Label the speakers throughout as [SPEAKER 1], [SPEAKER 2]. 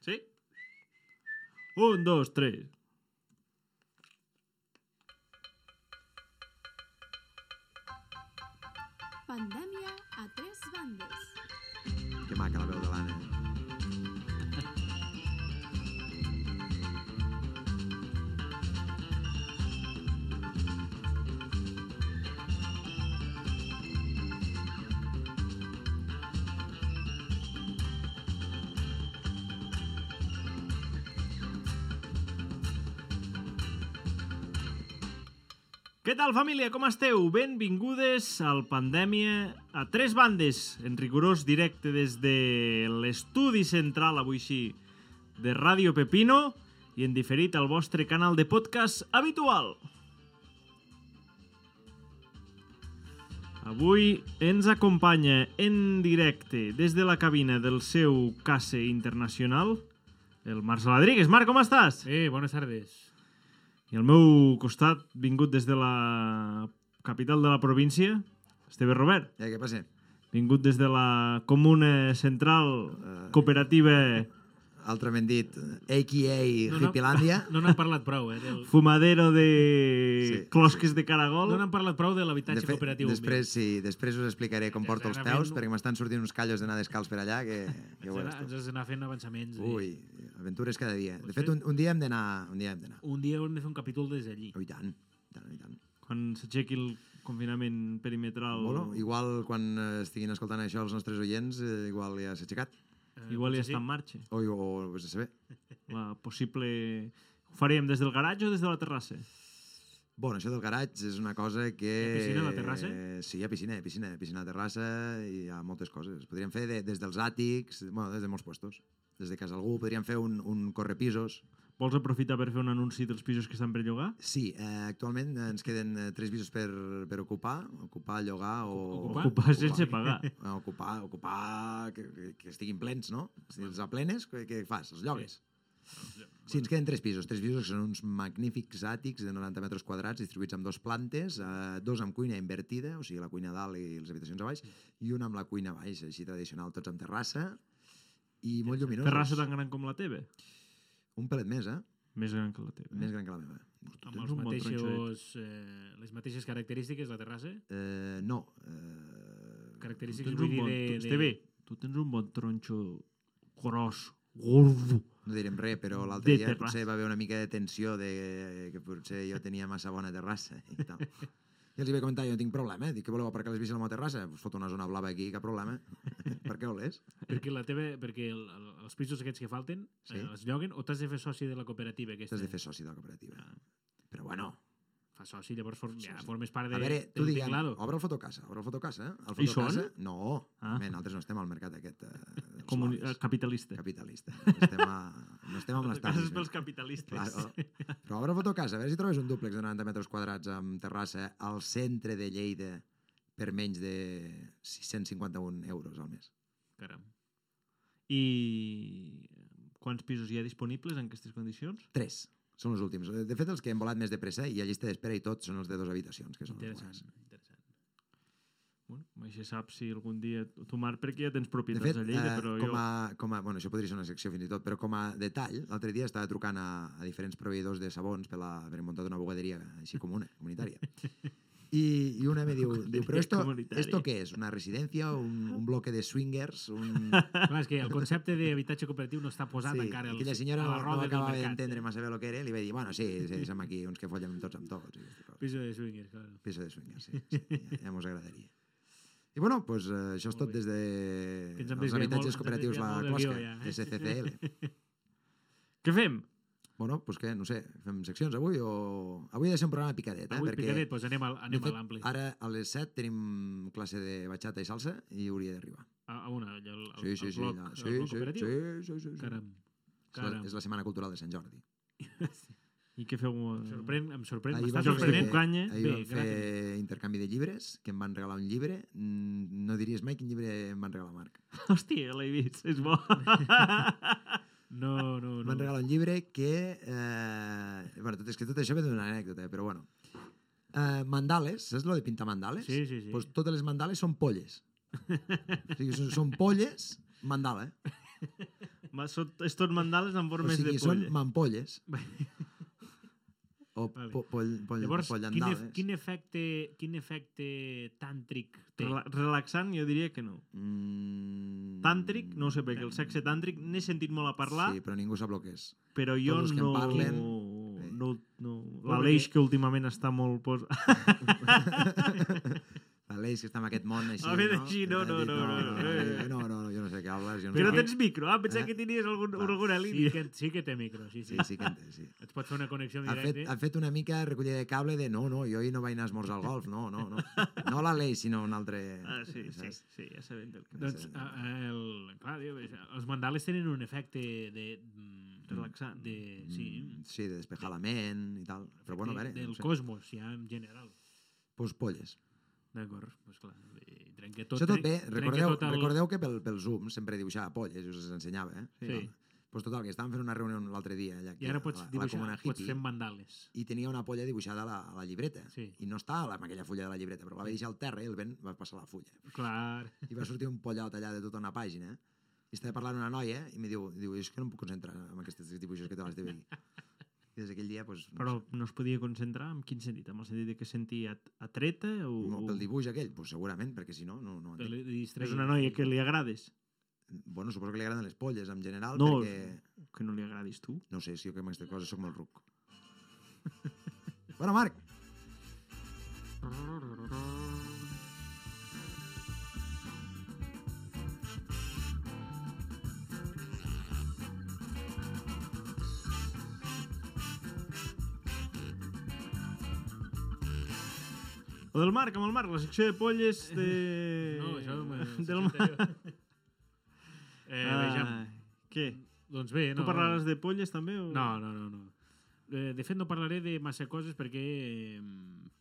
[SPEAKER 1] ¿Sí? Un, dos, tres.
[SPEAKER 2] Pandèmia a tres bandes.
[SPEAKER 3] Que maca la veu de l'Anna.
[SPEAKER 1] Què tal, família? Com esteu? Benvingudes al Pandèmia a tres bandes, en rigorós directe des de l'estudi central, avui sí, de Ràdio Pepino i en diferit al vostre canal de podcast habitual. Avui ens acompanya en directe des de la cabina del seu case internacional el Marc Saladríguez. Marc, com estàs?
[SPEAKER 4] Eh, buenas tardes.
[SPEAKER 1] I al meu costat, vingut des de la capital de la província, Esteve Robert,
[SPEAKER 3] Eh, què passa?
[SPEAKER 1] vingut des de la comuna central eh, cooperativa
[SPEAKER 3] Altrament dit, a.k.a.
[SPEAKER 4] No, no.
[SPEAKER 3] Hippilàndia.
[SPEAKER 4] No n'han parlat prou, eh? Del...
[SPEAKER 1] Fumadero de
[SPEAKER 3] Sí,
[SPEAKER 1] Closques de
[SPEAKER 4] No
[SPEAKER 1] Caragol.
[SPEAKER 4] n'han parlat prou de
[SPEAKER 3] De
[SPEAKER 4] l'habitatge
[SPEAKER 3] fet,
[SPEAKER 4] cooperatiu.
[SPEAKER 3] després, sí, després us explicaré com
[SPEAKER 4] Ens
[SPEAKER 3] porto els
[SPEAKER 4] anava
[SPEAKER 3] peus,
[SPEAKER 4] fent-
[SPEAKER 3] perquè m'estan sortint uns callos d'anar descalç per allà, que, que ho
[SPEAKER 4] Ens
[SPEAKER 3] veuràs
[SPEAKER 4] anar- ens
[SPEAKER 3] tu.
[SPEAKER 4] has d'anar fent avançaments. eh?
[SPEAKER 3] Ui, aventures cada dia. De
[SPEAKER 4] Potser-
[SPEAKER 3] fet, un, un dia hem d'anar, un dia hem d'anar.
[SPEAKER 4] Un dia hem de fer un capítol des d'allí.
[SPEAKER 3] Oh, i tant, i tant, i tant.
[SPEAKER 1] Quan s'aixequi el confinament perimetral,
[SPEAKER 3] Bueno, igual quan eh, estiguin escoltant això els nostres oients, eh, igual ja s'ha aixecat.
[SPEAKER 4] Eh,
[SPEAKER 1] igual ja
[SPEAKER 4] potser
[SPEAKER 1] està en marxa.
[SPEAKER 3] O, o, o vés a saber.
[SPEAKER 1] La possible... Ho faríem des del garatge o des de la terrassa?
[SPEAKER 3] Bueno, això del garatge és una cosa que...
[SPEAKER 4] Hi ha piscina a la terrassa?
[SPEAKER 3] Eh, Sí, hi ha piscina, hi ha piscina, hi ha piscina a la terrassa i hi ha moltes coses. Podríem fer de, des dels àtics, bueno, des de molts puestos. Des de casa algú podríem fer un, un correpisos.
[SPEAKER 1] Vols aprofitar per fer un anunci dels pisos que estan per llogar?
[SPEAKER 3] Sí, eh, actualment ens queden eh, tres pisos per, per ocupar, ocupar, llogar o...
[SPEAKER 4] Ocupar?
[SPEAKER 1] Ocupar sense pagar.
[SPEAKER 3] No, Eh, ocupar, ocupar, que, que, que estiguin plens, no? Si els aplenes, què, què fas? Els llogues. Sí, ens queden tres pisos. Tres pisos que són uns magnífics àtics de 90 metres quadrats distribuïts en dos plantes, eh, dos amb cuina invertida, o sigui, la cuina a dalt i les habitacions a baix, i un amb la cuina a baix, així tradicional, tots amb terrassa, i molt lluminosos.
[SPEAKER 1] Terrassa tan gran com la teva?
[SPEAKER 3] Un pelet més, eh?
[SPEAKER 1] Més gran que la teva.
[SPEAKER 3] Més gran que la meva.
[SPEAKER 4] Amb
[SPEAKER 1] Tens
[SPEAKER 4] els
[SPEAKER 1] un bon
[SPEAKER 4] mateixos, eh, les mateixes característiques, la terrassa.
[SPEAKER 3] Eh, no. Eh,
[SPEAKER 1] Tu
[SPEAKER 4] Característiques,
[SPEAKER 1] tens
[SPEAKER 4] vull
[SPEAKER 1] un
[SPEAKER 4] dir,
[SPEAKER 1] bon...
[SPEAKER 4] de...
[SPEAKER 1] tu-
[SPEAKER 4] de-
[SPEAKER 1] Esteve, tu tens un bon tronxo gros, gordo.
[SPEAKER 3] no direm res, però l'altre
[SPEAKER 1] De
[SPEAKER 3] dia
[SPEAKER 1] terrassa.
[SPEAKER 3] potser va haver una mica de tensió de que potser jo tenia massa bona terrassa i tal. I els hi vaig comentar, jo no tinc problema, eh? dic que voleu aparcar les bicis a la meva terrassa? Us foto una zona blava aquí, cap problema. per què volés?
[SPEAKER 4] Perquè, la teva, perquè el, el- els pisos aquests que falten
[SPEAKER 3] Sí.
[SPEAKER 4] sí. eh, els lloguen o t'has de fer soci de la cooperativa aquesta.
[SPEAKER 3] T'has de fer soci de la cooperativa. Però bueno,
[SPEAKER 4] Fa soci, llavors form, ja,
[SPEAKER 3] Soci.
[SPEAKER 4] formes part de,
[SPEAKER 3] a veure, tu
[SPEAKER 4] del
[SPEAKER 3] diguem, Oh,
[SPEAKER 4] tinglado.
[SPEAKER 3] obre el fotocasa, obre el fotocasa. eh? El
[SPEAKER 1] Hi
[SPEAKER 3] fotocasa?
[SPEAKER 1] són?
[SPEAKER 3] No,
[SPEAKER 1] Ah.
[SPEAKER 3] ah. bé, nosaltres no estem al mercat aquest eh, dels
[SPEAKER 1] Comuni...
[SPEAKER 3] lobbies.
[SPEAKER 1] Capitalista.
[SPEAKER 3] capitalista. No estem, a, no estem amb eh.
[SPEAKER 1] Cases
[SPEAKER 3] l'establishment.
[SPEAKER 1] pels capitalistes.
[SPEAKER 3] Claro. Però obre fotocasa, a veure si trobes un dúplex de 90 metres quadrats amb terrassa al centre de Lleida per menys de 651 euros al mes.
[SPEAKER 4] Caram.
[SPEAKER 1] I eh, quants pisos hi ha disponibles en aquestes condicions?
[SPEAKER 3] Tres. Són els últims. De fet, els que hem volat més de pressa i a llista d'espera i tot són els de dues habitacions, que són els
[SPEAKER 4] Interessant,
[SPEAKER 3] guais.
[SPEAKER 4] interessant.
[SPEAKER 1] Bueno, mai se sap si algun dia... Tu, Marc, perquè ja tens
[SPEAKER 3] De
[SPEAKER 1] propietats
[SPEAKER 3] fet,
[SPEAKER 1] a Lleida,
[SPEAKER 3] eh,
[SPEAKER 1] però
[SPEAKER 3] com,
[SPEAKER 1] jo...
[SPEAKER 3] a, com a, bueno, això podria ser una secció fins i tot, però com a detall, l'altre dia estava trucant a, a diferents proveïdors de sabons per, la, per muntar una bugaderia així comuna, comunitària. I, i una me diu, diu però esto,
[SPEAKER 1] Comunitària.
[SPEAKER 3] esto què és? Una residència? Un, un bloque de swingers? Un...
[SPEAKER 4] Clar, és que el concepte d'habitatge cooperatiu no està posat encara al-
[SPEAKER 3] aquella senyora
[SPEAKER 4] a
[SPEAKER 3] no,
[SPEAKER 4] la
[SPEAKER 3] no
[SPEAKER 4] roda del
[SPEAKER 3] acabava
[SPEAKER 4] mercat. eh.
[SPEAKER 3] d'entendre massa bé el que era i li vaig dir, bueno, sí, sí, som aquí uns que follen tots amb tots. I aquestes coses.
[SPEAKER 4] Piso de swingers, clar.
[SPEAKER 3] Piso de swingers, sí, sí ja, ja mos agradaria. I bueno, pues, eh, això és
[SPEAKER 4] Molt
[SPEAKER 3] tot
[SPEAKER 4] bé.
[SPEAKER 3] des de
[SPEAKER 4] Que ens hem
[SPEAKER 3] els
[SPEAKER 4] desviat molt-
[SPEAKER 3] habitatges
[SPEAKER 4] ens hem
[SPEAKER 3] cooperatius La
[SPEAKER 4] desviat molt del
[SPEAKER 3] Closca,
[SPEAKER 4] guió, ja, eh?
[SPEAKER 3] SCCL.
[SPEAKER 1] Què fem?
[SPEAKER 3] Bueno, doncs què, no sé, fem seccions avui o... Avui ha de ser un programa picadet, eh?
[SPEAKER 4] Avui picadet, doncs anem, al,
[SPEAKER 3] de
[SPEAKER 4] anem
[SPEAKER 3] fet, ah,
[SPEAKER 4] a l'ampli.
[SPEAKER 3] Ara a les 7 tenim classe de batxata i salsa i hauria d'arribar.
[SPEAKER 4] A, a una, allò, el,
[SPEAKER 3] Sí, sí,
[SPEAKER 4] el
[SPEAKER 3] sí,
[SPEAKER 4] bloc,
[SPEAKER 3] ja.
[SPEAKER 4] el
[SPEAKER 3] sí,
[SPEAKER 4] bloc
[SPEAKER 3] sí, sí,
[SPEAKER 4] cooperatiu.
[SPEAKER 3] sí, sí, sí.
[SPEAKER 4] Caram,
[SPEAKER 3] És la,
[SPEAKER 4] caram.
[SPEAKER 3] és la Setmana Cultural de Sant Jordi.
[SPEAKER 1] I què feu? eh?
[SPEAKER 4] Em sorprèn, em sorprèn,
[SPEAKER 3] Ahir
[SPEAKER 4] m'està
[SPEAKER 3] vam fer-
[SPEAKER 4] sorprenent.
[SPEAKER 1] canya.
[SPEAKER 3] Ahir
[SPEAKER 4] eh? Bé,
[SPEAKER 3] vam fer
[SPEAKER 4] gràcies.
[SPEAKER 3] intercanvi de llibres, que em van regalar un llibre. Mm, No diries mai quin llibre em van regalar, Marc.
[SPEAKER 1] Hòstia, l'he vist, és bo.
[SPEAKER 4] No, no,
[SPEAKER 3] Em
[SPEAKER 4] no.
[SPEAKER 3] eh, van regalar un llibre que... Eh, bueno, tot, és que tot això ve d'una anècdota, eh, però bueno. Eh, mandales, saps lo de pintar mandales?
[SPEAKER 4] Sí, sí, sí.
[SPEAKER 3] Pues totes les mandales són polles. o sigui, són, són polles, mandala.
[SPEAKER 1] Ma- són- És tot mandales amb
[SPEAKER 3] eh? O
[SPEAKER 1] formes
[SPEAKER 3] sigui,
[SPEAKER 1] de
[SPEAKER 3] són
[SPEAKER 1] polla.
[SPEAKER 3] mampolles. o
[SPEAKER 4] Vale.
[SPEAKER 3] po poll, poll,
[SPEAKER 4] Llavors, quin,
[SPEAKER 3] pollandales.
[SPEAKER 4] ef quin, efecte, quin efecte tàntric té?
[SPEAKER 1] Rela relaxant jo diria que no.
[SPEAKER 3] Mm,
[SPEAKER 1] Tàntric, no ho sé, perquè el sexe tàntric n'he sentit molt a parlar,
[SPEAKER 3] Sí, però ningú sap el que és.
[SPEAKER 1] però jo
[SPEAKER 3] tots els que en
[SPEAKER 1] no...
[SPEAKER 3] parlen,
[SPEAKER 1] no,
[SPEAKER 3] eh.
[SPEAKER 1] no, no.
[SPEAKER 4] Molt
[SPEAKER 1] L'Aleix,
[SPEAKER 4] bé.
[SPEAKER 1] que últimament està molt... Pos...
[SPEAKER 3] L'Aleix, que està en aquest món així,
[SPEAKER 1] A veure, així, no, no,
[SPEAKER 3] Dit,
[SPEAKER 1] no, no, no, eh.
[SPEAKER 3] no, no, no, jo no sé què hables. Jo no
[SPEAKER 1] Però
[SPEAKER 3] sé
[SPEAKER 1] tens micro, ah, pensava
[SPEAKER 3] Eh?
[SPEAKER 1] que tenies algun,
[SPEAKER 3] Va,
[SPEAKER 1] alguna
[SPEAKER 4] Sí
[SPEAKER 1] línia.
[SPEAKER 4] que, sí que té micro, sí, sí.
[SPEAKER 3] Sí, sí que en té, sí.
[SPEAKER 4] Et pots fer una connexió en
[SPEAKER 3] Ha fet,
[SPEAKER 1] eh?
[SPEAKER 4] directe.
[SPEAKER 3] ha fet una mica recollida de cable de no, no, jo ahir no vaig anar a esmorzar al golf, no, no, no. No l'Aleix, sinó un altre...
[SPEAKER 1] Ah, sí, sí,
[SPEAKER 3] saps?
[SPEAKER 1] sí, ja sabem del que...
[SPEAKER 4] Doncs,
[SPEAKER 3] Sí.
[SPEAKER 4] a- a- el, clar, diu, és- els mandales tenen un efecte de... mm,
[SPEAKER 1] Relaxant.
[SPEAKER 4] De, sí,
[SPEAKER 3] Mm, Sí, de despejar la ment i tal. Però bueno, a
[SPEAKER 4] de,
[SPEAKER 3] veure...
[SPEAKER 4] del
[SPEAKER 3] no sé.
[SPEAKER 4] cosmos, ja en general.
[SPEAKER 3] Pues polles.
[SPEAKER 4] D'acord, doncs clar, eh, trenca tot.
[SPEAKER 3] Això tot bé.
[SPEAKER 4] tre- trenca
[SPEAKER 3] Recordeu,
[SPEAKER 4] tot el-
[SPEAKER 3] recordeu que pel, pel Zoom sempre dibuixava polles, us els ensenyava, eh?
[SPEAKER 4] Sí.
[SPEAKER 3] Val. Pues total, que estàvem fent una reunió l'altre dia allà aquí,
[SPEAKER 4] I ara
[SPEAKER 3] a
[SPEAKER 4] pots
[SPEAKER 3] la, a la
[SPEAKER 4] dibuixar,
[SPEAKER 3] comuna
[SPEAKER 4] pots
[SPEAKER 3] hippie,
[SPEAKER 4] fer mandales.
[SPEAKER 3] i tenia una polla dibuixada a la, a la llibreta.
[SPEAKER 4] Sí.
[SPEAKER 3] I no estava a la- en aquella fulla de la llibreta, però la vaig deixar al terra i el vent va passar la fulla.
[SPEAKER 4] Clar,
[SPEAKER 3] i va sortir un pollot allà de tota una pàgina i estava parlant una noia i em diu, diu és que no em puc concentrar en aquests dibuixos que te l'has de dir. I des d'aquell dia, doncs, no
[SPEAKER 1] Però no es podia concentrar, en quin sentit? En el sentit de que sentia at- atreta o...
[SPEAKER 3] sé, no,
[SPEAKER 1] o...
[SPEAKER 3] pel dibuix aquell, doncs segurament, perquè si no, no, no
[SPEAKER 4] te
[SPEAKER 3] entenc.
[SPEAKER 4] li- distreguis.
[SPEAKER 1] És una noia que li agrades,
[SPEAKER 3] Bueno, suposo que li agraden les polles en general,
[SPEAKER 1] No,
[SPEAKER 3] perquè,
[SPEAKER 1] que no li agradis tu.
[SPEAKER 3] no sé, si jo que amb aquestes coses sóc molt ruc. bueno, Marc,
[SPEAKER 1] O del Marc, amb el Marc, la secció de polles de...
[SPEAKER 4] No, això... eh,
[SPEAKER 1] del
[SPEAKER 4] secció
[SPEAKER 1] Marc.
[SPEAKER 4] anterior. Eh, vejam.
[SPEAKER 1] Ah, què?
[SPEAKER 4] Doncs bé, no...
[SPEAKER 1] tu parlaràs de polles també? O...
[SPEAKER 4] No, no, no, no. Eh, De fet, no parlaré de massa coses perquè eh,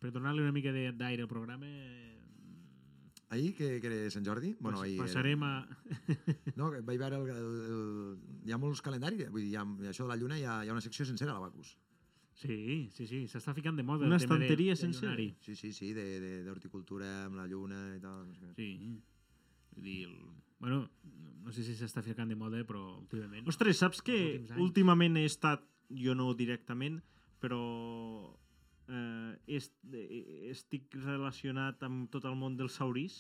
[SPEAKER 4] per donar-li una mica de- d'aire al programa eh,
[SPEAKER 3] ahir que, que era Sant Jordi? Bueno,
[SPEAKER 4] pas-
[SPEAKER 3] ahir, era-
[SPEAKER 4] passarem a...
[SPEAKER 3] No, que vaig veure... El, el, el, hi ha molts calendaris, vull dir, hi ha, això de la Lluna, hi ha, hi ha una secció sencera a l'Abacus.
[SPEAKER 4] Sí, sí, sí, s'està ficant de moda
[SPEAKER 1] Una
[SPEAKER 4] el tema de-
[SPEAKER 1] estanteria
[SPEAKER 4] del
[SPEAKER 1] sencera.
[SPEAKER 4] lunari.
[SPEAKER 3] Sí, sí, sí, de- de- d'horticultura amb la Lluna i tal. No sé què.
[SPEAKER 4] Sí. Vull dir, el... bueno, no sé si s'està ficant de moda, però últimament...
[SPEAKER 1] Ostres, saps que
[SPEAKER 4] Els últims anys.
[SPEAKER 1] últimament he estat, jo no directament, però eh, est, eh, estic relacionat amb tot el món dels saurís.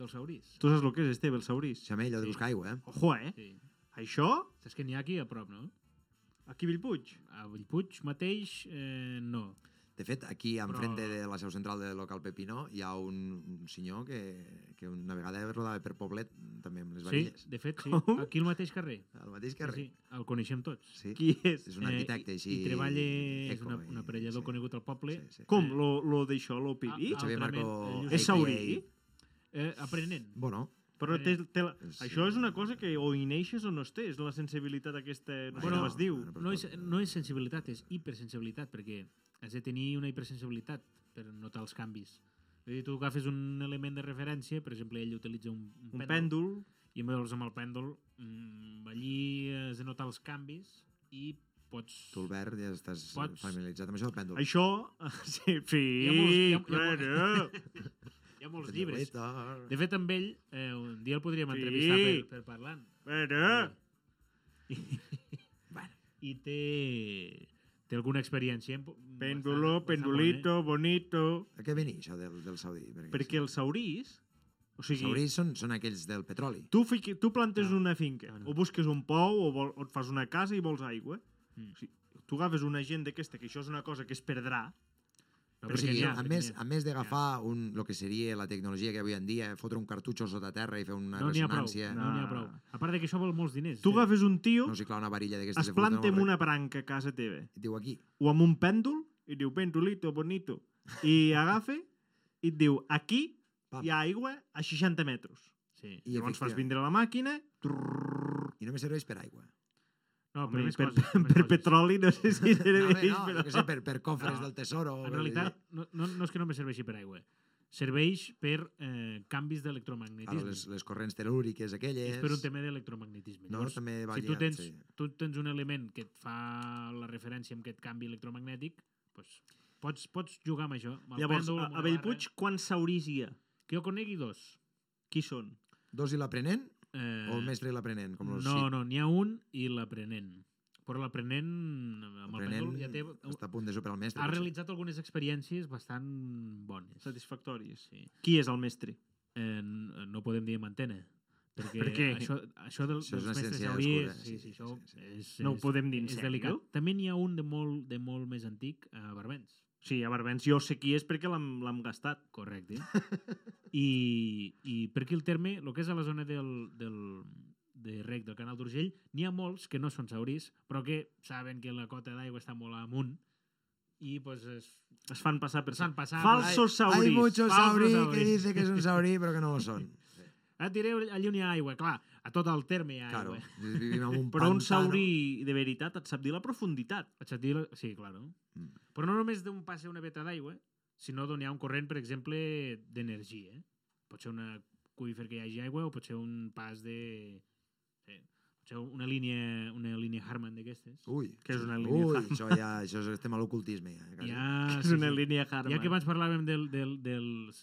[SPEAKER 4] dels auris.
[SPEAKER 1] Tu saps el que és, Esteve, el saurís?
[SPEAKER 3] Xamé, allò de
[SPEAKER 4] Sí.
[SPEAKER 3] buscar aigua, eh?
[SPEAKER 1] Ojo, eh?
[SPEAKER 4] Sí.
[SPEAKER 1] Això,
[SPEAKER 4] Saps que n'hi ha aquí a prop, no?
[SPEAKER 1] aquí a Bellpuig.
[SPEAKER 4] A Bellpuig mateix, eh, no.
[SPEAKER 3] De fet, aquí, enfrente
[SPEAKER 4] Però-
[SPEAKER 3] de la seu central de local Pepinó, hi ha un, un senyor que, que una vegada rodava per Poblet, també amb les
[SPEAKER 4] Sí,
[SPEAKER 3] varilles.
[SPEAKER 4] de fet, sí.
[SPEAKER 1] Com?
[SPEAKER 4] Aquí al mateix carrer.
[SPEAKER 3] Al mateix carrer.
[SPEAKER 4] Sí, el coneixem tots. Eh,
[SPEAKER 3] Sí.
[SPEAKER 1] Qui és?
[SPEAKER 3] És un arquitecte així...
[SPEAKER 4] I, i treballa, és
[SPEAKER 3] eco
[SPEAKER 4] una,
[SPEAKER 3] i-
[SPEAKER 4] un aparellador
[SPEAKER 3] sí,
[SPEAKER 4] conegut al poble.
[SPEAKER 3] Sí, sí.
[SPEAKER 1] Com? Lo, lo d'això, lo
[SPEAKER 4] Ah,
[SPEAKER 1] piri?
[SPEAKER 4] ah.
[SPEAKER 3] Xavier Marco...
[SPEAKER 4] Altrament, eh,
[SPEAKER 1] És saurí?
[SPEAKER 3] AKA.
[SPEAKER 4] Eh, aprenent.
[SPEAKER 3] Bueno,
[SPEAKER 1] Però té, té la...
[SPEAKER 3] Sí.
[SPEAKER 1] això és una cosa que o hi neixes o no es té, és la sensibilitat aquesta, no sé
[SPEAKER 4] Bueno,
[SPEAKER 1] com es diu.
[SPEAKER 3] bueno,
[SPEAKER 4] No és, no és sensibilitat, és hipersensibilitat, perquè has de tenir una hipersensibilitat per notar els canvis. És a dir, tu agafes un element de referència, per exemple, ell utilitza un,
[SPEAKER 1] Un pèndol,
[SPEAKER 4] i amb llavors amb el pèndol mm, allí has de notar els canvis i pots...
[SPEAKER 3] tu, Albert, ja estàs
[SPEAKER 4] Pots-
[SPEAKER 3] familiaritzat amb això del pèndol.
[SPEAKER 1] això... Sí, sí,
[SPEAKER 4] Hi ha molts- hi ha- hi ha
[SPEAKER 1] claro.
[SPEAKER 4] Hi ha molts
[SPEAKER 3] Els
[SPEAKER 4] llibres.
[SPEAKER 3] llibres.
[SPEAKER 4] De fet, amb ell, eh, un dia el podríem
[SPEAKER 1] Sí. Ah!
[SPEAKER 4] entrevistar per, per parlant.
[SPEAKER 1] Bueno.
[SPEAKER 4] I té, té alguna experiència... en-
[SPEAKER 1] Penduló,
[SPEAKER 4] bastant- bastant bona, eh?
[SPEAKER 1] pendulito, bonito...
[SPEAKER 3] A què venia això del, del saudí?
[SPEAKER 1] Perquè els saurís... O
[SPEAKER 3] Els
[SPEAKER 1] sigui,
[SPEAKER 3] saudís són, són aquells del petroli.
[SPEAKER 1] tu, fiqui, tu plantes
[SPEAKER 4] No,
[SPEAKER 1] una finca,
[SPEAKER 4] no, no.
[SPEAKER 1] o busques un pou, o, vol, o et fas una casa i vols aigua.
[SPEAKER 4] Mm.
[SPEAKER 1] O sigui, tu agafes una gent d'aquesta, que això és una cosa que es perdrà,
[SPEAKER 4] No,
[SPEAKER 3] Però o
[SPEAKER 4] perquè
[SPEAKER 3] sigui,
[SPEAKER 4] n'hi ha,
[SPEAKER 3] a
[SPEAKER 4] perquè
[SPEAKER 3] més,
[SPEAKER 4] n'hi ha.
[SPEAKER 3] a més d'agafar un, el que seria la tecnologia que avui en dia, fotre un cartutxo sota terra i fer una
[SPEAKER 4] no n'hi ha prou,
[SPEAKER 3] ressonància,
[SPEAKER 4] no n'hi ha prou. A part de que això vol molts diners.
[SPEAKER 1] Ah. tu
[SPEAKER 4] eh?
[SPEAKER 1] agafes un tio,
[SPEAKER 3] no sé, clar, una varilla d'aquestes
[SPEAKER 1] es
[SPEAKER 3] de fusta...
[SPEAKER 1] planta
[SPEAKER 3] no
[SPEAKER 1] amb
[SPEAKER 3] vol
[SPEAKER 1] una branca a casa teva,
[SPEAKER 3] res. I Diu aquí,
[SPEAKER 1] o amb un pèndol, i diu, pendulito, bonito, i agafa, i et diu, aquí
[SPEAKER 3] pam,
[SPEAKER 1] hi ha aigua a 60 metres.
[SPEAKER 4] Sí.
[SPEAKER 1] I Llavors fas
[SPEAKER 3] efectivament.
[SPEAKER 1] vindre la màquina, trrrr,
[SPEAKER 3] i només serveix per aigua.
[SPEAKER 4] No,
[SPEAKER 1] Home,
[SPEAKER 4] més
[SPEAKER 1] per,
[SPEAKER 4] coses,
[SPEAKER 1] per,
[SPEAKER 4] més coses.
[SPEAKER 1] petroli, no sé si
[SPEAKER 3] No,
[SPEAKER 1] serveix,
[SPEAKER 3] bé, no,
[SPEAKER 1] però...
[SPEAKER 3] jo què sé, per, per cofres
[SPEAKER 4] No.
[SPEAKER 3] del tesoro... o
[SPEAKER 4] En
[SPEAKER 3] per-
[SPEAKER 4] realitat, no, no, no és que només serveixi per aigua. Serveix per eh, canvis
[SPEAKER 3] Ara,
[SPEAKER 4] d'electromagnetisme.
[SPEAKER 3] les, les corrents telúriques aquelles...
[SPEAKER 4] És per un tema d'electromagnetisme.
[SPEAKER 3] No,
[SPEAKER 4] Llavors,
[SPEAKER 3] també va
[SPEAKER 4] si tu
[SPEAKER 3] lligat,
[SPEAKER 4] tens,
[SPEAKER 3] sí.
[SPEAKER 4] tu tens un element que et fa la referència amb aquest canvi electromagnètic, doncs pots, pots jugar amb això. Amb el
[SPEAKER 1] Llavors,
[SPEAKER 4] pèndol,
[SPEAKER 1] a,
[SPEAKER 4] amb
[SPEAKER 1] a
[SPEAKER 4] una
[SPEAKER 1] Bellpuig,
[SPEAKER 4] barra.
[SPEAKER 1] quan saurís hi ha?
[SPEAKER 4] Que jo conegui dos.
[SPEAKER 1] Qui són?
[SPEAKER 3] Dos i l'aprenent
[SPEAKER 4] Eh,
[SPEAKER 3] O el mestre i l'aprenent, com los
[SPEAKER 4] No,
[SPEAKER 3] Sith.
[SPEAKER 4] no, n'hi ha un i l'aprenent. Però l'aprenent, amb el
[SPEAKER 3] L'aprenent
[SPEAKER 4] pèndol, ja té...
[SPEAKER 3] està a punt de superar el mestre.
[SPEAKER 4] Ha
[SPEAKER 3] potser.
[SPEAKER 4] realitzat algunes experiències bastant bones.
[SPEAKER 1] Satisfactòries.
[SPEAKER 4] Sí.
[SPEAKER 1] Qui és el mestre?
[SPEAKER 4] Eh, n- no podem dir mantena. Perquè
[SPEAKER 1] Per què?
[SPEAKER 4] això, això,
[SPEAKER 3] Això
[SPEAKER 4] del,
[SPEAKER 3] és
[SPEAKER 4] dels
[SPEAKER 3] una
[SPEAKER 4] mestres
[SPEAKER 3] ciència
[SPEAKER 4] Sauri
[SPEAKER 3] obscura,
[SPEAKER 4] és- Sí, sí, això
[SPEAKER 3] sí,
[SPEAKER 4] és,
[SPEAKER 1] No ho
[SPEAKER 4] és-
[SPEAKER 1] podem dir en
[SPEAKER 4] és
[SPEAKER 1] sèrio?
[SPEAKER 4] delicat. També n'hi ha un de molt, de molt més antic a Barbens.
[SPEAKER 1] Sí, a Barbens jo sé qui és perquè l'hem l'hem gastat.
[SPEAKER 4] Correcte. I, I per aquí el terme, el que és a la zona del, del, de rec del canal d'Urgell, n'hi ha molts que no són saurís, però que saben que la cota d'aigua està molt amunt i pues, es,
[SPEAKER 1] Es fan passar per...
[SPEAKER 4] s'han passat...
[SPEAKER 1] Falsos saurís.
[SPEAKER 3] Hay muchos
[SPEAKER 4] falsos
[SPEAKER 3] saurí que
[SPEAKER 4] saurí.
[SPEAKER 3] dice que es un saurí, pero que no lo son.
[SPEAKER 4] Et diré allà on hi ha aigua, clar, a tot el terme hi ha
[SPEAKER 3] Claro,
[SPEAKER 4] aigua.
[SPEAKER 3] vivim en un
[SPEAKER 1] Però un
[SPEAKER 3] pantano.
[SPEAKER 1] saurí de veritat et sap dir la profunditat.
[SPEAKER 4] Vaig a dir... la- Sí, claro.
[SPEAKER 3] Mm.
[SPEAKER 4] Però no només d'un passa una veta d'aigua, sinó d'on hi ha un corrent, per exemple, d'energia. eh? Pot ser una cuífer que hi hagi aigua o pot ser un pas de... Sí. Pot ser una línia, una línia Harman d'aquestes.
[SPEAKER 3] Ui,
[SPEAKER 1] Que és una
[SPEAKER 3] això-
[SPEAKER 1] línia
[SPEAKER 3] Ui,
[SPEAKER 1] Harman.
[SPEAKER 3] això ja, això és, estem a l'ocultisme. Ja, quasi.
[SPEAKER 4] Ja,
[SPEAKER 1] és una línia Harman.
[SPEAKER 4] Ja que abans parlàvem del, del, dels,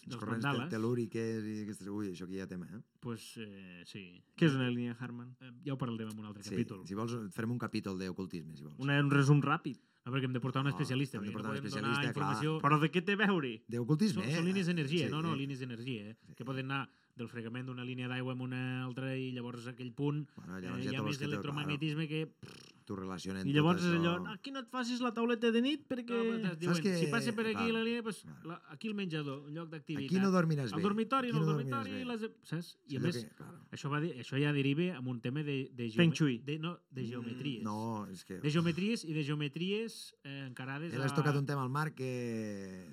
[SPEAKER 3] Els
[SPEAKER 4] dels
[SPEAKER 3] corrents
[SPEAKER 4] mandales,
[SPEAKER 3] telúriques i aquestes... Ui, això aquí hi ha tema, eh?
[SPEAKER 4] pues, eh, sí.
[SPEAKER 1] Què és una línia Harman?
[SPEAKER 4] Eh, Ja ho parlarem en un altre
[SPEAKER 3] Sí,
[SPEAKER 4] capítol.
[SPEAKER 3] si vols, et farem un capítol d'ocultisme, si vols.
[SPEAKER 1] Una, un resum ràpid.
[SPEAKER 4] No, perquè hem de portar un
[SPEAKER 3] No,
[SPEAKER 4] especialista.
[SPEAKER 3] hem de
[SPEAKER 4] perquè
[SPEAKER 3] portar un
[SPEAKER 4] podem
[SPEAKER 3] especialista, clar.
[SPEAKER 4] donar informació...
[SPEAKER 1] Però de què té a veure?
[SPEAKER 3] D'ocultisme,
[SPEAKER 4] Són,
[SPEAKER 3] eh?
[SPEAKER 4] són línies d'energia,
[SPEAKER 3] Sí,
[SPEAKER 4] no, no,
[SPEAKER 3] eh?
[SPEAKER 4] línies d'energia, eh? que poden anar del fregament d'una línia d'aigua amb una altra i llavors a aquell punt
[SPEAKER 3] Bueno,
[SPEAKER 4] eh,
[SPEAKER 3] llavors doncs ja
[SPEAKER 4] hi ha
[SPEAKER 3] tot
[SPEAKER 4] més electromagnetisme que...
[SPEAKER 3] Claro, tu relacionen
[SPEAKER 1] I llavors
[SPEAKER 3] tot
[SPEAKER 1] és
[SPEAKER 3] això...
[SPEAKER 1] allò, aquí no et facis la tauleta de nit perquè...
[SPEAKER 4] Que... Diuen,
[SPEAKER 3] que-
[SPEAKER 4] Si passa per aquí
[SPEAKER 3] clar,
[SPEAKER 4] la línia, doncs,
[SPEAKER 3] clar.
[SPEAKER 4] la, aquí el menjador, un lloc d'activitat.
[SPEAKER 3] Aquí no dormiràs bé.
[SPEAKER 4] El dormitori,
[SPEAKER 3] aquí
[SPEAKER 4] no, el
[SPEAKER 3] dormiràs bé.
[SPEAKER 4] dormitori, les... saps?
[SPEAKER 3] És
[SPEAKER 4] I a
[SPEAKER 3] allò
[SPEAKER 4] més,
[SPEAKER 3] que, claro.
[SPEAKER 4] això, va, dir- això ja deriva amb un tema de, de,
[SPEAKER 1] Feng shui.
[SPEAKER 4] de, no, de geometries.
[SPEAKER 3] Mm, No, és que...
[SPEAKER 4] De geometries i de geometries eh, encarades
[SPEAKER 3] Ell has tocat un tema al Marc que...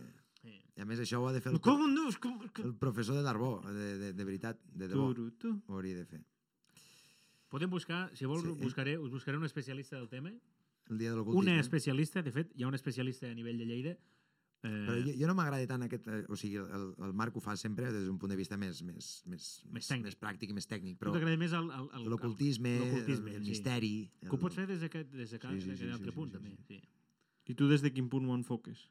[SPEAKER 4] Sí.
[SPEAKER 3] I a més això ho ha de fer el,
[SPEAKER 1] Com no? és Com...
[SPEAKER 3] el professor de Darbó, de, de, de veritat, de debò.
[SPEAKER 1] Turu, tu.
[SPEAKER 3] Ho hauria de fer.
[SPEAKER 4] Podem buscar, si vols,
[SPEAKER 3] Sí.
[SPEAKER 4] sí. buscaré, us buscaré un especialista del tema.
[SPEAKER 3] El dia de l'ocultisme.
[SPEAKER 4] Una especialista, de fet, hi ha un especialista a nivell de Lleida. Eh,
[SPEAKER 3] Però jo, jo no m'agrada tant aquest... eh, O sigui, el, el Marc ho fa sempre des d'un punt de vista més, més, més,
[SPEAKER 4] tècnic.
[SPEAKER 3] més pràctic i més tècnic,
[SPEAKER 4] però
[SPEAKER 3] però
[SPEAKER 4] t'agrada més el, el, el,
[SPEAKER 3] l'ocultisme, el, el,
[SPEAKER 4] l'ocultisme, sí.
[SPEAKER 3] misteri...
[SPEAKER 4] el,
[SPEAKER 3] El...
[SPEAKER 4] que ho pots fer des d'aquest des de sí,
[SPEAKER 3] Sí, sí,
[SPEAKER 4] sí,
[SPEAKER 3] sí,
[SPEAKER 4] altre
[SPEAKER 3] sí,
[SPEAKER 4] punt,
[SPEAKER 3] sí,
[SPEAKER 4] també. Sí.
[SPEAKER 1] I tu des de quin punt m'ho enfoques?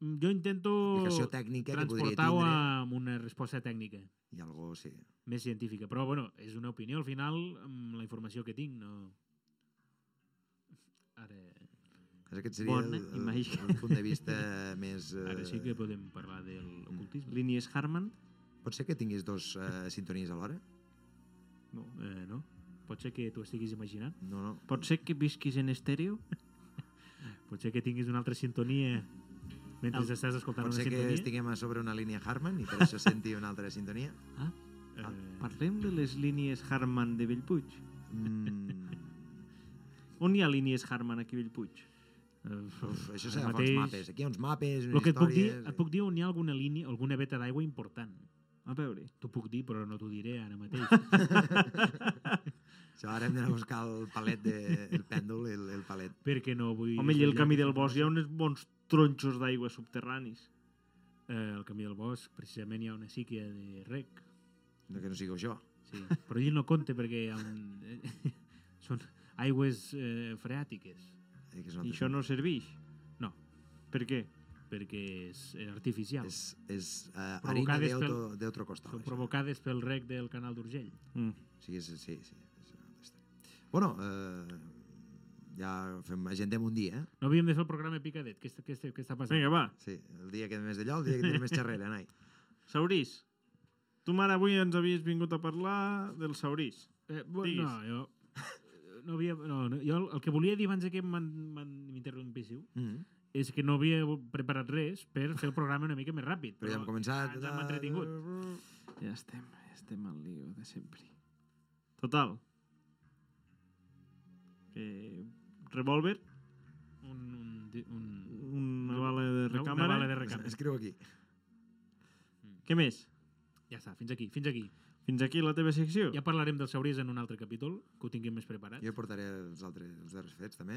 [SPEAKER 4] Mm, Jo intento
[SPEAKER 3] Aplicació tècnica que podria
[SPEAKER 4] transportar-ho
[SPEAKER 3] tindre...
[SPEAKER 4] amb una resposta tècnica
[SPEAKER 3] I algú, sí.
[SPEAKER 4] més científica. Però, bueno, és una opinió. Al final, amb la informació que tinc, no... Ara,
[SPEAKER 3] És Aquest seria
[SPEAKER 1] Bona
[SPEAKER 3] el, el,
[SPEAKER 1] imatge.
[SPEAKER 3] el, punt de vista més...
[SPEAKER 4] ara sí que
[SPEAKER 3] eh,
[SPEAKER 4] podem parlar de l'ocultisme.
[SPEAKER 1] Línies Harman?
[SPEAKER 3] Pot ser que tinguis dos eh, sintonies alhora? Mm.
[SPEAKER 1] No.
[SPEAKER 4] Eh, no? Pot ser que t'ho estiguis imaginant?
[SPEAKER 3] No, no.
[SPEAKER 1] Pot ser que visquis en estèreo?
[SPEAKER 4] Pot ser que tinguis una altra sintonia mentre
[SPEAKER 1] El-
[SPEAKER 4] estàs escoltant
[SPEAKER 3] Pot
[SPEAKER 4] una
[SPEAKER 3] ser que
[SPEAKER 4] sintonia?
[SPEAKER 3] estiguem a sobre una línia Harman i per això senti una altra sintonia?
[SPEAKER 1] Ah,
[SPEAKER 4] Eh,
[SPEAKER 1] parlem de les línies Harman de Bellpuig.
[SPEAKER 3] Mm,
[SPEAKER 1] On hi ha línies Harman aquí a Bellpuig?
[SPEAKER 4] eh,
[SPEAKER 3] uf, això
[SPEAKER 4] ara
[SPEAKER 3] s'ha d'agafar uns mapes.
[SPEAKER 4] mateix-
[SPEAKER 3] Aquí hi ha uns mapes, unes
[SPEAKER 4] El que et puc dir,
[SPEAKER 3] històries...
[SPEAKER 4] et puc dir on hi ha alguna línia, alguna veta d'aigua important.
[SPEAKER 1] A veure.
[SPEAKER 4] T'ho puc dir, però no t'ho diré ara mateix.
[SPEAKER 3] Això ara hem d'anar a buscar el palet, de, el pèndol i el, el palet.
[SPEAKER 4] perquè no vull...
[SPEAKER 1] Home, i el
[SPEAKER 4] desvetllar
[SPEAKER 1] camí
[SPEAKER 4] aquesta
[SPEAKER 1] del bosc hi ha
[SPEAKER 4] informació.
[SPEAKER 1] uns bons tronxos d'aigua subterranis.
[SPEAKER 4] Eh, el camí del bosc, precisament hi ha una síquia de rec.
[SPEAKER 3] No que no sigueu això.
[SPEAKER 4] Sí. Però allí no compta perquè hi ha un... eh, són aigües eh, freàtiques,
[SPEAKER 3] Eh, que és un
[SPEAKER 1] I
[SPEAKER 3] altre
[SPEAKER 1] això no serveix?
[SPEAKER 4] No.
[SPEAKER 1] Per què?
[SPEAKER 4] perquè és eh, artificial.
[SPEAKER 3] És, és uh, harina
[SPEAKER 4] Provocades
[SPEAKER 3] de otro, de otro costal.
[SPEAKER 4] Són
[SPEAKER 3] això.
[SPEAKER 4] provocades pel rec del canal d'Urgell.
[SPEAKER 1] Mm.
[SPEAKER 3] O sigui, és, sí, sí. És una altra història. bueno, eh, ja fem, agendem un dia, eh?
[SPEAKER 4] No havíem de fer el programa Picadet. Què, està- què, està- què està passant?
[SPEAKER 1] Vinga, va.
[SPEAKER 3] Sí, el dia que més d'allò, el dia que tindrem més xerrera, noi.
[SPEAKER 1] Saurís. Tu, mare, avui ens havies vingut a parlar del Saurís.
[SPEAKER 4] Eh, bueno,
[SPEAKER 1] Diguis.
[SPEAKER 4] no, jo... eh, No havia, no, no, jo el, el que volia dir abans de que m'han- m'han- m'interrompéssiu
[SPEAKER 3] Mm.
[SPEAKER 4] és que no havia preparat res per fer el programa una mica més ràpid.
[SPEAKER 3] Però ja hem començat...
[SPEAKER 4] ens hem entretingut.
[SPEAKER 1] Ja estem, ja estem al lío de sempre. Total. Eh, Que... Revolver,
[SPEAKER 4] Un, un, di- un...
[SPEAKER 1] una bala de
[SPEAKER 4] Una-
[SPEAKER 1] recàmera.
[SPEAKER 4] Una bala de recàmera.
[SPEAKER 3] Escriu aquí.
[SPEAKER 1] Què més?
[SPEAKER 4] Ja està, fins aquí, fins aquí.
[SPEAKER 1] Fins aquí la teva secció?
[SPEAKER 4] Ja parlarem dels saurís en un altre capítol, que ho tinguem més preparat.
[SPEAKER 3] Jo portaré els altres, els darrers fets, també.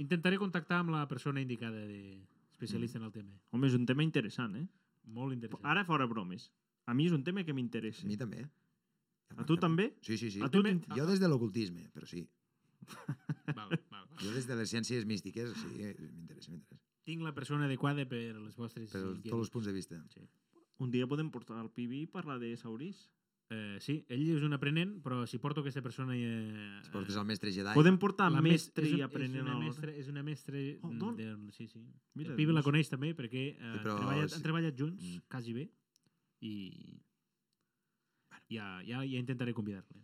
[SPEAKER 4] Intentaré contactar amb la persona indicada de especialista en el tema.
[SPEAKER 1] Home, és un tema interessant, eh?
[SPEAKER 4] Molt interessant.
[SPEAKER 1] Ara fora bromes. A mi és un tema que
[SPEAKER 3] A
[SPEAKER 1] m'interessa.
[SPEAKER 3] mi també.
[SPEAKER 1] A tu també?
[SPEAKER 3] Sí, sí, sí.
[SPEAKER 1] A tu
[SPEAKER 4] També-
[SPEAKER 1] t'inter-
[SPEAKER 3] Jo des de l'ocultisme, però sí.
[SPEAKER 4] Val, val.
[SPEAKER 3] Jo des de les ciències místiques, sí, eh, m'interessa, m'interessa.
[SPEAKER 4] Tinc la persona adequada per a les vostres
[SPEAKER 3] Per
[SPEAKER 4] inquietuds.
[SPEAKER 3] tots els punts de vista.
[SPEAKER 1] Un dia podem portar al Pibi i parlar de Saurís.
[SPEAKER 4] Eh, sí, ell és un aprenent, però si porto aquesta persona... Eh,
[SPEAKER 3] Si portes el mestre Jedi...
[SPEAKER 1] Podem portar
[SPEAKER 4] la
[SPEAKER 1] mestre
[SPEAKER 4] mes- és
[SPEAKER 1] i
[SPEAKER 4] un-
[SPEAKER 1] aprenent
[SPEAKER 4] és una,
[SPEAKER 1] alhora.
[SPEAKER 4] mestra, és una mestra
[SPEAKER 1] Oh,
[SPEAKER 4] mm,
[SPEAKER 1] dona.
[SPEAKER 4] del, sí, sí.
[SPEAKER 1] Mira,
[SPEAKER 4] el Pibi la
[SPEAKER 1] doncs.
[SPEAKER 4] coneix també perquè eh, sí,
[SPEAKER 3] però
[SPEAKER 4] treballat,
[SPEAKER 3] sí.
[SPEAKER 4] han treballat junts,
[SPEAKER 3] Mm.
[SPEAKER 4] quasi bé, i ja, ja, ja intentaré convidar-la.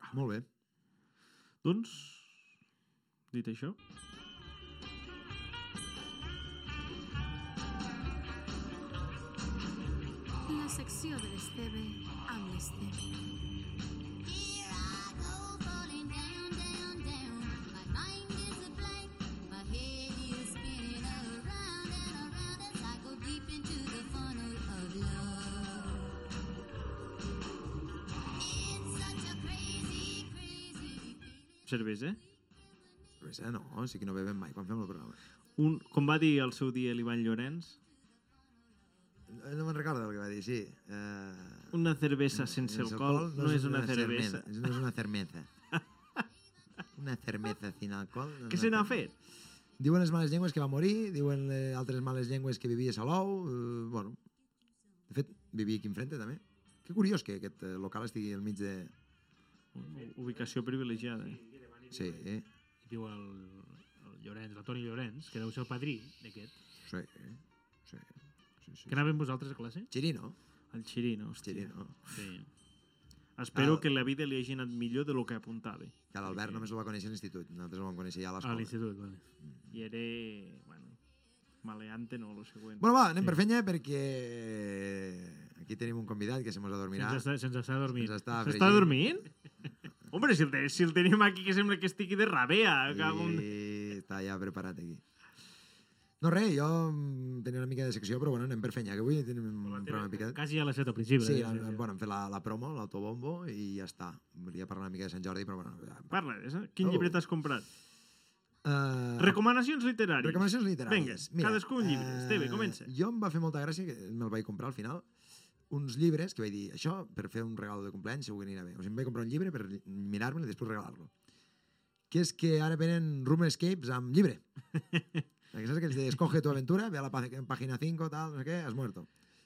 [SPEAKER 3] Ah, Molt bé.
[SPEAKER 1] Doncs, dit això...
[SPEAKER 2] La secció de l'Esteve amb l'Esteve.
[SPEAKER 5] Here I go falling down, down, down. My mind is a blank. My head is spinning around and around as I go deep into the funnel of love. It's such a crazy, crazy feeling.
[SPEAKER 1] Cervesa, eh?
[SPEAKER 3] Cervesa eh, no, o sigui que no bevem mai quan fem el programa.
[SPEAKER 1] Un, com va dir el seu dia l'Ivan Llorenç,
[SPEAKER 3] Eh, No me'n recordo el que va dir, sí. Uh,
[SPEAKER 1] una cervesa sense alcohol no és una cervesa.
[SPEAKER 3] No és una cervesa. una cervesa sin alcohol. No és
[SPEAKER 1] Què se
[SPEAKER 3] una
[SPEAKER 1] n'ha
[SPEAKER 3] cervesa.
[SPEAKER 1] fet?
[SPEAKER 3] Diuen les males llengües que va morir, diuen eh, altres males llengües que vivia a Salou, eh, bueno. De fet, vivia aquí enfrente, també. Que curiós que aquest eh, local estigui al mig de...
[SPEAKER 1] Ubicació privilegiada. eh?
[SPEAKER 3] Sí, eh?
[SPEAKER 4] Diu el, el Llorenç, el Toni Llorenç, que deu ser el padrí d'aquest.
[SPEAKER 3] Sí, eh? sí. sí, sí.
[SPEAKER 4] Que anava amb vosaltres a classe?
[SPEAKER 3] Chirino,
[SPEAKER 1] El Xirino, hòstia.
[SPEAKER 3] Chirino.
[SPEAKER 4] Sí.
[SPEAKER 1] Espero
[SPEAKER 3] Ah.
[SPEAKER 1] que la vida li hagi anat millor de lo que apuntava.
[SPEAKER 3] Que l'Albert només el va conèixer a l'institut, nosaltres el vam conèixer ja a
[SPEAKER 4] A
[SPEAKER 3] l'escola.
[SPEAKER 4] l'institut, vale.
[SPEAKER 1] I era... Bueno, maleante no, lo següent.
[SPEAKER 3] Bueno, va, anem
[SPEAKER 4] Sí.
[SPEAKER 3] per fenya perquè aquí tenim un convidat que se mos adormirà.
[SPEAKER 4] Se'ns està, se'ns està dormint.
[SPEAKER 3] Se'ns està
[SPEAKER 1] S'està
[SPEAKER 3] fregint.
[SPEAKER 1] dormint? Hombre, si el, te- si el tenim aquí que sembla que estigui de rabea.
[SPEAKER 3] I
[SPEAKER 1] acabo amb-
[SPEAKER 3] està ja preparat aquí. No res, jo mm, tenia una mica de secció, però bueno, anem per fenya, que avui tenim un programa picat.
[SPEAKER 4] Quasi a les set al principi.
[SPEAKER 3] Sí,
[SPEAKER 4] eh?
[SPEAKER 3] han- bueno, hem fet la, la promo, l'autobombo, i ja està. Volia parlar una mica de Sant Jordi, però bueno... Ja.
[SPEAKER 1] Parla, eh? Quin
[SPEAKER 3] Oh.
[SPEAKER 1] llibre t'has comprat?
[SPEAKER 3] Uh,
[SPEAKER 1] Recomanacions literàries.
[SPEAKER 3] recomanacions literàries.
[SPEAKER 1] Vinga, cadascú un llibre.
[SPEAKER 3] eh,
[SPEAKER 1] Esteve, comença.
[SPEAKER 3] Jo em va fer molta gràcia, que me'l vaig comprar al final, uns llibres que vaig dir, això per fer un regal de compleany segur que anirà bé. O sigui, em vaig comprar un llibre per mirar-me'l i després regalar-lo. Que és que ara venen Room Escapes amb llibre. Perquè saps que ells de escoge tu aventura, ve a la pà- pàgina 5, tal, no sé què, has muerto.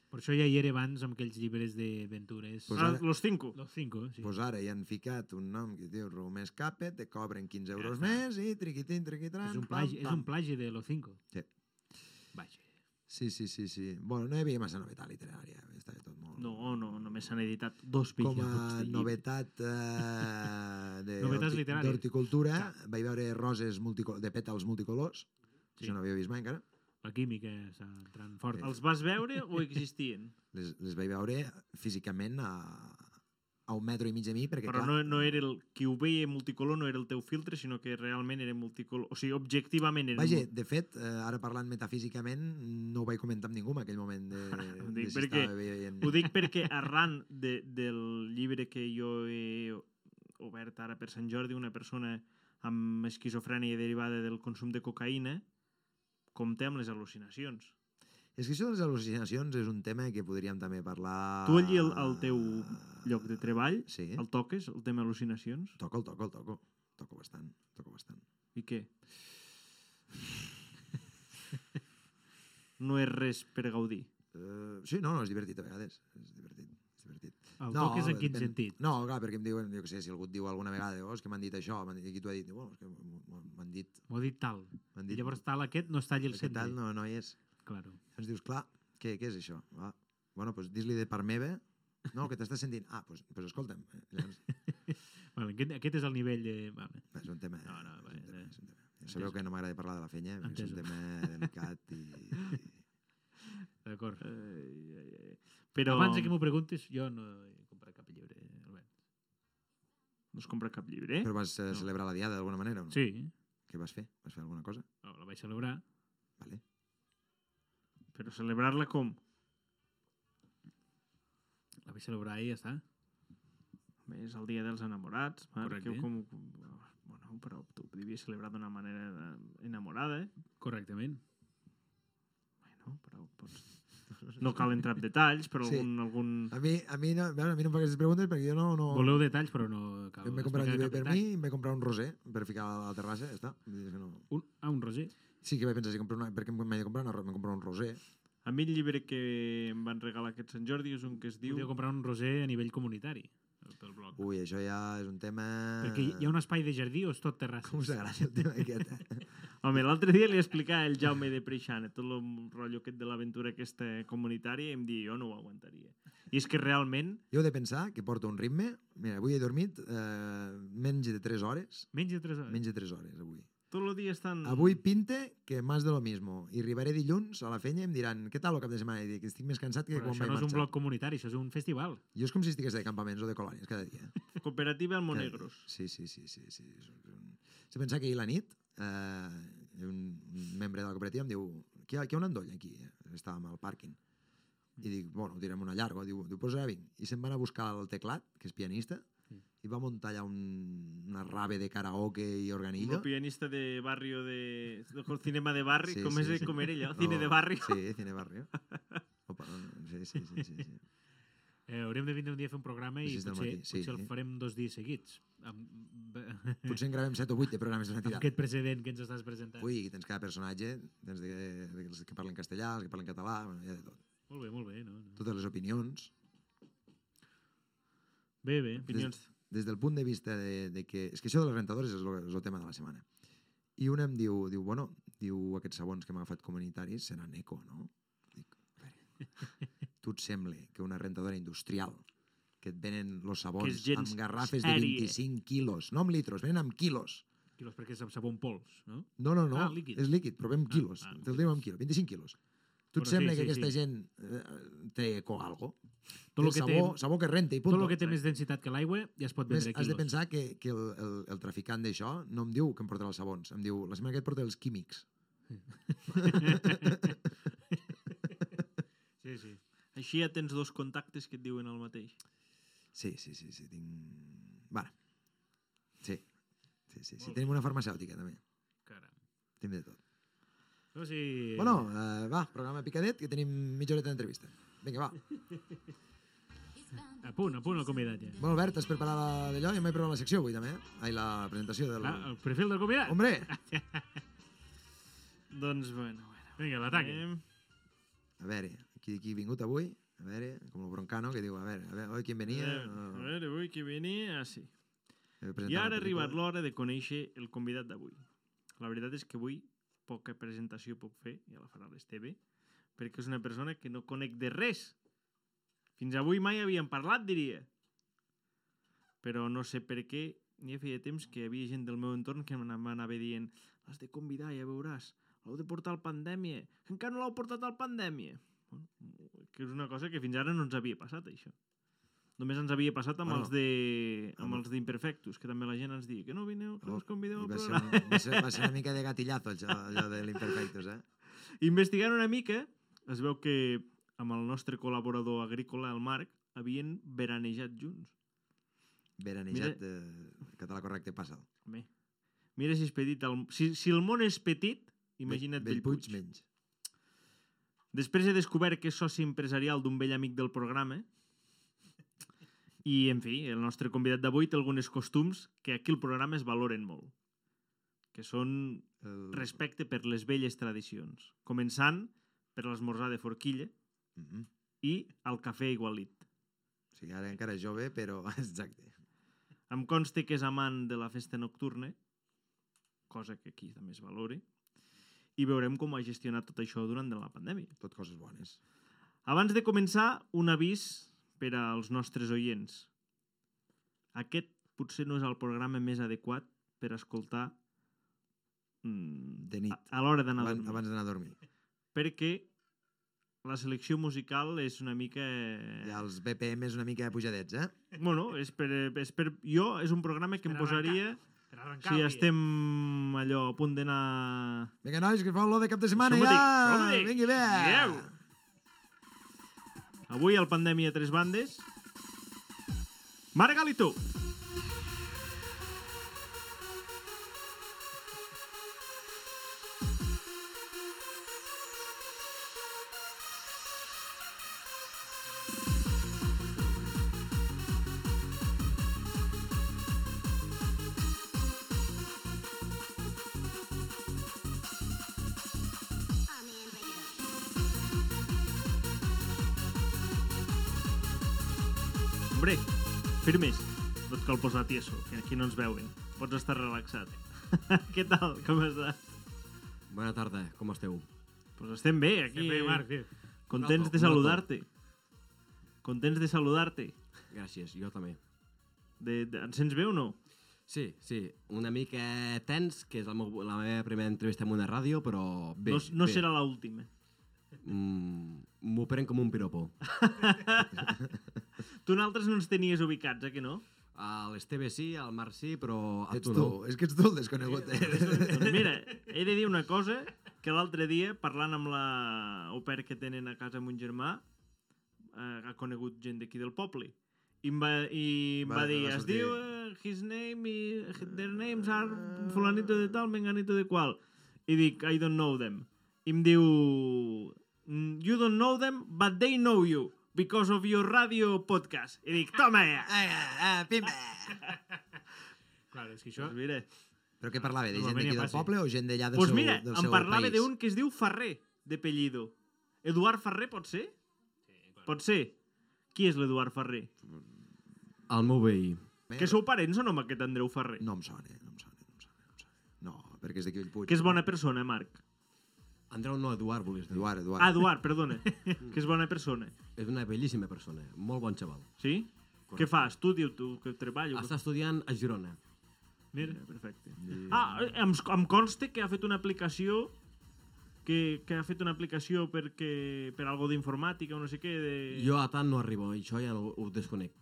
[SPEAKER 4] Per això ja hi era abans amb aquells llibres d'aventures.
[SPEAKER 3] Pues
[SPEAKER 4] Pues,
[SPEAKER 1] Ah,
[SPEAKER 3] ara-
[SPEAKER 1] los cinco.
[SPEAKER 4] Los cinco, sí.
[SPEAKER 3] Doncs pues ara hi han ficat un nom que es diu Room Escape, te cobren 15 euros
[SPEAKER 4] Ja està.
[SPEAKER 3] més i triquitín, triquitran,
[SPEAKER 4] és un
[SPEAKER 3] pam,
[SPEAKER 4] plagi, és
[SPEAKER 3] pam.
[SPEAKER 4] un plagi de Los cinco.
[SPEAKER 3] Sí.
[SPEAKER 4] Vaja.
[SPEAKER 3] Sí, sí, sí, sí. Bueno, no hi havia massa novetat literària, estava tot molt...
[SPEAKER 1] No, no, només s'han editat dos
[SPEAKER 3] com
[SPEAKER 1] pillafocs
[SPEAKER 3] a
[SPEAKER 1] de llibre.
[SPEAKER 3] novetat eh, de
[SPEAKER 4] Novetats
[SPEAKER 3] horti-
[SPEAKER 4] literàries.
[SPEAKER 3] d'horticultura vaig veure roses multico- de pètals multicolors sí.
[SPEAKER 4] Sí.
[SPEAKER 3] això no havia vist mai encara
[SPEAKER 4] La química està entrant fort.
[SPEAKER 1] Els vas veure o existien?
[SPEAKER 3] les, les vaig veure físicament a, a un metro i mig de mi perquè
[SPEAKER 1] Però
[SPEAKER 3] clar,
[SPEAKER 1] no, no era el... Qui ho veia multicolor no era el teu filtre, sinó que realment era multicolor. O sigui, objectivament era...
[SPEAKER 3] Vaja,
[SPEAKER 1] mul-
[SPEAKER 3] de fet, eh, ara parlant metafísicament, no ho vaig comentar amb ningú en aquell moment de,
[SPEAKER 1] Ho dic
[SPEAKER 3] de
[SPEAKER 1] perquè-
[SPEAKER 3] estava veient...
[SPEAKER 1] Ho dic perquè arran de, del llibre que jo he obert ara per Sant Jordi, una persona amb esquizofrènia derivada del consum de cocaïna compta amb les al·lucinacions.
[SPEAKER 3] És que això de les al·lucinacions és un tema que podríem també parlar...
[SPEAKER 1] Tu allí
[SPEAKER 4] Ah.
[SPEAKER 1] al- al teu Lloc de treball,
[SPEAKER 3] Sí,
[SPEAKER 1] el toques, el tema al·lucinacions?
[SPEAKER 3] toco, el toco, el toco. Toco bastant, toco bastant.
[SPEAKER 1] I què? No és res per gaudir.
[SPEAKER 3] Eh, sí, no, no, és divertit a vegades. És divertit, és divertit.
[SPEAKER 4] El
[SPEAKER 3] no, eh,
[SPEAKER 4] no, toques en quin
[SPEAKER 3] depèn.
[SPEAKER 4] sentit?
[SPEAKER 3] No, clar, perquè em diuen, jo què sé, si algú et diu alguna vegada, oh, és que m'han dit això, m'han dit, qui t'ho ha dit? Diu, Bueno, és que m'ho- m'ho- m'han dit,
[SPEAKER 4] M'ho dit tal.
[SPEAKER 3] m'han
[SPEAKER 4] I
[SPEAKER 3] dit.
[SPEAKER 4] llavors tal aquest no es talli el
[SPEAKER 3] "Aquest
[SPEAKER 4] centre.
[SPEAKER 3] tal no, no hi és.
[SPEAKER 4] Claro.
[SPEAKER 3] Llavors dius, clar, què, què és això? Va. Bueno, doncs dis-li de part meva, no, que t'estàs sentint. Ah, doncs, doncs escolta'm. Llavors,
[SPEAKER 4] Vale, aquest, aquest és el nivell de... Vale.
[SPEAKER 3] és un tema...
[SPEAKER 4] No, no,
[SPEAKER 3] és un
[SPEAKER 4] bé,
[SPEAKER 3] tema,
[SPEAKER 4] bé.
[SPEAKER 3] és un tema. Ja sabeu que no m'agrada parlar de la fenya, perquè és un
[SPEAKER 4] Entesos.
[SPEAKER 3] tema delicat i... Eh,
[SPEAKER 4] D'acord.
[SPEAKER 1] Ai, ai, ai. Però
[SPEAKER 4] Abans de que m'ho preguntis, jo no he comprat cap llibre. Albert.
[SPEAKER 1] no es compra cap llibre.
[SPEAKER 3] Però vas eh,
[SPEAKER 4] No.
[SPEAKER 3] celebrar la diada d'alguna manera o no?
[SPEAKER 4] Sí,
[SPEAKER 3] Què vas fer? Vas fer alguna cosa?
[SPEAKER 4] no, la vaig celebrar.
[SPEAKER 3] Vale.
[SPEAKER 1] Però celebrar-la com?
[SPEAKER 4] La vaig celebrar i ja està.
[SPEAKER 1] Bé, És el dia dels enamorats, Marc,
[SPEAKER 4] Correcte.
[SPEAKER 1] que com... Bueno, però tu ho devies celebrar d'una manera de- enamorada, eh?
[SPEAKER 4] Correctament.
[SPEAKER 1] Bueno, però pots... No cal entrar en detalls, però
[SPEAKER 3] Sí.
[SPEAKER 1] algun... algun...
[SPEAKER 3] A mi, a mi, no, a veure, a mi no em fa aquestes preguntes perquè jo no... no...
[SPEAKER 4] Voleu detalls, però no cal
[SPEAKER 3] Jo em vaig comprar un
[SPEAKER 4] explicar
[SPEAKER 3] llibre
[SPEAKER 4] cap
[SPEAKER 3] per
[SPEAKER 4] detall.
[SPEAKER 3] mi i em vaig comprar un roser per ficar a la terrassa, ja està. Vull dir que No.
[SPEAKER 4] Un, ah, un roser.
[SPEAKER 3] Sí que vaig pensar si comprar una... perquè m'he de comprar una... ro- Em compro un roser.
[SPEAKER 1] A mi el llibre que em van regalar aquest Sant Jordi és un que es diu...
[SPEAKER 4] Podria comprar un roser a nivell comunitari pel bloc.
[SPEAKER 3] Ui, això ja és un tema...
[SPEAKER 4] Perquè hi- hi ha un espai de jardí o és tot terrassa?
[SPEAKER 3] Com us agrada el tema aquest, eh?
[SPEAKER 1] Home, l'altre dia li explicava el Jaume de Preixana tot el rotllo aquest de l'aventura aquesta comunitària i em diu, jo no ho aguantaria. I és que realment,
[SPEAKER 3] Jo he de pensar que porto un ritme... Mira, avui he dormit eh, menys de 3 hores.
[SPEAKER 4] Menys de 3 hores.
[SPEAKER 3] Menys de 3 hores, avui.
[SPEAKER 1] tot el dia
[SPEAKER 4] Mm.
[SPEAKER 1] estan...
[SPEAKER 3] Avui pinte que más de lo mismo. I arribaré dilluns a la fenya i em diran què tal el cap de setmana? I dic, estic més cansat que
[SPEAKER 4] Però
[SPEAKER 3] quan
[SPEAKER 4] això
[SPEAKER 3] vaig
[SPEAKER 4] no és un
[SPEAKER 3] marxar.
[SPEAKER 4] bloc comunitari, això és un festival.
[SPEAKER 3] Jo és com si estigués de campaments o de colònies cada dia.
[SPEAKER 1] Cooperativa
[SPEAKER 3] Cada-
[SPEAKER 1] Almonegros.
[SPEAKER 3] Sí, sí, sí. sí, sí. és un- és un- Si pensar que ahir a la nit eh, un un membre de la cooperativa em diu que hi ha, que hi ha un endoll aquí, eh? estàvem al pàrquing. I dic, bueno, ho tirem una llarga. Diu, diu pues ara vinc. I se'n va anar a buscar el teclat, que és pianista,
[SPEAKER 1] Mm.
[SPEAKER 3] i va muntar allà un, una rave de karaoke i
[SPEAKER 1] El
[SPEAKER 3] organillo.
[SPEAKER 1] pianista de barrio de... del cinema de barri,
[SPEAKER 3] Sí,
[SPEAKER 1] com
[SPEAKER 3] sí,
[SPEAKER 1] és
[SPEAKER 3] sí.
[SPEAKER 1] com era allò?
[SPEAKER 3] No,
[SPEAKER 1] Cine de barri.
[SPEAKER 3] Sí, cine de barrio. Opa, sí, sí, sí, sí, sí.
[SPEAKER 4] Eh, hauríem de vindre un dia a fer un programa i
[SPEAKER 3] Sis del
[SPEAKER 4] potser,
[SPEAKER 3] matí, sí.
[SPEAKER 4] potser el farem dos dies seguits. Amb,
[SPEAKER 3] Potser en gravem 7 o 8 de programes d'una
[SPEAKER 4] amb
[SPEAKER 3] tirada.
[SPEAKER 4] aquest precedent que ens estàs presentant.
[SPEAKER 3] Ui, aquí tens cada personatge, tens de, de, els que parlen castellà, els que parlen català, bueno, hi ha de tot.
[SPEAKER 4] Molt bé, molt bé. No? no.
[SPEAKER 3] Totes les opinions.
[SPEAKER 4] Bé, bé.
[SPEAKER 1] Opinions.
[SPEAKER 3] Des del punt de vista de, de que... És que això de les rentadores és el, és el tema de la setmana. I una em diu, diu bueno, diu aquests sabons que m'ha agafat comunitaris seran eco, no? Dic, a veure, tu et sembla que una rentadora industrial que et venen los sabons
[SPEAKER 1] gens
[SPEAKER 3] amb garrafes de
[SPEAKER 1] sèrie.
[SPEAKER 3] 25 quilos, no amb litros, venen amb quilos.
[SPEAKER 4] Quilos perquè és amb sabó en pols, no?
[SPEAKER 3] No, no, no,
[SPEAKER 4] Ah, líquid.
[SPEAKER 3] és líquid, però ve amb
[SPEAKER 4] Ah,
[SPEAKER 3] quilos,
[SPEAKER 4] ah,
[SPEAKER 3] ah,
[SPEAKER 4] amb
[SPEAKER 3] te'l diuen amb quilo, 25 quilos. Tu et
[SPEAKER 4] Bueno,
[SPEAKER 3] sembla
[SPEAKER 4] sí,
[SPEAKER 3] que
[SPEAKER 4] sí,
[SPEAKER 3] aquesta
[SPEAKER 4] sí.
[SPEAKER 3] gent eh, té eco algo?
[SPEAKER 4] Tot
[SPEAKER 3] Té
[SPEAKER 4] lo que té-
[SPEAKER 3] sabó, sabó que renta i
[SPEAKER 4] Tot
[SPEAKER 3] punt.
[SPEAKER 4] el que té més densitat que l'aigua ja es pot
[SPEAKER 3] eh. Més,
[SPEAKER 4] vendre a
[SPEAKER 3] has de
[SPEAKER 4] quilos.
[SPEAKER 3] pensar que, que el, el, el traficant d'això no em diu que em portarà els sabons, em diu, la setmana que et porta els químics.
[SPEAKER 4] Sí, sí.
[SPEAKER 1] Així ja tens dos contactes que et diuen el mateix.
[SPEAKER 3] Sí, sí, sí, sí, tinc... Vale. Sí, sí, sí, sí. tenim una farmacèutica també,
[SPEAKER 4] Caram.
[SPEAKER 3] tenim de tot.
[SPEAKER 4] No, sí.
[SPEAKER 3] Bueno, eh, va, programa picadet, que tenim mitja horeta d'entrevista. Vinga, va.
[SPEAKER 4] A punt, a punt el convidat ja.
[SPEAKER 3] Bueno, Albert, has preparat la- d'allò? Jo m'he preparat la secció avui, també. eh? Ai, la presentació del...
[SPEAKER 4] Ah, el perfil del convidat.
[SPEAKER 3] Hombre!
[SPEAKER 1] Doncs, bueno, bueno.
[SPEAKER 4] Vinga, l'ataque.
[SPEAKER 1] Anem.
[SPEAKER 3] A veure, qui, qui ha vingut avui? A veure, com el Broncano, que diu, a veure, a veure, oi, quin venia?
[SPEAKER 1] Eh, A veure, avui que venia... Ah, sí.
[SPEAKER 3] eh, presentar
[SPEAKER 1] I
[SPEAKER 3] la
[SPEAKER 1] ara ha
[SPEAKER 3] pel·lícula.
[SPEAKER 1] arribat l'hora de conèixer el convidat d'avui. La veritat és que avui poca presentació puc fer, ja la farà l'Esteve, perquè és una persona que no conec de res. Fins avui mai havíem parlat, diria. Però no sé per què, ja feia temps que hi havia gent del meu entorn que m'ana- m'anava dient l'has de convidar, ja veuràs, l'heu de portar al Pandèmia, que encara no l'heu portat al Pandèmia. Bueno, que és una cosa que fins ara no ens havia passat, això. Només ens havia passat amb
[SPEAKER 3] Bueno,
[SPEAKER 1] els de... amb
[SPEAKER 3] amb-
[SPEAKER 1] els d'imperfectus, que també la gent ens diu que no vineu, que no us convideu
[SPEAKER 3] Oh, I
[SPEAKER 1] al
[SPEAKER 3] va, ser
[SPEAKER 1] programa.
[SPEAKER 3] una, va, ser, va ser una mica de gatillazo, això, allò de l'Imperfectus, eh?
[SPEAKER 1] Investigant una mica, es veu que amb el nostre col·laborador agrícola, el Marc, havien veranejat junts.
[SPEAKER 3] Veranejat, eh, català correcte, passa'l.
[SPEAKER 1] Home, mira si és petit... El... Si, si el món és petit, imagina't
[SPEAKER 3] Bell-
[SPEAKER 1] Bellpuig.
[SPEAKER 3] Bellpuig menys.
[SPEAKER 1] Després he descobert que és soci empresarial d'un vell amic del programa. I, en fi, el nostre convidat d'avui té algunes costums que aquí al programa es valoren molt. Que són
[SPEAKER 3] El...
[SPEAKER 1] respecte per les velles tradicions. Començant per l'esmorzar de forquilla
[SPEAKER 3] Mm -hmm.
[SPEAKER 1] i el cafè igualit.
[SPEAKER 3] O sigui, ara encara és jove, però exacte.
[SPEAKER 1] Em consta que és amant de la festa nocturna, cosa que aquí també es valori, i veurem com ha gestionat tot això durant la pandèmia.
[SPEAKER 3] Tot coses bones.
[SPEAKER 1] Abans de començar, un avís per als nostres oients. Aquest potser no és el programa més adequat per escoltar mm,
[SPEAKER 3] De nit.
[SPEAKER 1] a, a l'hora d'anar a
[SPEAKER 3] Abans
[SPEAKER 1] dormir, Eh.
[SPEAKER 3] abans d'anar a dormir.
[SPEAKER 1] perquè la selecció musical és una mica...
[SPEAKER 3] Ja els BPM és una mica pujadets, eh?
[SPEAKER 1] Bueno, és per, és per... Jo, és un programa que
[SPEAKER 4] Per
[SPEAKER 1] em
[SPEAKER 4] arrencar.
[SPEAKER 1] posaria...
[SPEAKER 4] Per arrencar
[SPEAKER 1] Si
[SPEAKER 4] el
[SPEAKER 1] ja
[SPEAKER 4] dia.
[SPEAKER 1] estem allò a punt d'anar...
[SPEAKER 3] Vinga, nois, que fa olor de cap de setmana,
[SPEAKER 1] Això m'ho dic, això
[SPEAKER 3] ja!
[SPEAKER 1] m'ho dic.
[SPEAKER 3] Vinga, bé!
[SPEAKER 1] Adéu! Avui al Pandèmia Tres Bandes... Margalito!
[SPEAKER 2] Ah,
[SPEAKER 5] Oh man, break it up.
[SPEAKER 1] Hombre, firmes. No et cal posar tieso, que aquí no ens veuen. Pots estar relaxat. Què tal? Com estàs?
[SPEAKER 6] Bona tarda, com esteu?
[SPEAKER 1] Pues estem bé, aquí. eh?
[SPEAKER 4] Estem bé, Marc, sí.
[SPEAKER 1] Contents
[SPEAKER 6] Un
[SPEAKER 1] de
[SPEAKER 6] alto, un alto.
[SPEAKER 1] saludar-te. Contents de saludar-te.
[SPEAKER 6] Gràcies, jo també.
[SPEAKER 1] De, de, ens sents bé o no?
[SPEAKER 6] Sí, sí, una mica tens, que és la, meu, la meva primera entrevista en una ràdio, però bé.
[SPEAKER 1] no no
[SPEAKER 6] bé.
[SPEAKER 1] serà l'última.
[SPEAKER 6] Mm, M'ho pren com un piropo.
[SPEAKER 1] Tu nosaltres no ens tenies ubicats, eh, que no?
[SPEAKER 6] A l'Esteve sí, al Marc sí, però a
[SPEAKER 3] Ets
[SPEAKER 6] tu
[SPEAKER 3] tu,
[SPEAKER 6] no.
[SPEAKER 3] és que ets tu el desconegut. eh?
[SPEAKER 1] doncs mira, he de dir una cosa que l'altre dia, parlant amb la au pair que tenen a casa amb un germà, eh, ha conegut gent d'aquí del poble. I em va, i em va,
[SPEAKER 3] Va-
[SPEAKER 1] dir,
[SPEAKER 3] va
[SPEAKER 1] es
[SPEAKER 3] sortir-
[SPEAKER 1] diu eh, his name, i, their names are fulanito de tal, menganito de qual. I dic, I don't know them. I em diu, "Mm, you don't know them, but they know you because of your radio podcast. I dic, toma ja!
[SPEAKER 3] Ah, ah, pimba!
[SPEAKER 4] Clar, és que això...
[SPEAKER 1] Doncs mira,
[SPEAKER 3] Però què parlava? De gent
[SPEAKER 4] Normalment
[SPEAKER 3] d'aquí
[SPEAKER 4] ja
[SPEAKER 3] del
[SPEAKER 4] passa.
[SPEAKER 3] poble o gent d'allà del
[SPEAKER 1] Doncs pues
[SPEAKER 3] seu,
[SPEAKER 1] mira,
[SPEAKER 3] del
[SPEAKER 1] em
[SPEAKER 3] seu
[SPEAKER 1] parlava
[SPEAKER 3] país?
[SPEAKER 1] d'un que es diu Ferrer, de Pellido. Eduard Ferrer, pot ser? Sí, Pot ser? Qui és l'Eduard Ferrer?
[SPEAKER 3] Eh.
[SPEAKER 6] El meu veí.
[SPEAKER 3] Bé,
[SPEAKER 1] Que sou parents o no amb aquest Andreu Ferrer?
[SPEAKER 3] No em sona, no em sona, no em sona. No, em sona. no perquè és d'aquí el Puig.
[SPEAKER 1] Que és bona persona, Marc.
[SPEAKER 6] Andreu no, Eduard, volies dir.
[SPEAKER 3] Eduard, Eduard.
[SPEAKER 1] Ah, Eduard, perdona. que és bona persona.
[SPEAKER 6] És una bellíssima persona, molt bon xaval.
[SPEAKER 1] Sí? Què fa? Estudi o tu, que treballo?
[SPEAKER 6] Està estudiant a Girona.
[SPEAKER 1] Mira, perfecte. Ah, eh, em, em consta que ha fet una aplicació que, que ha fet una aplicació perquè, per algo d'informàtica o no sé què. De...
[SPEAKER 6] Jo a tant no arribo, això ja no ho desconec.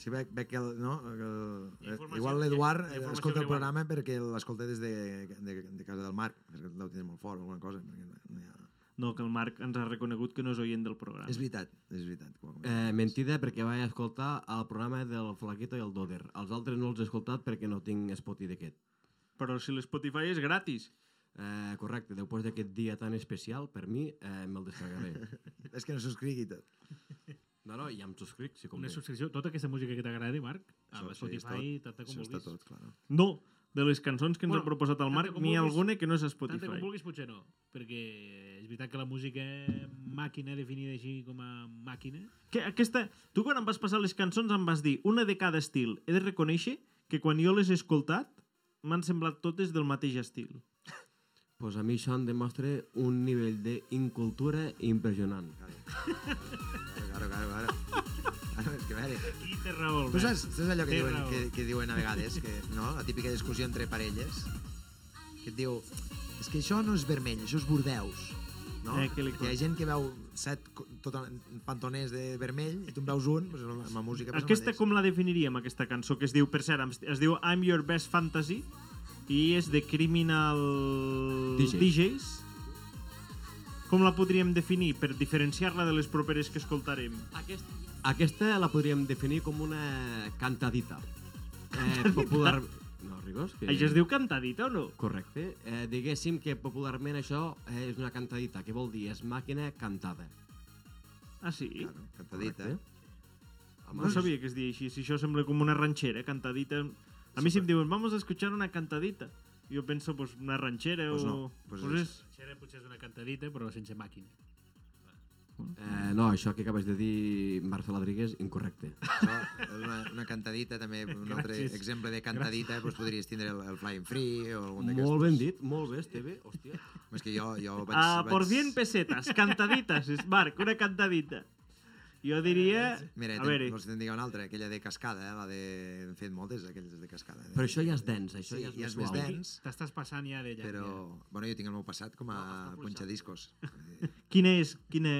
[SPEAKER 3] Sí, veig, veig que el, no, que el,
[SPEAKER 4] Informació-
[SPEAKER 3] igual l'Eduard
[SPEAKER 4] informació
[SPEAKER 3] escolta el
[SPEAKER 4] rellevant.
[SPEAKER 3] programa perquè l'escolta des de, de, de casa del Marc, perquè el deu tenir molt fort o alguna cosa. Perquè no hi ha...
[SPEAKER 1] No, que el Marc ens ha reconegut que no és oient del programa.
[SPEAKER 3] És veritat, és veritat. com ho comentes.
[SPEAKER 6] Eh, mentida, perquè vaig escoltar el programa del Flaquito i el Doder. Els altres no els he escoltat perquè no tinc Spotify d'aquest.
[SPEAKER 1] Però si l'Spotify és gratis.
[SPEAKER 6] Eh, correcte, després d'aquest dia tan especial, per mi, eh, me'l descarregaré.
[SPEAKER 3] És que no subscrigui tot.
[SPEAKER 6] No, no, ja em subscric, si com
[SPEAKER 4] Una subscripció, tota aquesta música que t'agradi, Marc, amb
[SPEAKER 3] Això sí, és
[SPEAKER 4] Spotify,
[SPEAKER 3] tot.
[SPEAKER 4] tanta com
[SPEAKER 3] Això està
[SPEAKER 4] vulguis.
[SPEAKER 3] tot, claro.
[SPEAKER 1] No, de les cançons que ens bueno,
[SPEAKER 4] Bueno,
[SPEAKER 1] ha proposat el
[SPEAKER 4] tanta
[SPEAKER 1] Marc,
[SPEAKER 4] com
[SPEAKER 1] n'hi ha
[SPEAKER 4] vulguis.
[SPEAKER 1] alguna que no és a
[SPEAKER 4] Tanta com
[SPEAKER 1] Spotify.
[SPEAKER 4] vulguis potser no, perquè és veritat que la música màquina, definida així com a màquina,
[SPEAKER 1] Que, aquesta, tu quan em vas passar les cançons em vas dir una de cada estil. He de reconèixer que quan jo les he escoltat m'han semblat totes del mateix estil.
[SPEAKER 6] Pues a mi això em demostra un nivell d'incultura impressionant.
[SPEAKER 3] Claro, claro, claro. Ara, és que a veure,
[SPEAKER 4] i té raó. el
[SPEAKER 3] tu
[SPEAKER 4] Marc.
[SPEAKER 3] saps, saps allò que
[SPEAKER 4] Té
[SPEAKER 3] diuen,
[SPEAKER 4] raó.
[SPEAKER 3] que, que diuen a vegades, que, no? la típica discussió entre parelles, que et diu, és que això no és vermell, això és bordeus. No?
[SPEAKER 1] Eh, que li
[SPEAKER 3] hi ha gent que veu set co- tot, pantoners de vermell i tu en veus un, doncs, amb la música passa el
[SPEAKER 1] Aquesta
[SPEAKER 3] mateix.
[SPEAKER 1] com la definiríem, aquesta cançó que es diu, per cert, em- es diu I'm Your Best Fantasy i és de Criminal
[SPEAKER 6] DJs.
[SPEAKER 1] DJs. Com la podríem definir per diferenciar-la de les properes que escoltarem?
[SPEAKER 6] Aquest... Aquesta la podríem definir com una cantadita. Eh, popular... No, Rigos? Que...
[SPEAKER 1] Això es diu cantadita o no?
[SPEAKER 6] Correcte. Eh, diguéssim que popularment això eh, és una cantadita. Què vol dir? És màquina cantada.
[SPEAKER 1] Ah, sí?
[SPEAKER 3] Claro, cantadita.
[SPEAKER 6] Correcte.
[SPEAKER 1] No sabia que es deia així, si això sembla com una ranxera, cantadita. A mi si em diuen, vamos a escuchar una cantadita, jo penso, pues, una ranxera o...
[SPEAKER 3] Pues no, pues
[SPEAKER 1] és...
[SPEAKER 4] Xera potser és una cantadita, però sense màquina.
[SPEAKER 6] Eh, no, això que acabes de dir, Marcel Adríguez, incorrecte.
[SPEAKER 3] Això és una, una cantadita, també un altre
[SPEAKER 4] Gràcies.
[SPEAKER 3] exemple de cantadita, doncs podries tindre el, el Flying Free o algun d'aquests.
[SPEAKER 6] molt ben dit, molt bé, Esteve, hòstia.
[SPEAKER 3] És que jo, jo vaig...
[SPEAKER 1] Ah,
[SPEAKER 3] vaig...
[SPEAKER 1] por 100 pesetas, cantaditas, és, Marc, una cantadita. Jo diria...
[SPEAKER 3] Mira,
[SPEAKER 1] a
[SPEAKER 3] ten,
[SPEAKER 1] veure,
[SPEAKER 3] vols que te'n digui una altra, aquella de cascada, eh? la de... Hem fet moltes, aquelles de cascada. Eh?
[SPEAKER 6] Però això ja és dens, això
[SPEAKER 3] Sí,
[SPEAKER 6] ja és,
[SPEAKER 3] ja és més
[SPEAKER 6] més
[SPEAKER 3] dens.
[SPEAKER 6] dens.
[SPEAKER 3] Tens?
[SPEAKER 4] T'estàs passant ja d'ella.
[SPEAKER 3] Però, bueno, jo tinc el meu passat com a no, punxadiscos. Eh,
[SPEAKER 1] quina és... Quina,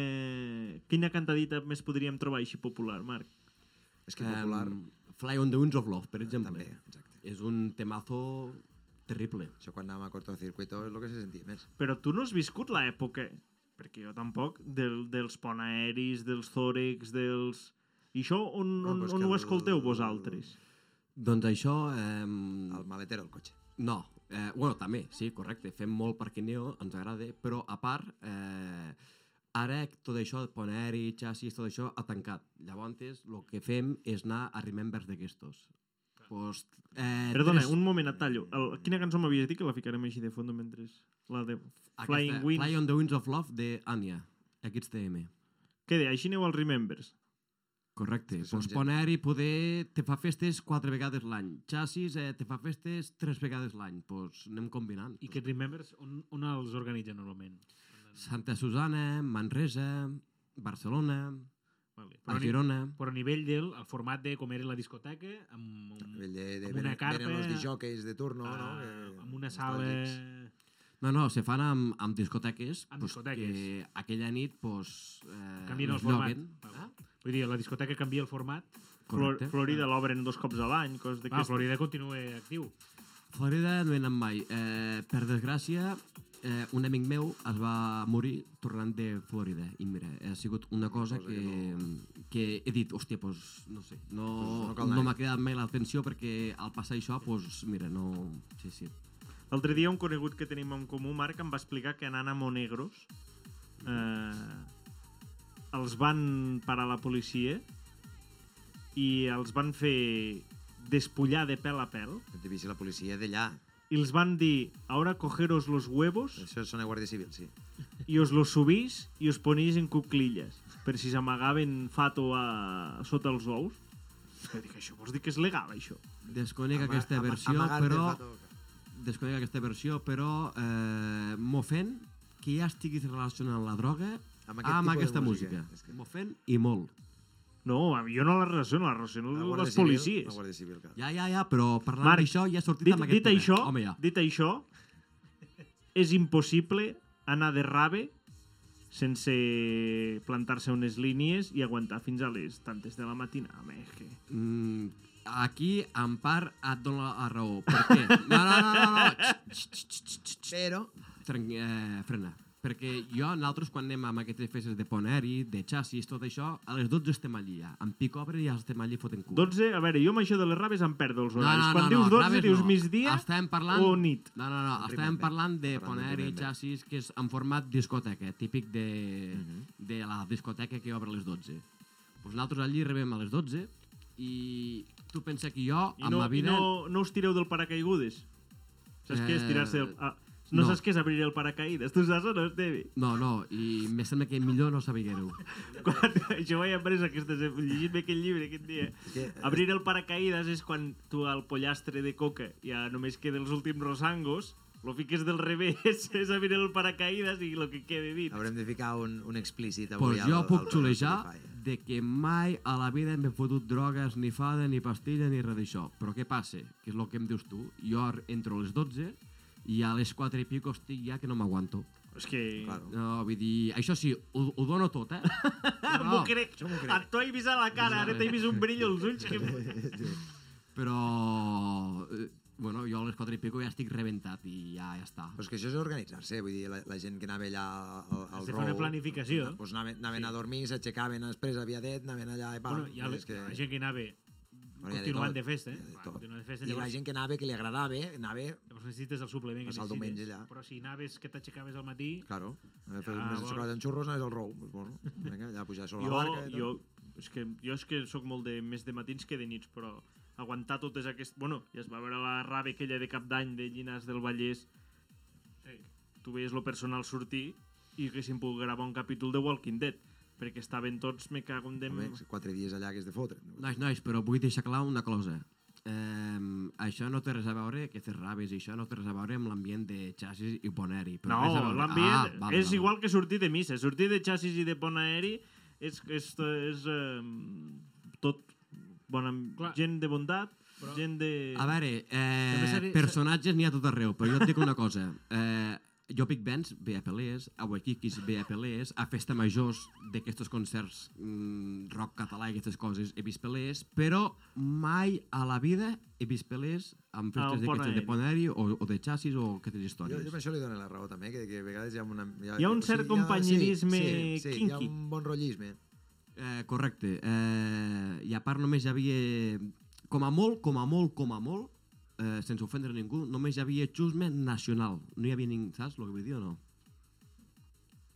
[SPEAKER 1] quina cantadita més podríem trobar així popular, Marc?
[SPEAKER 3] és que popular... Ah,
[SPEAKER 6] Fly on the Winds of Love, per exemple.
[SPEAKER 3] També, exacte.
[SPEAKER 6] És un temazo terrible.
[SPEAKER 3] Això quan anàvem a cortocircuito és el que se sentia més.
[SPEAKER 1] Però tu no has viscut l'època, perquè jo tampoc, del, dels ponaeris, dels zòrex, dels... I això on,
[SPEAKER 3] No,
[SPEAKER 1] on,
[SPEAKER 3] però és
[SPEAKER 1] on
[SPEAKER 3] que
[SPEAKER 1] ho
[SPEAKER 3] el-
[SPEAKER 1] escolteu vosaltres?
[SPEAKER 6] Doncs això... ehm,
[SPEAKER 3] El maletero, el cotxe.
[SPEAKER 6] No, eh, bueno, també, sí, correcte, fem molt perquè neo, ens agrada, però a part, eh, ara tot això, Poneri, xassis, tot això, ha tancat. Llavors, el que fem és anar a Remembers d'aquestos. Pues, eh,
[SPEAKER 1] Perdona,
[SPEAKER 6] tres-
[SPEAKER 1] un moment, et tallo. El, quina cançó m'havies dit que la ficarem així de fons mentre... La de
[SPEAKER 6] aquesta,
[SPEAKER 1] Flying Wings.
[SPEAKER 6] Fly on the Winds of Love de Anya, XTM.
[SPEAKER 1] Què de? Així aneu als Remembers.
[SPEAKER 6] Correcte.
[SPEAKER 3] És que són
[SPEAKER 6] Doncs
[SPEAKER 3] gent-
[SPEAKER 6] pon aeri poder te fa festes quatre vegades l'any. Chassis eh, te fa festes tres vegades l'any. Doncs anem combinant.
[SPEAKER 4] I que Remembers, on, on els organitza normalment?
[SPEAKER 6] Santa Susana, Manresa, Barcelona,
[SPEAKER 4] Vale.
[SPEAKER 3] Ah,
[SPEAKER 4] Però,
[SPEAKER 6] a
[SPEAKER 4] a ni,
[SPEAKER 6] Girona...
[SPEAKER 4] però a nivell del el format de com era la discoteca, amb,
[SPEAKER 3] A
[SPEAKER 4] amb,
[SPEAKER 3] nivell de, de
[SPEAKER 4] Mm. Amb
[SPEAKER 3] venen,
[SPEAKER 4] una carpa,
[SPEAKER 3] venen els dijòqueis de turno, no?
[SPEAKER 4] a,
[SPEAKER 3] Que-
[SPEAKER 4] amb una sala...
[SPEAKER 3] nostàlgics.
[SPEAKER 6] No, no, se fan amb, amb discoteques,
[SPEAKER 4] Amb
[SPEAKER 6] pues,
[SPEAKER 4] discoteques.
[SPEAKER 6] que aquella nit pues, eh,
[SPEAKER 4] Canvien el
[SPEAKER 6] us
[SPEAKER 4] format.
[SPEAKER 6] lloguen.
[SPEAKER 4] Ah? Vull dir, la discoteca canvia el format.
[SPEAKER 1] Flor
[SPEAKER 6] Correcte.
[SPEAKER 1] Florida l'obren dos cops a l'any, coses
[SPEAKER 4] Va,
[SPEAKER 1] d'aquestes.
[SPEAKER 4] Florida continua actiu.
[SPEAKER 6] Florida no he anat mai. Eh, per desgràcia, eh, un amic meu es va morir tornant de Florida. I mira, ha sigut una cosa,
[SPEAKER 3] cosa
[SPEAKER 6] que,
[SPEAKER 3] que
[SPEAKER 6] que, no... que he dit, hòstia, pues, no sé, no,
[SPEAKER 3] Doncs no
[SPEAKER 6] pues
[SPEAKER 3] cal
[SPEAKER 6] no,
[SPEAKER 3] anar-hi.
[SPEAKER 6] m'ha cridat mai l'atenció perquè al passar això, pues, mira, no... Sí, sí.
[SPEAKER 1] L'altre dia un conegut que tenim en comú, Marc, em va explicar que anant a Monegros eh, els van parar la policia i els van fer despullar de pèl a pèl
[SPEAKER 3] Hem vist la policia d'allà.
[SPEAKER 1] i els van dir ahora cogeros los huevos
[SPEAKER 3] Això són a Guàrdia Civil, sí.
[SPEAKER 1] y os los subís i os ponís en cuclilles per si s'amagaven fato a... sota els ous. Jo dic, això vols dir que és legal, això?
[SPEAKER 6] Desconec
[SPEAKER 3] Ama-
[SPEAKER 6] aquesta
[SPEAKER 3] ama-
[SPEAKER 6] versió,
[SPEAKER 3] amagar-te el
[SPEAKER 6] però...
[SPEAKER 3] fato.
[SPEAKER 6] desconec aquesta versió, però eh, m'ofèn que ja estiguis relacionant la droga
[SPEAKER 3] Amb
[SPEAKER 6] amb,
[SPEAKER 3] aquest tipus de música.
[SPEAKER 6] aquesta
[SPEAKER 3] És
[SPEAKER 6] música. música.
[SPEAKER 3] que-
[SPEAKER 6] M'ofèn i molt.
[SPEAKER 1] No, jo no la relaciono, la relaciono
[SPEAKER 3] Guàrdia
[SPEAKER 1] les
[SPEAKER 3] Civil,
[SPEAKER 1] policies.
[SPEAKER 3] La Guàrdia Civil, clar.
[SPEAKER 6] Ja, ja, ja, però parlant
[SPEAKER 1] Marc,
[SPEAKER 6] d'això ja ha sortit
[SPEAKER 1] dit,
[SPEAKER 6] amb aquest
[SPEAKER 1] dit això,
[SPEAKER 6] Home, ja.
[SPEAKER 1] dit això, és impossible anar de rave sense plantar-se unes línies i aguantar fins a les tantes de la matina. Home, és que...
[SPEAKER 6] Mm, aquí, en part, et dono la raó. Per què? No, no, no, no. no. Xt, xt, xt, xt, xt, xt.
[SPEAKER 3] Però
[SPEAKER 6] Tran- eh, frena. Perquè jo, nosaltres, quan anem amb aquestes festes de poneri, de xassis, tot això, a les 12 estem allí ja. En picobre ja estem allí fotent cua.
[SPEAKER 1] 12, a veure, jo amb això de les raves em perdo els horaris. Quan dius 12,
[SPEAKER 6] Raves
[SPEAKER 1] dius migdia
[SPEAKER 6] Estàvem parlant...
[SPEAKER 1] o nit.
[SPEAKER 6] No, no, no, estàvem
[SPEAKER 3] Remember.
[SPEAKER 6] parlant de
[SPEAKER 3] Parlant de
[SPEAKER 6] Poneri
[SPEAKER 3] Remember.
[SPEAKER 6] Chassis, que és en format discoteca, eh, típic de,
[SPEAKER 1] Mhm.
[SPEAKER 6] de la discoteca que obre a les 12. Pues nosaltres allí rebem a les 12 i tu pensa que jo,
[SPEAKER 1] I
[SPEAKER 6] amb
[SPEAKER 1] no,
[SPEAKER 6] la
[SPEAKER 1] i
[SPEAKER 6] vida...
[SPEAKER 1] no, no us tireu del paracaigudes. Saps què és
[SPEAKER 6] Eh,
[SPEAKER 1] tirar-se del... Ah, no,
[SPEAKER 6] no.
[SPEAKER 1] saps què és abrir el paracaïdes. Tu saps o no, Estevi?
[SPEAKER 6] No, no, i me sembla que millor no saber-ho.
[SPEAKER 1] Quan, jo vaig aprendre aquestes... eh, Llegint-me aquest llibre aquest dia. eh?
[SPEAKER 3] que-
[SPEAKER 1] Abrir el paracaïdes és quan tu al pollastre de coca ja només queda els últims rosangos, lo fiques del revés, és abrir el paracaïdes i lo que quede dins.
[SPEAKER 3] haurem de ficar un, un explícit avui
[SPEAKER 6] Pues
[SPEAKER 3] al-
[SPEAKER 6] jo
[SPEAKER 3] al-
[SPEAKER 6] puc
[SPEAKER 3] al
[SPEAKER 6] xulejar
[SPEAKER 3] Spotify.
[SPEAKER 6] de que mai a la vida m'he fotut drogues, ni fada, ni pastilla, ni res d'això. Però què passa? Que és el que em dius tu. Jo ar- entro a les 12 i a les 4 i pico estic ja que no m'aguanto.
[SPEAKER 1] És que...
[SPEAKER 3] Claro.
[SPEAKER 6] No, vull dir... Això sí, ho, ho dono tot, eh?
[SPEAKER 1] M'ho
[SPEAKER 6] No,
[SPEAKER 1] crec. Et t'ho he vist a la cara, ara t'he vist un brill als ulls. Que...
[SPEAKER 6] però... eh, Bueno, jo a les 4 i pico ja estic rebentat i ja, ja està.
[SPEAKER 3] Però és que això és organitzar-se, vull dir, la, la gent que anava allà al, al
[SPEAKER 4] Has de fer una planificació.
[SPEAKER 3] Doncs anaven, anaven sí. a dormir, s'aixecaven després a Viadet, anaven allà i pam.
[SPEAKER 4] Bueno, hi ha,
[SPEAKER 3] és
[SPEAKER 4] que... la gent que anava
[SPEAKER 3] Bueno, hi ha de tot,
[SPEAKER 4] continuant de, festa,
[SPEAKER 3] hi ha
[SPEAKER 4] eh?
[SPEAKER 3] de
[SPEAKER 4] Va,
[SPEAKER 3] tot.
[SPEAKER 4] continuant de festa,
[SPEAKER 3] I la
[SPEAKER 4] llavors,
[SPEAKER 3] gent que anava, que li agradava, anava...
[SPEAKER 4] llavors necessites el suplement. que
[SPEAKER 3] Passar el
[SPEAKER 4] necessites.
[SPEAKER 3] diumenge allà.
[SPEAKER 4] Però si anaves que t'aixecaves al matí,
[SPEAKER 3] Claro, anava a fer
[SPEAKER 4] Ah,
[SPEAKER 3] ah,
[SPEAKER 4] bueno.
[SPEAKER 3] més xocolata en xurros, anaves al rou. Doncs, bueno, vinga, allà a pujar sobre
[SPEAKER 1] Jo,
[SPEAKER 3] la barca. i tot.
[SPEAKER 1] jo, és que, jo és que sóc molt de més de matins que de nits, però aguantar totes aquestes... Bueno, ja es va veure la rave aquella de cap d'any de Llinars del Vallès. Sí. Tu veies lo personal sortir i haguéssim pogut gravar un capítol de Walking Dead, perquè estaven tots, me cago en dem...
[SPEAKER 3] Home, quatre dies allà que és de fotre.
[SPEAKER 6] Nois, nois, però vull deixar clar una cosa. Um, això no té res a veure, aquestes raves i això no té res a veure amb l'ambient de xassis i poneri. però
[SPEAKER 1] No,
[SPEAKER 6] res a veure. Ah,
[SPEAKER 1] l'ambient
[SPEAKER 6] val,
[SPEAKER 1] és
[SPEAKER 6] val.
[SPEAKER 1] igual que sortir de missa. Sortir de xassis i de pont aeri és, és, és eh, tot bona,
[SPEAKER 4] Clar.
[SPEAKER 1] gent de bondat, gent de...
[SPEAKER 6] A veure,
[SPEAKER 4] També
[SPEAKER 6] eh,
[SPEAKER 4] seria-
[SPEAKER 6] personatges n'hi ha a tot arreu, però jo et dic una cosa. Eh, jo pic Benz, ve a Pelés, a Waikikis, ve a Pelés, a Festa Majors d'aquests concerts mm, rock català i aquestes coses he vist Pelés, però mai a la vida he vist Pelés amb
[SPEAKER 1] Ah,
[SPEAKER 6] festes
[SPEAKER 1] un
[SPEAKER 6] d'aquestes de
[SPEAKER 1] Poneri.
[SPEAKER 6] Poneri o, o de xassis o aquestes
[SPEAKER 3] Jo,
[SPEAKER 6] històries.
[SPEAKER 3] jo amb això li dono la raó també, que, que a vegades hi ha una...
[SPEAKER 1] Hi ha un cert companyerisme
[SPEAKER 3] sí, sí, Hi ha
[SPEAKER 1] kinky.
[SPEAKER 3] un bon rotllisme.
[SPEAKER 6] Eh, correcte. Eh, I a part només hi havia, com a molt, com a molt, com a molt, eh, sense ofendre ningú, només hi havia xusme nacional. No hi havia ningú, saps el que vull dir o no?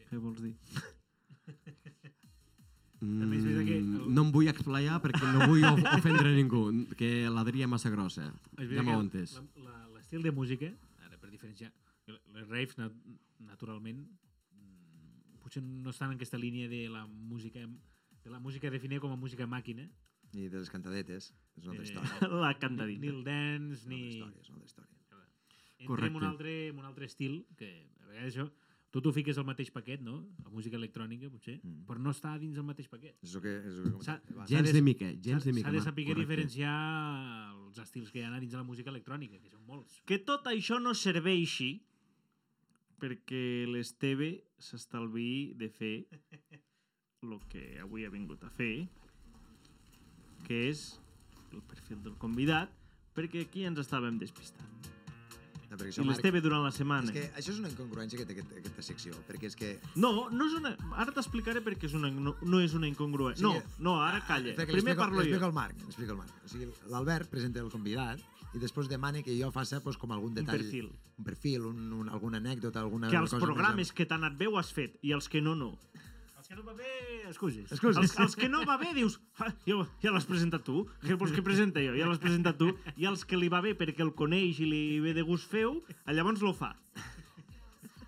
[SPEAKER 1] Què vols dir?
[SPEAKER 4] També és veritat que el-
[SPEAKER 6] Mm, No em vull explayar perquè no vull of- ofendre ningú, que l'adria massa grossa.
[SPEAKER 4] És
[SPEAKER 6] Ja
[SPEAKER 4] veritat
[SPEAKER 6] m'ho
[SPEAKER 4] que
[SPEAKER 6] entes.
[SPEAKER 4] la- la- L'estil de música, ara per diferenciar, les raves nat naturalment mm, potser no estan en aquesta línia de la música que la música definia com a música màquina. Eh,
[SPEAKER 3] I de les cantadetes. És una altra història.
[SPEAKER 1] La
[SPEAKER 4] ni, ni
[SPEAKER 1] cantadita.
[SPEAKER 4] el dance,
[SPEAKER 3] Ni...
[SPEAKER 4] ni...
[SPEAKER 3] Una altra història, és una altra història.
[SPEAKER 4] Entrem en un,
[SPEAKER 6] Correcte.
[SPEAKER 4] altre, en un altre estil, que a vegades això... Tu t'ho fiques al mateix paquet, no? La música electrònica, potser,
[SPEAKER 3] Mm.
[SPEAKER 4] però no està dins el mateix paquet.
[SPEAKER 3] És el que... És el que
[SPEAKER 4] S'ha-
[SPEAKER 3] comentava abans.
[SPEAKER 6] Gens
[SPEAKER 4] de-
[SPEAKER 6] de mica,
[SPEAKER 4] S'ha
[SPEAKER 6] gens de mica.
[SPEAKER 4] s'ha de
[SPEAKER 6] Marc,
[SPEAKER 4] saber
[SPEAKER 6] correcte.
[SPEAKER 4] diferenciar els estils que hi ha dins de la música electrònica, que són molts.
[SPEAKER 1] Que tot això no serveixi perquè l'Esteve s'estalviï de fer el que avui ha vingut a fer, que és el perfil del convidat, perquè aquí ens estàvem despistant.
[SPEAKER 3] No,
[SPEAKER 1] I
[SPEAKER 3] perquè això, Marc,
[SPEAKER 1] l'Esteve durant la setmana.
[SPEAKER 3] és que això és una incongruència que té aquest, aquesta secció, perquè és que...
[SPEAKER 1] No, no és una... Ara t'explicaré perquè és una... no, no és una incongruència.
[SPEAKER 3] O
[SPEAKER 1] No,
[SPEAKER 3] sigui,
[SPEAKER 1] no, ara calla.
[SPEAKER 3] Espera, que
[SPEAKER 1] Primer
[SPEAKER 3] l'explico-
[SPEAKER 1] parlo
[SPEAKER 3] l'explico
[SPEAKER 1] jo.
[SPEAKER 3] al Marc, l'explico al Marc. O sigui, l'Albert presenta el convidat i després demana que jo faça pues, com algun
[SPEAKER 1] Un
[SPEAKER 3] detall...
[SPEAKER 1] perfil.
[SPEAKER 3] Un perfil, un, un, alguna anècdota, alguna
[SPEAKER 1] Que els
[SPEAKER 3] cosa... més
[SPEAKER 1] programes que t'han anat bé ho has fet i els que no, no.
[SPEAKER 4] Els que no va bé, excuses.
[SPEAKER 3] Excuses.
[SPEAKER 1] Els, els que no va bé dius, "Ah, jo, ja l'has presentat tu, què vols que presente jo? Ja l'has presentat tu. I els que li va bé perquè el coneix i li ve de gust feu, llavors lo fa.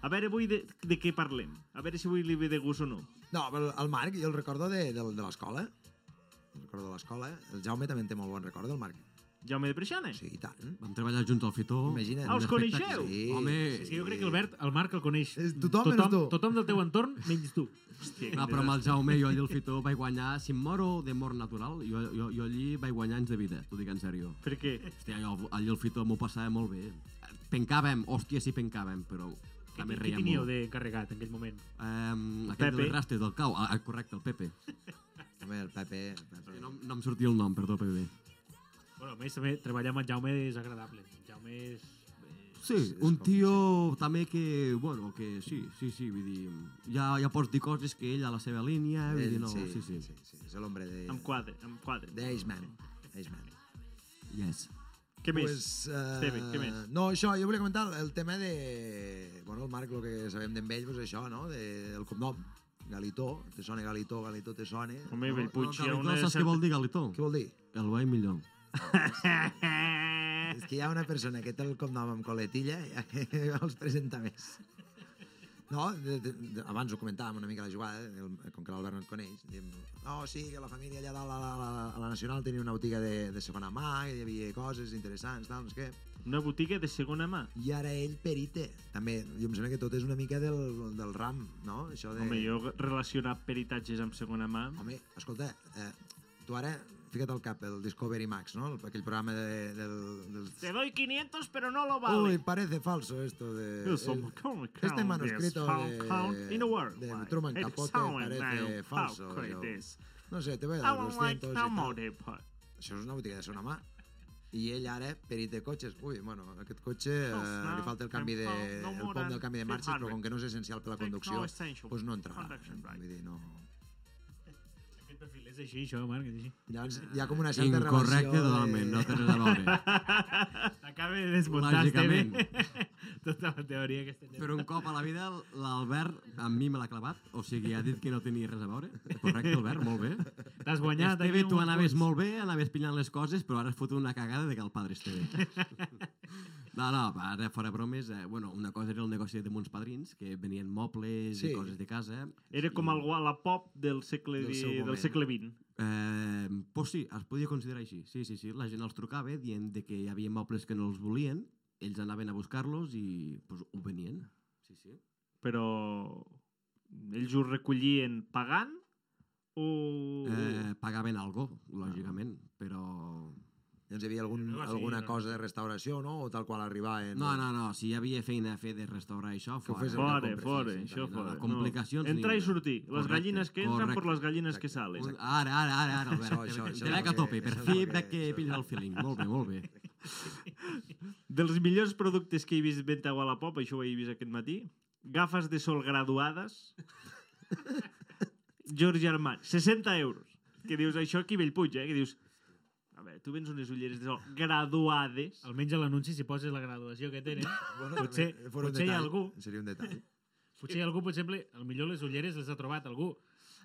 [SPEAKER 1] A veure avui de, de què parlem. A veure si avui li ve de gust o no.
[SPEAKER 3] No, però el Marc, jo el recordo de, de, de l'escola. El recordo de l'escola. El Jaume també en té molt bon record, el Marc.
[SPEAKER 1] Jaume de Preixana.
[SPEAKER 3] Sí, i tant.
[SPEAKER 6] Vam treballar junts al Fitó.
[SPEAKER 3] Imagina't.
[SPEAKER 1] Ah, us coneixeu?
[SPEAKER 3] Sí.
[SPEAKER 6] Home,
[SPEAKER 4] És que jo crec que Albert, el Marc el coneix
[SPEAKER 3] És tothom menys tu.
[SPEAKER 4] tothom del teu entorn, menys tu.
[SPEAKER 1] Hòstia,
[SPEAKER 6] Va,
[SPEAKER 1] quin
[SPEAKER 6] Ah, però amb el Jaume jo allà al Fitó vaig guanyar, si em moro de mort natural, jo, jo, jo allí vaig guanyar anys de vida, t'ho dic en sèrio.
[SPEAKER 1] desastre. Per què?
[SPEAKER 6] Hòstia, jo allà al Fitó m'ho passava molt bé. Pencàvem, hòstia, sí pencàvem, però
[SPEAKER 4] Qui,
[SPEAKER 6] també
[SPEAKER 4] qui
[SPEAKER 6] reiem
[SPEAKER 4] teníeu
[SPEAKER 6] molt.
[SPEAKER 4] d'encarregat en aquell moment?
[SPEAKER 6] Um, aquell de
[SPEAKER 1] Pepe.
[SPEAKER 6] les rastes del cau, ah, correcte, el Pepe.
[SPEAKER 3] Home, el Pepe... El Pepe.
[SPEAKER 6] No, no em sortia el nom, perdó, Pepe.
[SPEAKER 4] Bueno, a més, també, treballar amb en Jaume és agradable. En Jaume és...
[SPEAKER 6] Sí, un tio també que, bueno, que sí, sí, sí, vull dir, ja, ja pots dir coses que ell a la seva línia,
[SPEAKER 1] Ah,
[SPEAKER 6] vull dir, no, sí, sí, sí.
[SPEAKER 3] sí, sí. És l'hombre de...
[SPEAKER 1] Em quadre, em quadre.
[SPEAKER 3] D'Aceman. Aceman.
[SPEAKER 6] Yes.
[SPEAKER 1] Què més?
[SPEAKER 3] uh,
[SPEAKER 1] Esteve, què més?
[SPEAKER 3] No, això, jo volia comentar el tema de... Bueno, el Marc, el que sabem d'en ell, doncs això, no? De, el cognom. Galitó. Te sona Galitó, Galitó te sona.
[SPEAKER 1] Home,
[SPEAKER 3] no?
[SPEAKER 1] Bellpuig, hi ha
[SPEAKER 6] Galitó,
[SPEAKER 1] una...
[SPEAKER 6] saps què vol dir Galitó?
[SPEAKER 3] Què vol dir?
[SPEAKER 6] El veí millor.
[SPEAKER 3] És que hi ha una persona que té el cognom amb coletilla i els presenta més. No, de, de, de, abans ho comentàvem una mica la jugada, el, com que l'Albert no et coneix, diem, no, sí, que la família allà dalt a la, a la, a la Nacional tenia una botiga de, de segona mà, i hi havia coses interessants, tal, no sé què.
[SPEAKER 1] Una botiga de segona mà.
[SPEAKER 3] I ara ell perite. També, jo em sembla que tot és una mica del, del ram, no? Això de...
[SPEAKER 1] Home, jo relacionar peritatges amb segona mà...
[SPEAKER 3] Home, escolta, eh, tu ara fica't al cap el Discovery Max, no? El- Aquell programa de, del, dels...
[SPEAKER 1] Te doy 500, pero no lo
[SPEAKER 3] Uy,
[SPEAKER 1] vale.
[SPEAKER 3] parece falso esto de...
[SPEAKER 1] Yo soy
[SPEAKER 3] el-
[SPEAKER 1] Macaulay
[SPEAKER 3] Eh, Este
[SPEAKER 1] Culkin,
[SPEAKER 3] manuscrito
[SPEAKER 1] yes, Hulk
[SPEAKER 3] de,
[SPEAKER 1] Hound in a world.
[SPEAKER 3] de
[SPEAKER 1] Why,
[SPEAKER 3] Truman
[SPEAKER 1] it
[SPEAKER 3] Capote
[SPEAKER 1] sound
[SPEAKER 3] parece
[SPEAKER 1] now.
[SPEAKER 3] falso.
[SPEAKER 1] How could
[SPEAKER 3] jo.
[SPEAKER 1] this?
[SPEAKER 3] No sé, te voy
[SPEAKER 1] I
[SPEAKER 3] a dar
[SPEAKER 1] don't like
[SPEAKER 3] 200 i
[SPEAKER 1] no more
[SPEAKER 3] tal.
[SPEAKER 1] de part.
[SPEAKER 3] Això és una botiga de segona mà. I ell ara, perit de cotxes, ui, bueno, aquest cotxe eh,
[SPEAKER 1] False,
[SPEAKER 3] li
[SPEAKER 1] no,
[SPEAKER 3] falta el canvi de,
[SPEAKER 1] no
[SPEAKER 3] el
[SPEAKER 1] more
[SPEAKER 3] pom del
[SPEAKER 1] than
[SPEAKER 3] canvi de marxes, però
[SPEAKER 1] 500.
[SPEAKER 3] com que no és essencial per la conducció,
[SPEAKER 1] No essential.
[SPEAKER 3] doncs no entrarà.
[SPEAKER 1] Conduction, right.
[SPEAKER 3] Vull dir, no...
[SPEAKER 4] Aquest perfil és així, això, Marc, és així.
[SPEAKER 3] Llavors hi ha com una certa
[SPEAKER 6] Incorrecte
[SPEAKER 3] relació...
[SPEAKER 6] totalment, no té res a veure.
[SPEAKER 4] T'acaba de desmuntar, Esteve.
[SPEAKER 6] Lògicament.
[SPEAKER 4] Tota la teoria que estem...
[SPEAKER 6] Però un cop a la vida l'Albert amb mi me l'ha clavat, o sigui, ha dit que no tenia res a veure. Correcte, Albert, molt bé.
[SPEAKER 4] T'has guanyat...
[SPEAKER 6] Esteve,
[SPEAKER 4] aquí
[SPEAKER 6] tu
[SPEAKER 4] uns
[SPEAKER 6] anaves
[SPEAKER 4] punts.
[SPEAKER 6] molt bé, anaves pillant les coses, però ara has fotut una cagada de que el padre Esteve. No, no, ara fora bromes, eh, bueno, una cosa era el negoci de mons padrins, que venien mobles
[SPEAKER 3] Sí.
[SPEAKER 6] i coses de casa.
[SPEAKER 1] Era com el Wallapop del segle,
[SPEAKER 3] Del seu
[SPEAKER 1] di- del
[SPEAKER 3] moment.
[SPEAKER 1] segle XX.
[SPEAKER 6] Eh, pues sí, es podia considerar així. Sí, sí, sí. La gent els trucava dient de que hi havia mobles que no els volien, ells anaven a buscar-los i pues, ho venien. Sí, sí.
[SPEAKER 1] Però ells ho recollien pagant o...
[SPEAKER 3] Uh.
[SPEAKER 6] Eh, pagaven algo, lògicament,
[SPEAKER 3] Ah.
[SPEAKER 6] però...
[SPEAKER 3] Llavors hi havia algun,
[SPEAKER 4] No, sí,
[SPEAKER 3] alguna
[SPEAKER 4] no.
[SPEAKER 3] cosa de restauració, no? O tal qual arribar en...
[SPEAKER 6] No, no, no, si hi havia feina a fer de restaurar això,
[SPEAKER 3] Que ho
[SPEAKER 6] fora.
[SPEAKER 3] fes
[SPEAKER 6] no
[SPEAKER 1] Fora,
[SPEAKER 6] compres, sí,
[SPEAKER 1] fora,
[SPEAKER 6] sí,
[SPEAKER 1] això
[SPEAKER 6] no,
[SPEAKER 1] fora.
[SPEAKER 6] No, complicacions... ni
[SPEAKER 1] Entrar i
[SPEAKER 6] una.
[SPEAKER 1] sortir. Les
[SPEAKER 6] Correcte,
[SPEAKER 1] gallines que entren per
[SPEAKER 6] correcte.
[SPEAKER 1] les gallines que
[SPEAKER 3] Exacte.
[SPEAKER 1] salen.
[SPEAKER 6] Un- Ara, ara, ara, ara, Albert.
[SPEAKER 3] Això, això, això
[SPEAKER 6] Te
[SPEAKER 3] és el
[SPEAKER 6] veig a
[SPEAKER 3] que-
[SPEAKER 6] tope, per
[SPEAKER 3] això és el
[SPEAKER 6] fi
[SPEAKER 3] que-
[SPEAKER 6] veig que
[SPEAKER 3] això-
[SPEAKER 6] pilles el feeling. Molt bé, molt bé.
[SPEAKER 1] Dels millors productes que he vist venta a Wallapop, això ho he vist aquest matí, gafes de sol graduades, George Armani, 60 euros. Que dius, això aquí Bellpuig, eh? Que dius, a veure, tu vens unes ulleres de sol graduades,
[SPEAKER 4] Almenys a l'anunci si poses la graduació que tenen.
[SPEAKER 3] Bueno,
[SPEAKER 4] Potser-
[SPEAKER 3] també, fora un
[SPEAKER 4] potser hi ha
[SPEAKER 3] detall,
[SPEAKER 4] algú.
[SPEAKER 3] Seria un detall.
[SPEAKER 4] Potser algú, per exemple, el millor les ulleres les ha trobat algú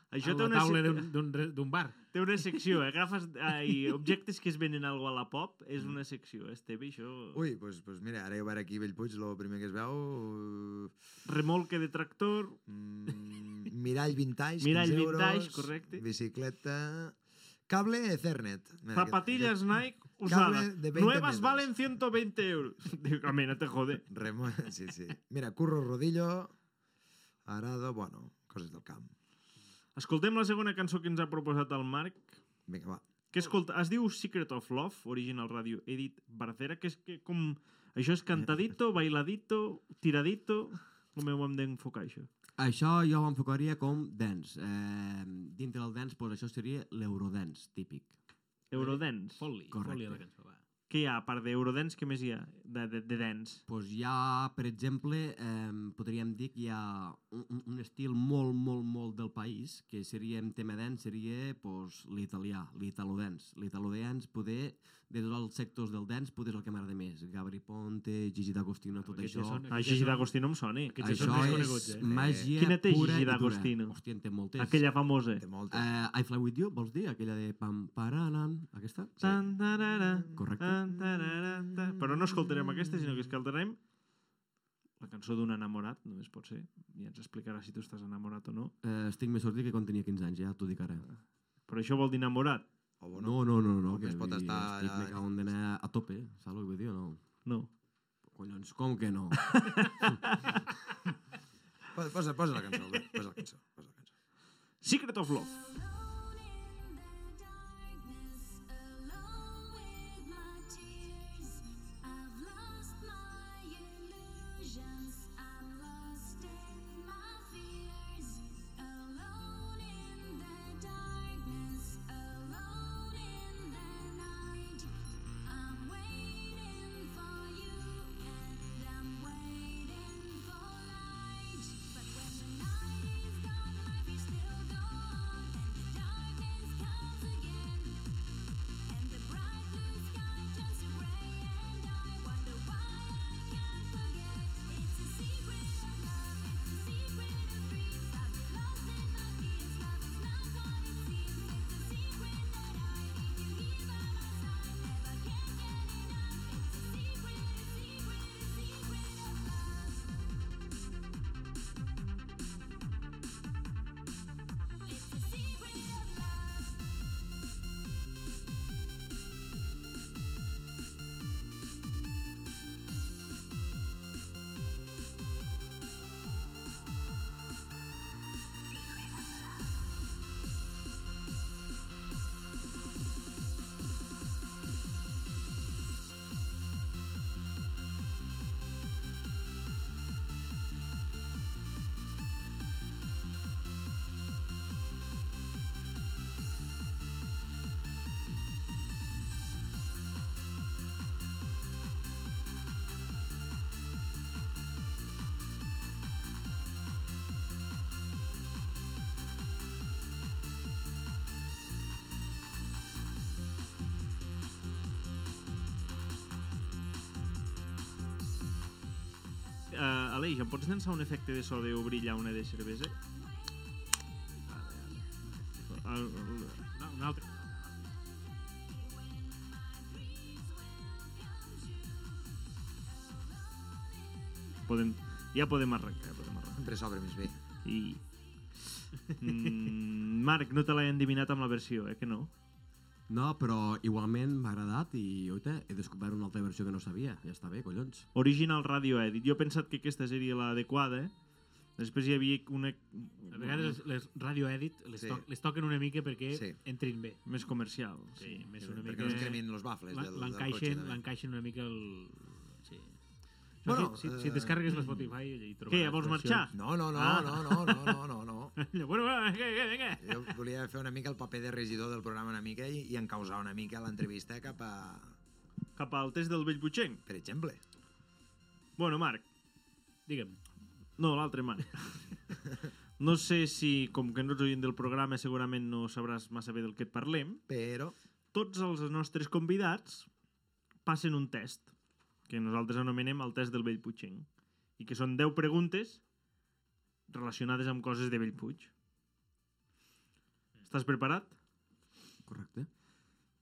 [SPEAKER 1] això
[SPEAKER 4] a
[SPEAKER 1] té
[SPEAKER 4] la
[SPEAKER 1] una,
[SPEAKER 4] taula
[SPEAKER 1] sec-
[SPEAKER 4] d'un- d'un re- d'un bar.
[SPEAKER 1] té una secció, eh? Agafes ai, objectes que es venen al Wallapop, és una secció, Esteve, això...
[SPEAKER 3] Mm. Ui, doncs pues, pues mira, ara jo veure aquí a Bellpuig, el primer que es veu... eh,
[SPEAKER 1] Remolque de tractor,
[SPEAKER 3] Mm, Mirall vintage,
[SPEAKER 1] Mirall
[SPEAKER 3] 15
[SPEAKER 1] vintage,
[SPEAKER 3] euros,
[SPEAKER 1] correcte.
[SPEAKER 3] Bicicleta... Cable Ethernet. Mira,
[SPEAKER 1] Zapatillas
[SPEAKER 3] aquest-
[SPEAKER 1] Nike usadas.
[SPEAKER 3] Cable de 20
[SPEAKER 1] Nuevas
[SPEAKER 3] metros.
[SPEAKER 1] valen 120 euros. Digo, a mí, no te jode.
[SPEAKER 3] Remo... Sí, sí. Mira, curro, rodillo, arado, bueno, coses del camp.
[SPEAKER 1] Escoltem la segona cançó que ens ha proposat el Marc,
[SPEAKER 3] Vinga, va.
[SPEAKER 1] que escolta, es diu Secret of Love, Original Radio Edit Barcera, que és que com... Això és cantadito, bailadito, tiradito... Com ho hem d'enfocar, això?
[SPEAKER 6] Això jo ho enfocaria com dance. Eh, dintre del dance, doncs, això seria l'eurodance típic.
[SPEAKER 1] Eurodance.
[SPEAKER 4] Fot-li, fot-li
[SPEAKER 6] Correcte.
[SPEAKER 4] a la cançó, va.
[SPEAKER 1] Què hi ha? A part d'Eurodance, què més hi ha? De, de, de dance.
[SPEAKER 6] Doncs hi ha, per exemple, eh, podríem dir que hi ha un, un- un estil molt, molt, molt del país, que seria en tema dance, seria doncs, l'italià, l'italodance. L'italodance, poder, des dels sectors del dance, poder és el que m'agrada més. Gabri Ponte, Gigi D'Agostino, tot
[SPEAKER 4] Aquests
[SPEAKER 6] això.
[SPEAKER 4] ja són-
[SPEAKER 1] Ah,
[SPEAKER 4] aquests ja
[SPEAKER 1] Gigi
[SPEAKER 4] són-
[SPEAKER 1] d'Agostino em eh? soni.
[SPEAKER 4] Aquests ja
[SPEAKER 6] Això
[SPEAKER 4] són
[SPEAKER 6] és
[SPEAKER 4] desconeguts, eh?
[SPEAKER 6] màgia
[SPEAKER 1] Quina té
[SPEAKER 6] pura
[SPEAKER 1] Gigi
[SPEAKER 6] i dura.
[SPEAKER 1] D'Agostino?
[SPEAKER 6] Hòstia, en té moltes.
[SPEAKER 1] Aquella famosa.
[SPEAKER 3] Té moltes.
[SPEAKER 6] Eh, I Fly With You, vols dir? Aquella de pam paranan, aquesta?
[SPEAKER 1] Tan, tarara,
[SPEAKER 6] Correcte.
[SPEAKER 1] tan, tarara, ta- Però no escoltarem aquesta, sinó que escoltarem la cançó d'un enamorat, només pot ser. Ja ens explicarà si tu estàs enamorat o no.
[SPEAKER 6] Eh, estic més sortit que quan tenia 15 anys, ja t'ho dic
[SPEAKER 1] Ah.
[SPEAKER 6] ara.
[SPEAKER 1] Però això vol dir enamorat?
[SPEAKER 3] O
[SPEAKER 6] No,
[SPEAKER 3] bueno,
[SPEAKER 6] no, no, no, no
[SPEAKER 3] Home,
[SPEAKER 6] que
[SPEAKER 3] es pot
[SPEAKER 6] vull dir,
[SPEAKER 3] estar
[SPEAKER 6] Estic
[SPEAKER 3] allà-
[SPEAKER 6] me cago en d'anar a tope, saps el que vull dir o no?
[SPEAKER 1] No.
[SPEAKER 6] Collons, com que no?
[SPEAKER 3] Posa, posa, posa la cançó, Albert, posa la cançó. Posa la cançó.
[SPEAKER 1] Secret of Love.
[SPEAKER 5] Alone in the darkness, alone with my tears. I've lost my illusions. I'm lost in my fears. Alone in the darkness, alone in the night. I'm waiting for you, and I'm waiting for light. But when the night is gone, my fears still go on, and the darkness comes again, and the bright blue sky turns to grey, and I wonder why I can't forget. It's a secret of love, it's a secret of dreams. I've been lost in my fears, love is not what it seems. It's a secret that I need you here by my side, never can get enough. It's a secret, a secret, a secret of love. It's a secret of love.
[SPEAKER 1] Uh, Aleix, em pots llançar un efecte de so d'obrir llauna de cervesa? El- el-
[SPEAKER 4] No, un altre.
[SPEAKER 1] Podem, ja podem arrencar, podem arrencar.
[SPEAKER 3] Sempre s'obre més bé.
[SPEAKER 1] I... Mm, Marc, no te l'he endivinat amb la versió, eh, que no?
[SPEAKER 6] No, però igualment m'ha agradat i oita, he descobert una altra versió que no sabia. Ja està bé, collons.
[SPEAKER 1] Original Radio Edit. Jo he pensat que aquesta seria l'adequada, eh? Després hi havia una...
[SPEAKER 4] A vegades les, les radio edit les,
[SPEAKER 3] Sí.
[SPEAKER 4] to les toquen una mica perquè
[SPEAKER 3] Sí.
[SPEAKER 4] entrin bé.
[SPEAKER 1] Més comercial.
[SPEAKER 4] Sí, més una
[SPEAKER 3] Perquè
[SPEAKER 4] mica...
[SPEAKER 3] no es cremin los bafles
[SPEAKER 4] l'en-
[SPEAKER 3] del, del cotxe.
[SPEAKER 4] L'encaixen
[SPEAKER 3] també.
[SPEAKER 4] l'encaixen una mica el... Sí.
[SPEAKER 3] Bueno,
[SPEAKER 4] Bueno, si, si, si
[SPEAKER 3] eh,
[SPEAKER 4] descarregues la Spotify i trobaràs...
[SPEAKER 1] Què, ja vols
[SPEAKER 4] versions.
[SPEAKER 1] marxar?
[SPEAKER 3] No, no, no,
[SPEAKER 1] Ah.
[SPEAKER 3] no, no, no, no, no, no.
[SPEAKER 4] bueno, va, vinga, vinga, vinga.
[SPEAKER 3] Jo volia fer una mica el paper de regidor del programa una mica i, i encausar una mica l'entrevista cap a...
[SPEAKER 1] Cap al test del vell butxenc.
[SPEAKER 3] Per exemple.
[SPEAKER 1] Bueno, Marc.
[SPEAKER 4] Digue'm.
[SPEAKER 1] No, l'altre Marc. No sé si, com que no ets oient del programa, segurament no sabràs massa bé del que et parlem.
[SPEAKER 3] Però...
[SPEAKER 1] Tots els nostres convidats passen un test, que nosaltres anomenem el test del vell butxenc, i que són 10 preguntes relacionades amb coses de Bellpuig. Estàs preparat?
[SPEAKER 6] Correcte.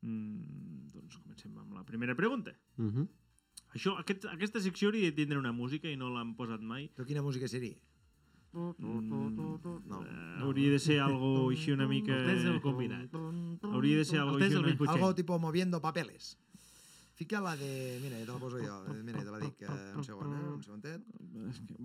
[SPEAKER 1] Mm, doncs comencem amb la primera pregunta.
[SPEAKER 6] Uh -huh.
[SPEAKER 1] Això, aquest, aquesta secció hauria de tindre una música i no l'han posat mai.
[SPEAKER 3] Però quina música seria? Mm, No.
[SPEAKER 1] No. Hauria de ser algo així una mica...
[SPEAKER 4] El temps Mm, del convidat.
[SPEAKER 1] Hauria de ser algo
[SPEAKER 4] El temps
[SPEAKER 1] així
[SPEAKER 4] del
[SPEAKER 1] una...
[SPEAKER 4] Lluís Puigdemont.
[SPEAKER 3] Algo tipo moviendo papeles. Fica la de... Mira, ja te la poso jo. Eh, Mira, ja te la dic eh, un segon, eh? Un segontet.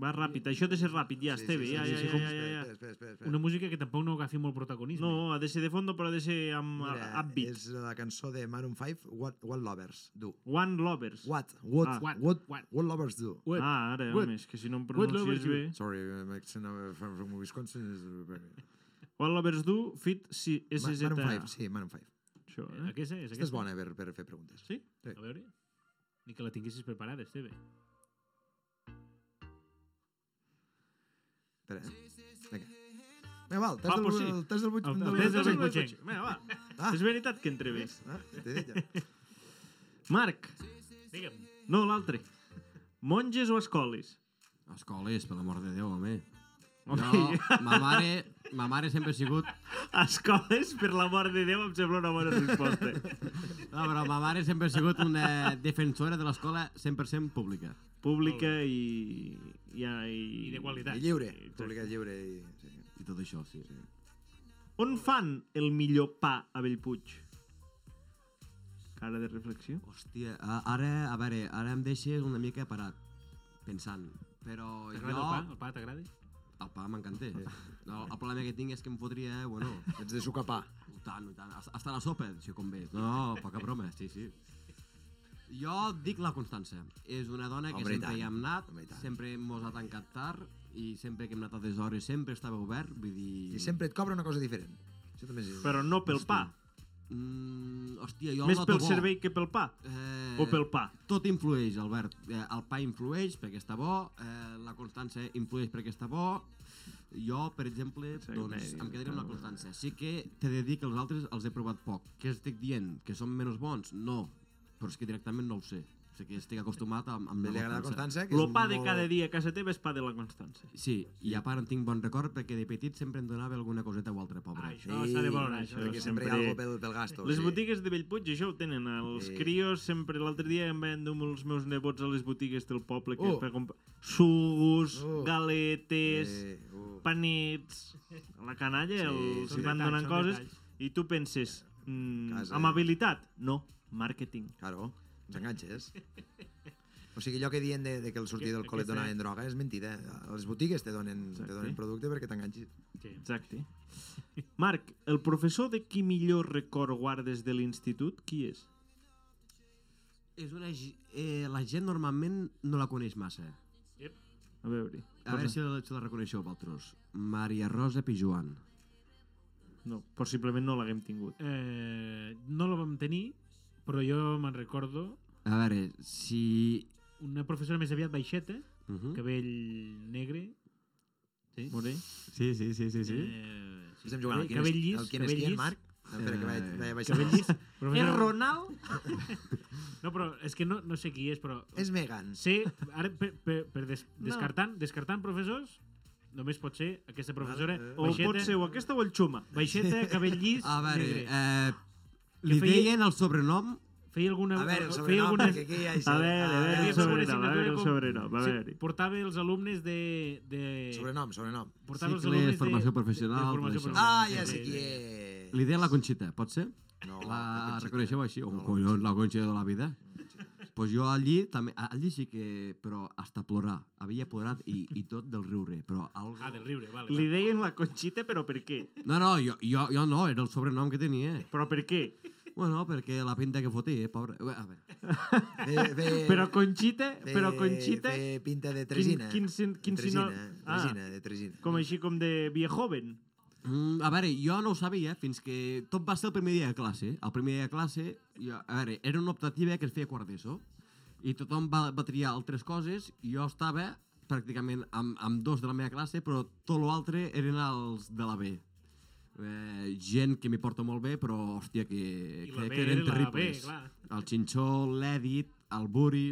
[SPEAKER 1] Va ràpid, això ha de ser ràpid, ja, Esteve, ja, ja, ja, ja, ja,
[SPEAKER 3] Espera, espera, espera, espera.
[SPEAKER 4] Una música que tampoc no agafi molt protagonisme.
[SPEAKER 1] No, ha de ser de fondo, però ha de ser amb
[SPEAKER 3] Mira,
[SPEAKER 1] Mira, upbeat.
[SPEAKER 3] És la cançó de Maroon 5, What, What Lovers Do.
[SPEAKER 1] One Lovers.
[SPEAKER 3] What, what,
[SPEAKER 1] Ah.
[SPEAKER 3] what,
[SPEAKER 4] What,
[SPEAKER 3] what,
[SPEAKER 4] what.
[SPEAKER 3] Lovers Do.
[SPEAKER 4] What?
[SPEAKER 1] Ah, ara,
[SPEAKER 4] What?
[SPEAKER 1] home, és que si no em
[SPEAKER 4] What lovers
[SPEAKER 1] pronuncies
[SPEAKER 4] you?
[SPEAKER 1] bé...
[SPEAKER 3] Sorry, my accent uh, from, from Wisconsin is... Ma-
[SPEAKER 1] One Lovers Do, fit si SZ.
[SPEAKER 3] Maroon 5, sí, Maroon 5.
[SPEAKER 1] Això,
[SPEAKER 4] Eh,
[SPEAKER 1] eh?
[SPEAKER 4] Aquesta és,
[SPEAKER 3] Aquesta
[SPEAKER 4] aquesta.
[SPEAKER 3] és bona per, per fer preguntes.
[SPEAKER 4] Sí?
[SPEAKER 3] Sí.
[SPEAKER 4] A veure. Ni que la tinguessis preparada, Esteve.
[SPEAKER 3] Espera, eh? Vinga. Vinga, va, el test
[SPEAKER 1] Va,
[SPEAKER 3] del,
[SPEAKER 1] pues sí.
[SPEAKER 3] el test del, vuit-
[SPEAKER 4] El- el
[SPEAKER 3] del-
[SPEAKER 4] test del
[SPEAKER 3] del-
[SPEAKER 4] vuit- Puigdemont.
[SPEAKER 1] Vinga, va.
[SPEAKER 3] Ah.
[SPEAKER 1] És veritat que entre bé.
[SPEAKER 3] Ah, t'he dit ja.
[SPEAKER 1] Marc,
[SPEAKER 4] Digue'm.
[SPEAKER 1] no, l'altre. Monges o escoles?
[SPEAKER 6] Escoles, per l'amor de Déu, home.
[SPEAKER 1] Home,
[SPEAKER 6] Jo, ma mare, ma mare sempre ha sigut...
[SPEAKER 1] Escoles, per l'amor de Déu, em sembla una bona resposta.
[SPEAKER 6] No, però ma mare sempre ha sigut una defensora de l'escola 100% pública.
[SPEAKER 1] Pública i... I, i,
[SPEAKER 4] I de qualitat.
[SPEAKER 3] I lliure,
[SPEAKER 1] Exacte.
[SPEAKER 3] publicat lliure. I, sí.
[SPEAKER 6] I tot això, sí. sí.
[SPEAKER 1] On fan el millor pa a Bellpuig? Cara de reflexió.
[SPEAKER 6] Hòstia, a- ara, a veure, ara em deixes una mica parat, pensant. Però jo...
[SPEAKER 4] T'agrada el pa? El pa t'agrada?
[SPEAKER 6] El pa m'encanta. No, el problema que tinc és que em fotria, eh, bueno,
[SPEAKER 3] Ets de sucar pa.
[SPEAKER 6] i tant, i tant. Hasta- Hasta la sopa, si convé. No, poca broma, sí, sí. Jo dic la Constança. És una dona que
[SPEAKER 3] Home, i
[SPEAKER 6] sempre
[SPEAKER 3] tant.
[SPEAKER 6] hi hem anat,
[SPEAKER 3] Home, i tant.
[SPEAKER 6] sempre mos ha tancat tard i sempre que hem anat a deshores sempre estava obert, vull dir...
[SPEAKER 3] I sempre et cobra una cosa diferent. Això també és...
[SPEAKER 1] Però no pel pa.
[SPEAKER 6] Mm, hòstia, jo el
[SPEAKER 1] Més
[SPEAKER 6] noto
[SPEAKER 1] pel
[SPEAKER 6] bo.
[SPEAKER 1] servei que pel pa.
[SPEAKER 6] Eh,
[SPEAKER 1] O pel pa.
[SPEAKER 6] Tot influeix, Albert. Eh, el pa influeix perquè està bo, eh, la Constança influeix perquè està bo. Jo, per exemple,
[SPEAKER 1] Exacte.
[SPEAKER 6] doncs, em quedaria amb la Constança. Sí que t'he de dir que els altres els he provat poc. Què estic dient? Que són menys bons? No. Però és que directament no ho sé. O sigui que estic acostumat amb, amb
[SPEAKER 3] Li agrada
[SPEAKER 6] la
[SPEAKER 3] la Constança, que és
[SPEAKER 1] Lo
[SPEAKER 3] un
[SPEAKER 1] pa de
[SPEAKER 3] molt-
[SPEAKER 1] cada dia a casa teva és pa de la Constança.
[SPEAKER 6] Sí, i a part en tinc bon record perquè de petit sempre em donava alguna coseta o altra, pobre.
[SPEAKER 4] Això s'ha de valorar, això.
[SPEAKER 3] perquè sempre hi ha
[SPEAKER 1] sempre-
[SPEAKER 3] algo pel, pel gasto.
[SPEAKER 1] Les
[SPEAKER 3] sí.
[SPEAKER 1] botigues de Bellpuig això ho tenen. Els
[SPEAKER 3] Sí.
[SPEAKER 1] crios sempre... L'altre dia em veien d'un dels meus nebots a les botigues del poble que
[SPEAKER 3] Uh.
[SPEAKER 1] és per comprar... Sugus,
[SPEAKER 3] Uh.
[SPEAKER 1] galetes,
[SPEAKER 3] Eh, uh.
[SPEAKER 1] panets... A la canalla
[SPEAKER 3] Sí,
[SPEAKER 1] els
[SPEAKER 3] són
[SPEAKER 1] hi van
[SPEAKER 4] detalls,
[SPEAKER 1] donant
[SPEAKER 4] són
[SPEAKER 1] coses
[SPEAKER 4] detalls.
[SPEAKER 1] i tu penses... Mm,
[SPEAKER 3] Casa.
[SPEAKER 1] amabilitat? No, màrqueting.
[SPEAKER 3] Claro, ens enganxes. O sigui, allò que diuen de, de que el sortir del col·le et donaven droga és mentida. A les botigues te donen, te
[SPEAKER 1] Exacte.
[SPEAKER 3] donen producte perquè t'enganxis.
[SPEAKER 4] Sí.
[SPEAKER 1] Exacte. Marc, el professor de qui millor record guardes de l'institut, qui és?
[SPEAKER 6] És una... ge- Eh, la gent normalment no la coneix massa.
[SPEAKER 1] A veure.
[SPEAKER 6] A veure si la, si la reconeixeu, vosaltres. Maria Rosa Pijuan.
[SPEAKER 1] No, possiblement no l'haguem tingut.
[SPEAKER 4] Eh, no la vam tenir, però jo me'n recordo
[SPEAKER 6] A veure, si...
[SPEAKER 4] una professora més aviat baixeta,
[SPEAKER 6] Uh
[SPEAKER 3] Mm.
[SPEAKER 6] -huh.
[SPEAKER 4] cabell negre, sí?
[SPEAKER 1] Moré?
[SPEAKER 6] Sí, sí, sí, sí. sí.
[SPEAKER 4] Eh, sí.
[SPEAKER 3] Estem jugant al qui
[SPEAKER 4] cabell
[SPEAKER 3] és
[SPEAKER 4] llis,
[SPEAKER 3] el qui és
[SPEAKER 4] cabell
[SPEAKER 3] qui, en
[SPEAKER 4] llis.
[SPEAKER 3] Marc? No, espera, que vaig,
[SPEAKER 6] Eh,
[SPEAKER 3] vaig baixar.
[SPEAKER 4] Cabell llis.
[SPEAKER 1] És
[SPEAKER 4] Professora...
[SPEAKER 1] Ronald?
[SPEAKER 4] No, però és que no, no sé qui és, però...
[SPEAKER 3] És Megan.
[SPEAKER 4] Sé, ara, per, per, per des,
[SPEAKER 1] No.
[SPEAKER 4] descartant, descartant professors, només pot ser aquesta professora
[SPEAKER 3] Vale, eh.
[SPEAKER 1] O
[SPEAKER 4] baixeta,
[SPEAKER 1] pot ser o aquesta o el Xuma?
[SPEAKER 4] baixeta, cabell llis,
[SPEAKER 6] A veure,
[SPEAKER 4] negre.
[SPEAKER 6] eh, li
[SPEAKER 4] feia-
[SPEAKER 6] deien el sobrenom...
[SPEAKER 4] Feia alguna...
[SPEAKER 3] A veure, el
[SPEAKER 4] feia
[SPEAKER 3] sobrenom,
[SPEAKER 4] alguna...
[SPEAKER 3] perquè aquí hi ha això. Ah,
[SPEAKER 1] A veure, a veure
[SPEAKER 4] Havia
[SPEAKER 1] el
[SPEAKER 4] fet una
[SPEAKER 1] sobrenom, a
[SPEAKER 4] assignatura
[SPEAKER 1] veure el
[SPEAKER 4] com-
[SPEAKER 1] sobrenom, a
[SPEAKER 4] Sí,
[SPEAKER 1] veure.
[SPEAKER 4] portava els alumnes de... de...
[SPEAKER 3] Sobrenom, sobrenom.
[SPEAKER 4] Portava els
[SPEAKER 6] Cicles,
[SPEAKER 4] alumnes de...
[SPEAKER 6] formació professional,
[SPEAKER 4] de formació
[SPEAKER 6] tot això.
[SPEAKER 4] professional.
[SPEAKER 3] Ah, ja sé
[SPEAKER 4] Sí,
[SPEAKER 3] qui
[SPEAKER 4] sí.
[SPEAKER 3] és.
[SPEAKER 6] Li deien la Conxita, pot ser?
[SPEAKER 3] No,
[SPEAKER 6] Oh, La
[SPEAKER 3] Conxita.
[SPEAKER 6] reconeixeu així? Un
[SPEAKER 3] No,
[SPEAKER 6] collons, la Conxita de la vida. Doncs pues jo allí, també, allí sí que... Però hasta plorar. Havia plorat i, i tot del riure, però... Algo...
[SPEAKER 4] Ah, del riure, vale.
[SPEAKER 1] Li
[SPEAKER 4] va.
[SPEAKER 1] deien la Conxita, però per què?
[SPEAKER 6] No, no, jo, jo, jo no, era el sobrenom que tenia.
[SPEAKER 1] Però per què?
[SPEAKER 6] Bueno, perquè la pinta que fotia, eh, pobre. Bé, A veure.
[SPEAKER 3] Fe- fe-
[SPEAKER 1] Però Conxita,
[SPEAKER 3] fe-
[SPEAKER 1] però Conxita,
[SPEAKER 3] fe pinta Eh, de tresina.
[SPEAKER 1] quin sin- quin
[SPEAKER 3] tresina,
[SPEAKER 1] sino- Ah.
[SPEAKER 3] tresina, de tresina.
[SPEAKER 1] com així com de viejoven.
[SPEAKER 6] Mm, a veure, jo no ho sabia fins que tot va ser el primer dia de classe. El primer dia de classe, jo, a veure, era una optativa que es feia a quart d'ESO i tothom va, va triar altres coses i jo estava pràcticament amb, amb dos de la meva classe, però tot l'altre eren els de la B. Eh, gent que m'hi porta molt bé, però hòstia, que,
[SPEAKER 4] I la
[SPEAKER 6] que,
[SPEAKER 4] B
[SPEAKER 6] que
[SPEAKER 4] era
[SPEAKER 6] eren
[SPEAKER 4] la B,
[SPEAKER 6] terribles.
[SPEAKER 4] clar.
[SPEAKER 6] el Xinxó, l'Edit, el Buri...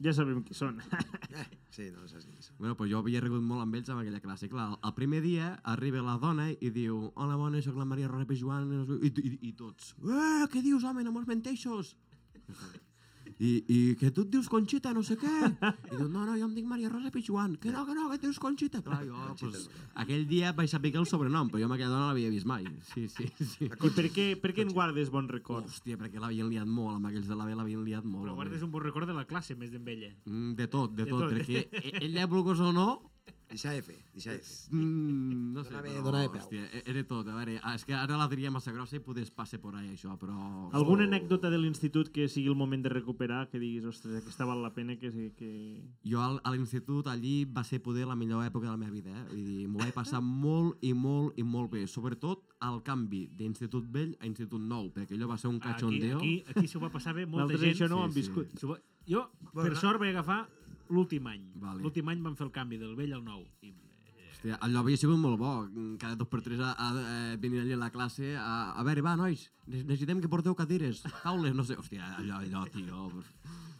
[SPEAKER 1] Ja sabem qui són.
[SPEAKER 3] Eh, sí, no saps ni qui són.
[SPEAKER 6] Bueno, pues jo havia rigut molt amb ells amb aquella classe. Clar, el primer dia arriba la dona i diu Hola, bona, sóc la Maria Rosa Pijuan. I, i, i tots, eh, què dius, home, no mos menteixos? I, i que tu et dius Conxita, no sé què. I diu, no, no, jo em dic Maria Rosa Pichuan. Que no, que no, que et dius Conxita. Clar, jo, pues, aquell dia vaig saber que el sobrenom, però jo amb aquella dona no l'havia vist mai. Sí, sí, sí.
[SPEAKER 1] I per què, per què en guardes bons records?
[SPEAKER 6] Hòstia, perquè l'havien liat molt, amb aquells de la B l'havien liat molt.
[SPEAKER 4] Però
[SPEAKER 6] home.
[SPEAKER 4] guardes un bon record de la classe més d'en vella.
[SPEAKER 6] Mm, De tot, de,
[SPEAKER 4] De
[SPEAKER 6] tot,
[SPEAKER 4] tot.
[SPEAKER 6] perquè e- ella, vulguis o no,
[SPEAKER 3] Deixa de fer, deixa de fer.
[SPEAKER 6] Mm, no sé,
[SPEAKER 3] Donava-
[SPEAKER 6] però,
[SPEAKER 3] donava peu.
[SPEAKER 6] hòstia, e- era tot. A veure, ah, és que ara la diria massa grossa i podes passar por ahí, això, però...
[SPEAKER 1] Alguna anècdota de l'institut que sigui el moment de recuperar, que diguis, ostres, aquesta val la pena que... sí- que...
[SPEAKER 6] Jo al, a l'institut allí va ser poder la millor època de la meva vida, eh? Vull dir, m'ho vaig passar molt i molt i molt bé, sobretot al canvi d'institut vell a institut nou, perquè allò va ser un
[SPEAKER 4] Aquí,
[SPEAKER 6] cachondeo.
[SPEAKER 4] aquí, aquí s'ho va passar bé molta
[SPEAKER 1] Nosaltres
[SPEAKER 4] gent.
[SPEAKER 1] això no ho
[SPEAKER 6] Sí,
[SPEAKER 1] hem
[SPEAKER 6] sí.
[SPEAKER 1] viscut.
[SPEAKER 4] S'ho Va... Jo, per
[SPEAKER 3] Bueno,
[SPEAKER 4] sort, vaig agafar l'últim any.
[SPEAKER 6] Vale.
[SPEAKER 4] L'últim any van fer el canvi del vell al nou. I eh,
[SPEAKER 6] Hòstia, allò havia sigut molt bo, cada dos per tres a, a, a venir allà a la classe, a, a veure, va, nois, ne- necessitem que porteu cadires, taules, no sé, hòstia, allò, allò, tio...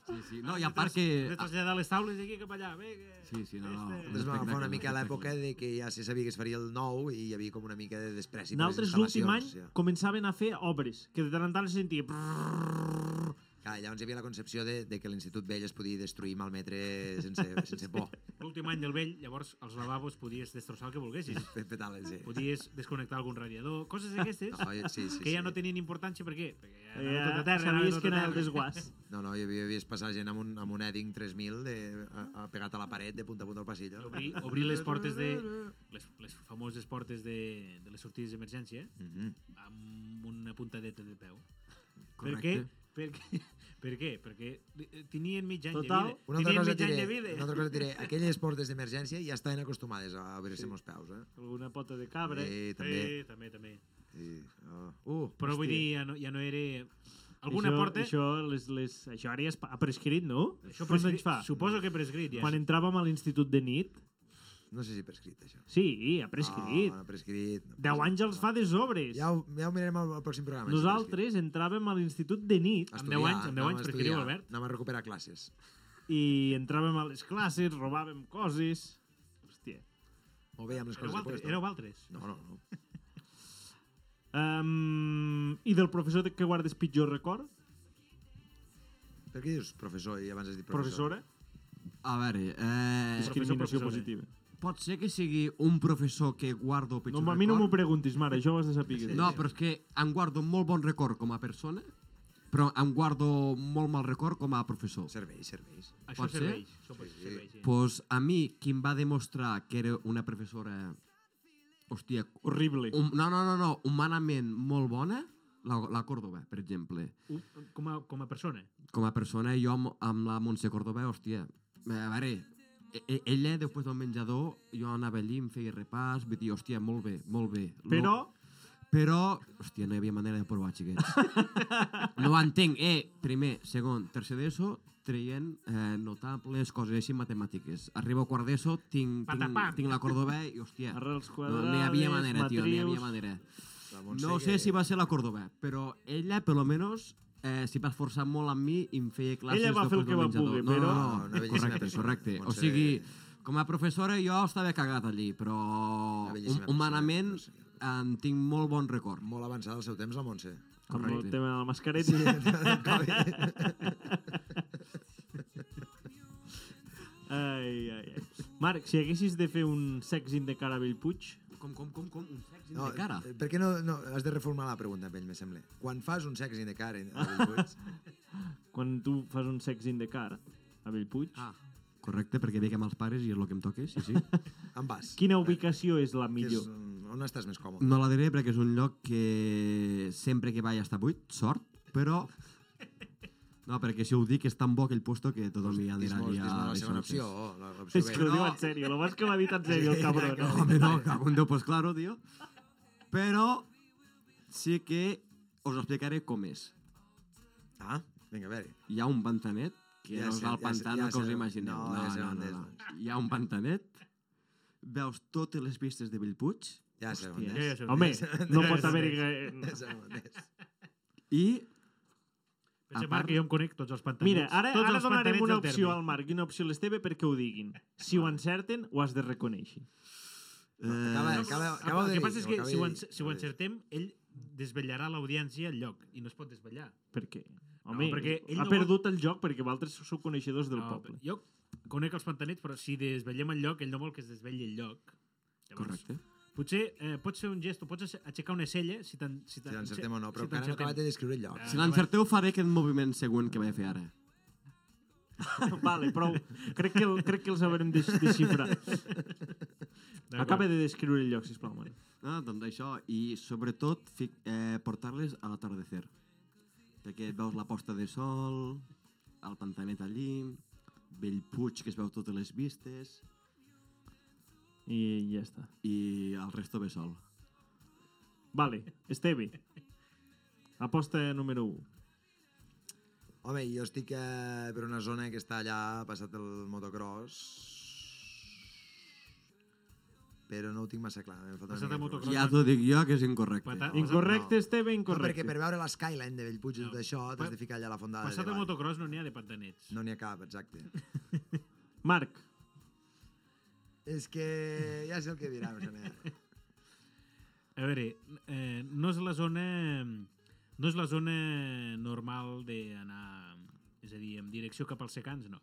[SPEAKER 6] Sí, sí, no, i a part
[SPEAKER 4] De
[SPEAKER 6] que...
[SPEAKER 4] traslladar les taules d'aquí cap allà. Bé, que...
[SPEAKER 6] Sí, sí, no, no.
[SPEAKER 4] Este-
[SPEAKER 3] Es va agafar una
[SPEAKER 6] Espectacle,
[SPEAKER 3] mica a l'època
[SPEAKER 6] espectacle.
[SPEAKER 3] de que ja se sabia que es faria el nou i hi havia com una mica de despreci.
[SPEAKER 1] Sí,
[SPEAKER 3] per les
[SPEAKER 1] Nosaltres l'últim any
[SPEAKER 3] instal·lacions,
[SPEAKER 1] ja. començaven a fer obres, que de tant en tant se sentia... prrrr.
[SPEAKER 3] Ja. Clar, llavors hi havia la concepció de, de que l'Institut Vell es podia destruir, malmetre sense, sense por.
[SPEAKER 4] L'últim any del vell, llavors, als lavabos podies destrossar el que volguessis.
[SPEAKER 3] Fet fatal, sí.
[SPEAKER 4] Podies desconnectar algun radiador, coses d'aquestes
[SPEAKER 3] No, sí, sí,
[SPEAKER 4] que ja
[SPEAKER 3] sí.
[SPEAKER 4] no tenien importància, per què? Perquè ja anava tot
[SPEAKER 1] Ja,
[SPEAKER 4] a terra, anava
[SPEAKER 1] sabies
[SPEAKER 4] tot
[SPEAKER 1] que
[SPEAKER 4] a
[SPEAKER 1] anava el
[SPEAKER 4] terra.
[SPEAKER 1] desguàs.
[SPEAKER 3] No, no, hi havia vist passar gent amb un, amb un Edding 3000 de, a, a, pegat a la paret de punta a punta al passillo.
[SPEAKER 4] Obrir, obrir les portes de... Les, les famoses portes de, de les sortides d'emergència
[SPEAKER 3] Mm
[SPEAKER 6] Mm-hmm.
[SPEAKER 3] -hmm.
[SPEAKER 4] amb una puntadeta de peu.
[SPEAKER 6] Correcte.
[SPEAKER 4] Per què? Per què? Per què? Perquè eh, tenien mig any
[SPEAKER 1] Total,
[SPEAKER 4] de vida.
[SPEAKER 3] Una altra,
[SPEAKER 4] tenien
[SPEAKER 3] cosa
[SPEAKER 4] mig any
[SPEAKER 3] diré,
[SPEAKER 4] de vida.
[SPEAKER 3] una altra cosa diré, aquelles portes d'emergència ja estaven acostumades a obrir-se amb els peus, eh?
[SPEAKER 1] Alguna pota de cabra.
[SPEAKER 3] Sí, també.
[SPEAKER 4] Eh, també, també.
[SPEAKER 3] Sí. Oh. Uh,
[SPEAKER 4] Però vull
[SPEAKER 1] Hòstia.
[SPEAKER 4] dir, ja no, ja no era... Alguna
[SPEAKER 1] això,
[SPEAKER 4] porta...
[SPEAKER 1] Això, les, les, això ara ja es pa- ha prescrit, no? Quants
[SPEAKER 4] prescrit-
[SPEAKER 1] anys fa?
[SPEAKER 4] Suposo que prescrit, ja.
[SPEAKER 1] Quan entràvem a l'institut de nit,
[SPEAKER 3] no sé si prescrit, això.
[SPEAKER 1] sí, ha prescrit.
[SPEAKER 3] No, no, Ah, prescrit. No,
[SPEAKER 1] Deu anys els fa des obres.
[SPEAKER 3] Ja ho, ja ho mirarem al, al pròxim programa. si
[SPEAKER 1] Nosaltres entràvem a l'institut de nit
[SPEAKER 3] prescrit.
[SPEAKER 4] amb deu
[SPEAKER 3] Estudiar,
[SPEAKER 4] anys- amb deu
[SPEAKER 3] anàvem
[SPEAKER 4] anys
[SPEAKER 3] a
[SPEAKER 4] prescriu,
[SPEAKER 3] estudiar,
[SPEAKER 4] Albert.
[SPEAKER 3] Anàvem a recuperar classes.
[SPEAKER 1] i entràvem a les classes, robàvem coses... Hòstia.
[SPEAKER 3] O vèiem les
[SPEAKER 4] Éreu
[SPEAKER 3] coses
[SPEAKER 4] altres,
[SPEAKER 3] després.
[SPEAKER 4] éreu altres.
[SPEAKER 3] No, no, no.
[SPEAKER 1] Um, I del professor de- que guardes pitjor record?
[SPEAKER 3] Per què dius professor i abans has dit professor?
[SPEAKER 1] Professora?
[SPEAKER 6] A veure, eh,
[SPEAKER 1] Discriminació
[SPEAKER 4] professora.
[SPEAKER 1] positiva.
[SPEAKER 6] pot ser que sigui un professor que guardo pitjor
[SPEAKER 1] No, a mi no m'ho
[SPEAKER 6] record.
[SPEAKER 1] preguntis, mare, això ho has de saber.
[SPEAKER 6] No, però és que em guardo molt bon record com a persona, però em guardo molt mal record com a professor.
[SPEAKER 3] Serveis, serveis.
[SPEAKER 4] Això
[SPEAKER 6] Pot ser?
[SPEAKER 4] serveix. Això pot
[SPEAKER 3] Sí.
[SPEAKER 4] serveix, eh. sí.
[SPEAKER 6] Pues a mi, qui em va demostrar que era una professora... Hòstia,
[SPEAKER 1] Horrible.
[SPEAKER 6] um, no, no, no, no, humanament molt bona, la, la Córdoba, per exemple.
[SPEAKER 4] Un- Com a, com a persona.
[SPEAKER 6] com a persona, jo amb, amb la Montse Córdoba, hòstia, a veure, e- e- ella, després del menjador, jo anava allí, em feia repàs, vull dir, hòstia, molt bé, molt bé. Lo-
[SPEAKER 1] Però,
[SPEAKER 6] Però, hòstia, no hi havia manera de provar, xiquets. no ho entenc, eh, primer, segon, tercer d'ESO, traient eh, notables coses així matemàtiques. Arribo a quart d'ESO, tinc, tinc,
[SPEAKER 4] Patapam.
[SPEAKER 6] tinc la Córdoba eh, i, hòstia, no,
[SPEAKER 1] arrels quadrades,
[SPEAKER 6] no hi havia manera, tio, no hi havia
[SPEAKER 1] matrius,
[SPEAKER 6] manera.
[SPEAKER 3] La Montse
[SPEAKER 6] No sé si va ser la Córdoba, però ella, per lo menos, eh, s'hi va esforçar molt amb mi i em feia classes...
[SPEAKER 1] Ella va fer el
[SPEAKER 6] després
[SPEAKER 1] que
[SPEAKER 6] del
[SPEAKER 1] va
[SPEAKER 6] menjador.
[SPEAKER 1] poder,
[SPEAKER 6] no,
[SPEAKER 1] però-
[SPEAKER 6] No,
[SPEAKER 3] No,
[SPEAKER 6] no,
[SPEAKER 3] una
[SPEAKER 6] no,
[SPEAKER 3] bellíssima
[SPEAKER 6] correcte,
[SPEAKER 3] persona,
[SPEAKER 6] correcte. O
[SPEAKER 3] Montse-
[SPEAKER 6] sigui, com a professora jo estava cagat allí, però
[SPEAKER 3] Una bellíssima persona,
[SPEAKER 6] hum- humanament
[SPEAKER 3] Montse.
[SPEAKER 6] en tinc molt bon record.
[SPEAKER 3] Molt avançada al seu temps, la Montse.
[SPEAKER 1] Com el
[SPEAKER 6] Correcte.
[SPEAKER 1] tema de la mascareta. Sí. ai, ai, ai. Marc, si haguessis de fer un sexing de cara a Bellpuig,
[SPEAKER 6] Com, com, com, com, un sexy
[SPEAKER 3] No,
[SPEAKER 6] de cara.
[SPEAKER 3] eh, Per què no, no, has de reformar la pregunta, Pell, me sembla. Quan fas un sexy de cara, a Bellpuig,
[SPEAKER 1] quan tu fas un sexing de cara a Bellpuig, ah.
[SPEAKER 6] Ah, correcte, perquè veig amb els pares i és el que em toca, sí, sí.
[SPEAKER 3] en vas.
[SPEAKER 1] quina ubicació és la
[SPEAKER 3] Que és,
[SPEAKER 1] millor?
[SPEAKER 3] mm, on estàs més còmode?
[SPEAKER 6] No la diré perquè és un lloc que sempre que vaig està buit, sort, però... No, perquè si ho dic és tan bo aquell puesto que tothom hi anirà
[SPEAKER 3] Dis-nos
[SPEAKER 6] allà.
[SPEAKER 3] dis-nos la segona
[SPEAKER 6] deixant-se.
[SPEAKER 3] opció. oh, la- l'opció
[SPEAKER 1] És
[SPEAKER 3] B.
[SPEAKER 1] que ho diu en sèrio, lo vas que ho ha dit en sèrio, el
[SPEAKER 6] No,
[SPEAKER 1] cabrón.
[SPEAKER 6] home, no, cago en Déu, pues claro, tio. Però sí que us explicaré com és.
[SPEAKER 3] Ah, vinga, a veure.
[SPEAKER 6] Hi ha un pantanet, que
[SPEAKER 3] Ja
[SPEAKER 6] ja no és
[SPEAKER 3] sé,
[SPEAKER 6] el
[SPEAKER 3] ja
[SPEAKER 6] pantà
[SPEAKER 3] sé, ja
[SPEAKER 6] ja que us
[SPEAKER 3] sé.
[SPEAKER 6] imagineu.
[SPEAKER 3] No,
[SPEAKER 6] No, no,
[SPEAKER 3] ja sé
[SPEAKER 6] no,
[SPEAKER 3] on
[SPEAKER 6] no,
[SPEAKER 3] és,
[SPEAKER 6] Hi ha un pantanet, veus totes les vistes de Bellpuig
[SPEAKER 3] Ja sé on
[SPEAKER 6] Hòstia.
[SPEAKER 4] Jo
[SPEAKER 3] és.
[SPEAKER 4] ja sé on
[SPEAKER 1] Home,
[SPEAKER 4] és.
[SPEAKER 1] no pot haver-hi...
[SPEAKER 3] Ja
[SPEAKER 1] gaire-
[SPEAKER 3] sé on és.
[SPEAKER 6] i
[SPEAKER 4] Pensa,
[SPEAKER 6] a part-
[SPEAKER 4] Marc, que jo em conec tots els pantalons.
[SPEAKER 1] Mira, ara,
[SPEAKER 4] tots
[SPEAKER 1] ara
[SPEAKER 4] els
[SPEAKER 1] donarem
[SPEAKER 4] pantanets
[SPEAKER 1] una
[SPEAKER 4] del terme.
[SPEAKER 1] opció al Marc i una opció a l'Esteve perquè ho diguin. Si ho encerten, ho has de reconèixer.
[SPEAKER 6] eh,
[SPEAKER 3] Acaba,
[SPEAKER 4] No,
[SPEAKER 3] acaba,
[SPEAKER 4] Ah,
[SPEAKER 3] acaba
[SPEAKER 4] el
[SPEAKER 3] de
[SPEAKER 4] que
[SPEAKER 3] dir,
[SPEAKER 4] passa és que
[SPEAKER 3] acaba
[SPEAKER 4] si
[SPEAKER 3] de
[SPEAKER 4] ho,
[SPEAKER 3] dir.
[SPEAKER 4] en, si ho encertem, ell desvetllarà a l'audiència el lloc i no es pot desvetllar.
[SPEAKER 1] Perquè... Home, no,
[SPEAKER 4] perquè ell
[SPEAKER 1] ha
[SPEAKER 4] no
[SPEAKER 1] perdut el joc perquè vosaltres sou coneixedors del
[SPEAKER 4] no,
[SPEAKER 1] poble.
[SPEAKER 4] Jo conec els pantanets, però si desvetllem el lloc, ell no vol que es desvetlli el lloc.
[SPEAKER 6] Correcte.
[SPEAKER 4] Potser eh, pots fer un gest o pots aixecar una cella si t'en- si
[SPEAKER 3] Si l'encertem o no, però
[SPEAKER 4] si
[SPEAKER 3] encara no he
[SPEAKER 4] t'encertem.
[SPEAKER 3] acabat de descriure el lloc.
[SPEAKER 4] Ah.
[SPEAKER 6] Si l'encerteu, faré aquest moviment següent que vaig fer ara.
[SPEAKER 1] vale, prou. Crec que, el, crec que els haurem de, de xifrar.
[SPEAKER 4] D'acord.
[SPEAKER 1] Acaba de descriure el lloc, sisplau, Mari.
[SPEAKER 6] No, doncs això, i sobretot fi- eh, portar-les a l'atardecer. Perquè veus la posta de sol, el pantanet allí, Bellpuig, que es veu totes les vistes,
[SPEAKER 1] I ja està.
[SPEAKER 6] i el resto ve sol.
[SPEAKER 1] Vale, Esteve. Aposta número 1.
[SPEAKER 3] Home, jo estic eh, per una zona que està allà, passat el motocross, però no ho tinc massa clar. em falta una
[SPEAKER 4] Passat
[SPEAKER 3] mica
[SPEAKER 4] el
[SPEAKER 3] d'informació.
[SPEAKER 4] motocross.
[SPEAKER 6] Ja t'ho dic jo, que és incorrecte.
[SPEAKER 4] Pata-
[SPEAKER 1] Incorrecte,
[SPEAKER 3] No.
[SPEAKER 1] Esteve,
[SPEAKER 3] No, perquè
[SPEAKER 1] incorrecte.
[SPEAKER 3] per veure l'Skyline de Bellpuig i tot
[SPEAKER 4] No.
[SPEAKER 3] això, t'has
[SPEAKER 4] Pa-
[SPEAKER 3] de ficar allà a la fondada
[SPEAKER 4] Passat
[SPEAKER 3] de
[SPEAKER 4] a
[SPEAKER 3] Vall.
[SPEAKER 4] motocross no n'hi ha de pantanets.
[SPEAKER 3] No n'hi ha cap, exacte.
[SPEAKER 1] Marc,
[SPEAKER 3] És que ja sé el que dirà, Besanet.
[SPEAKER 4] A veure, eh, no és la zona no és la zona normal d'anar, és a dir, en direcció cap als secans, no.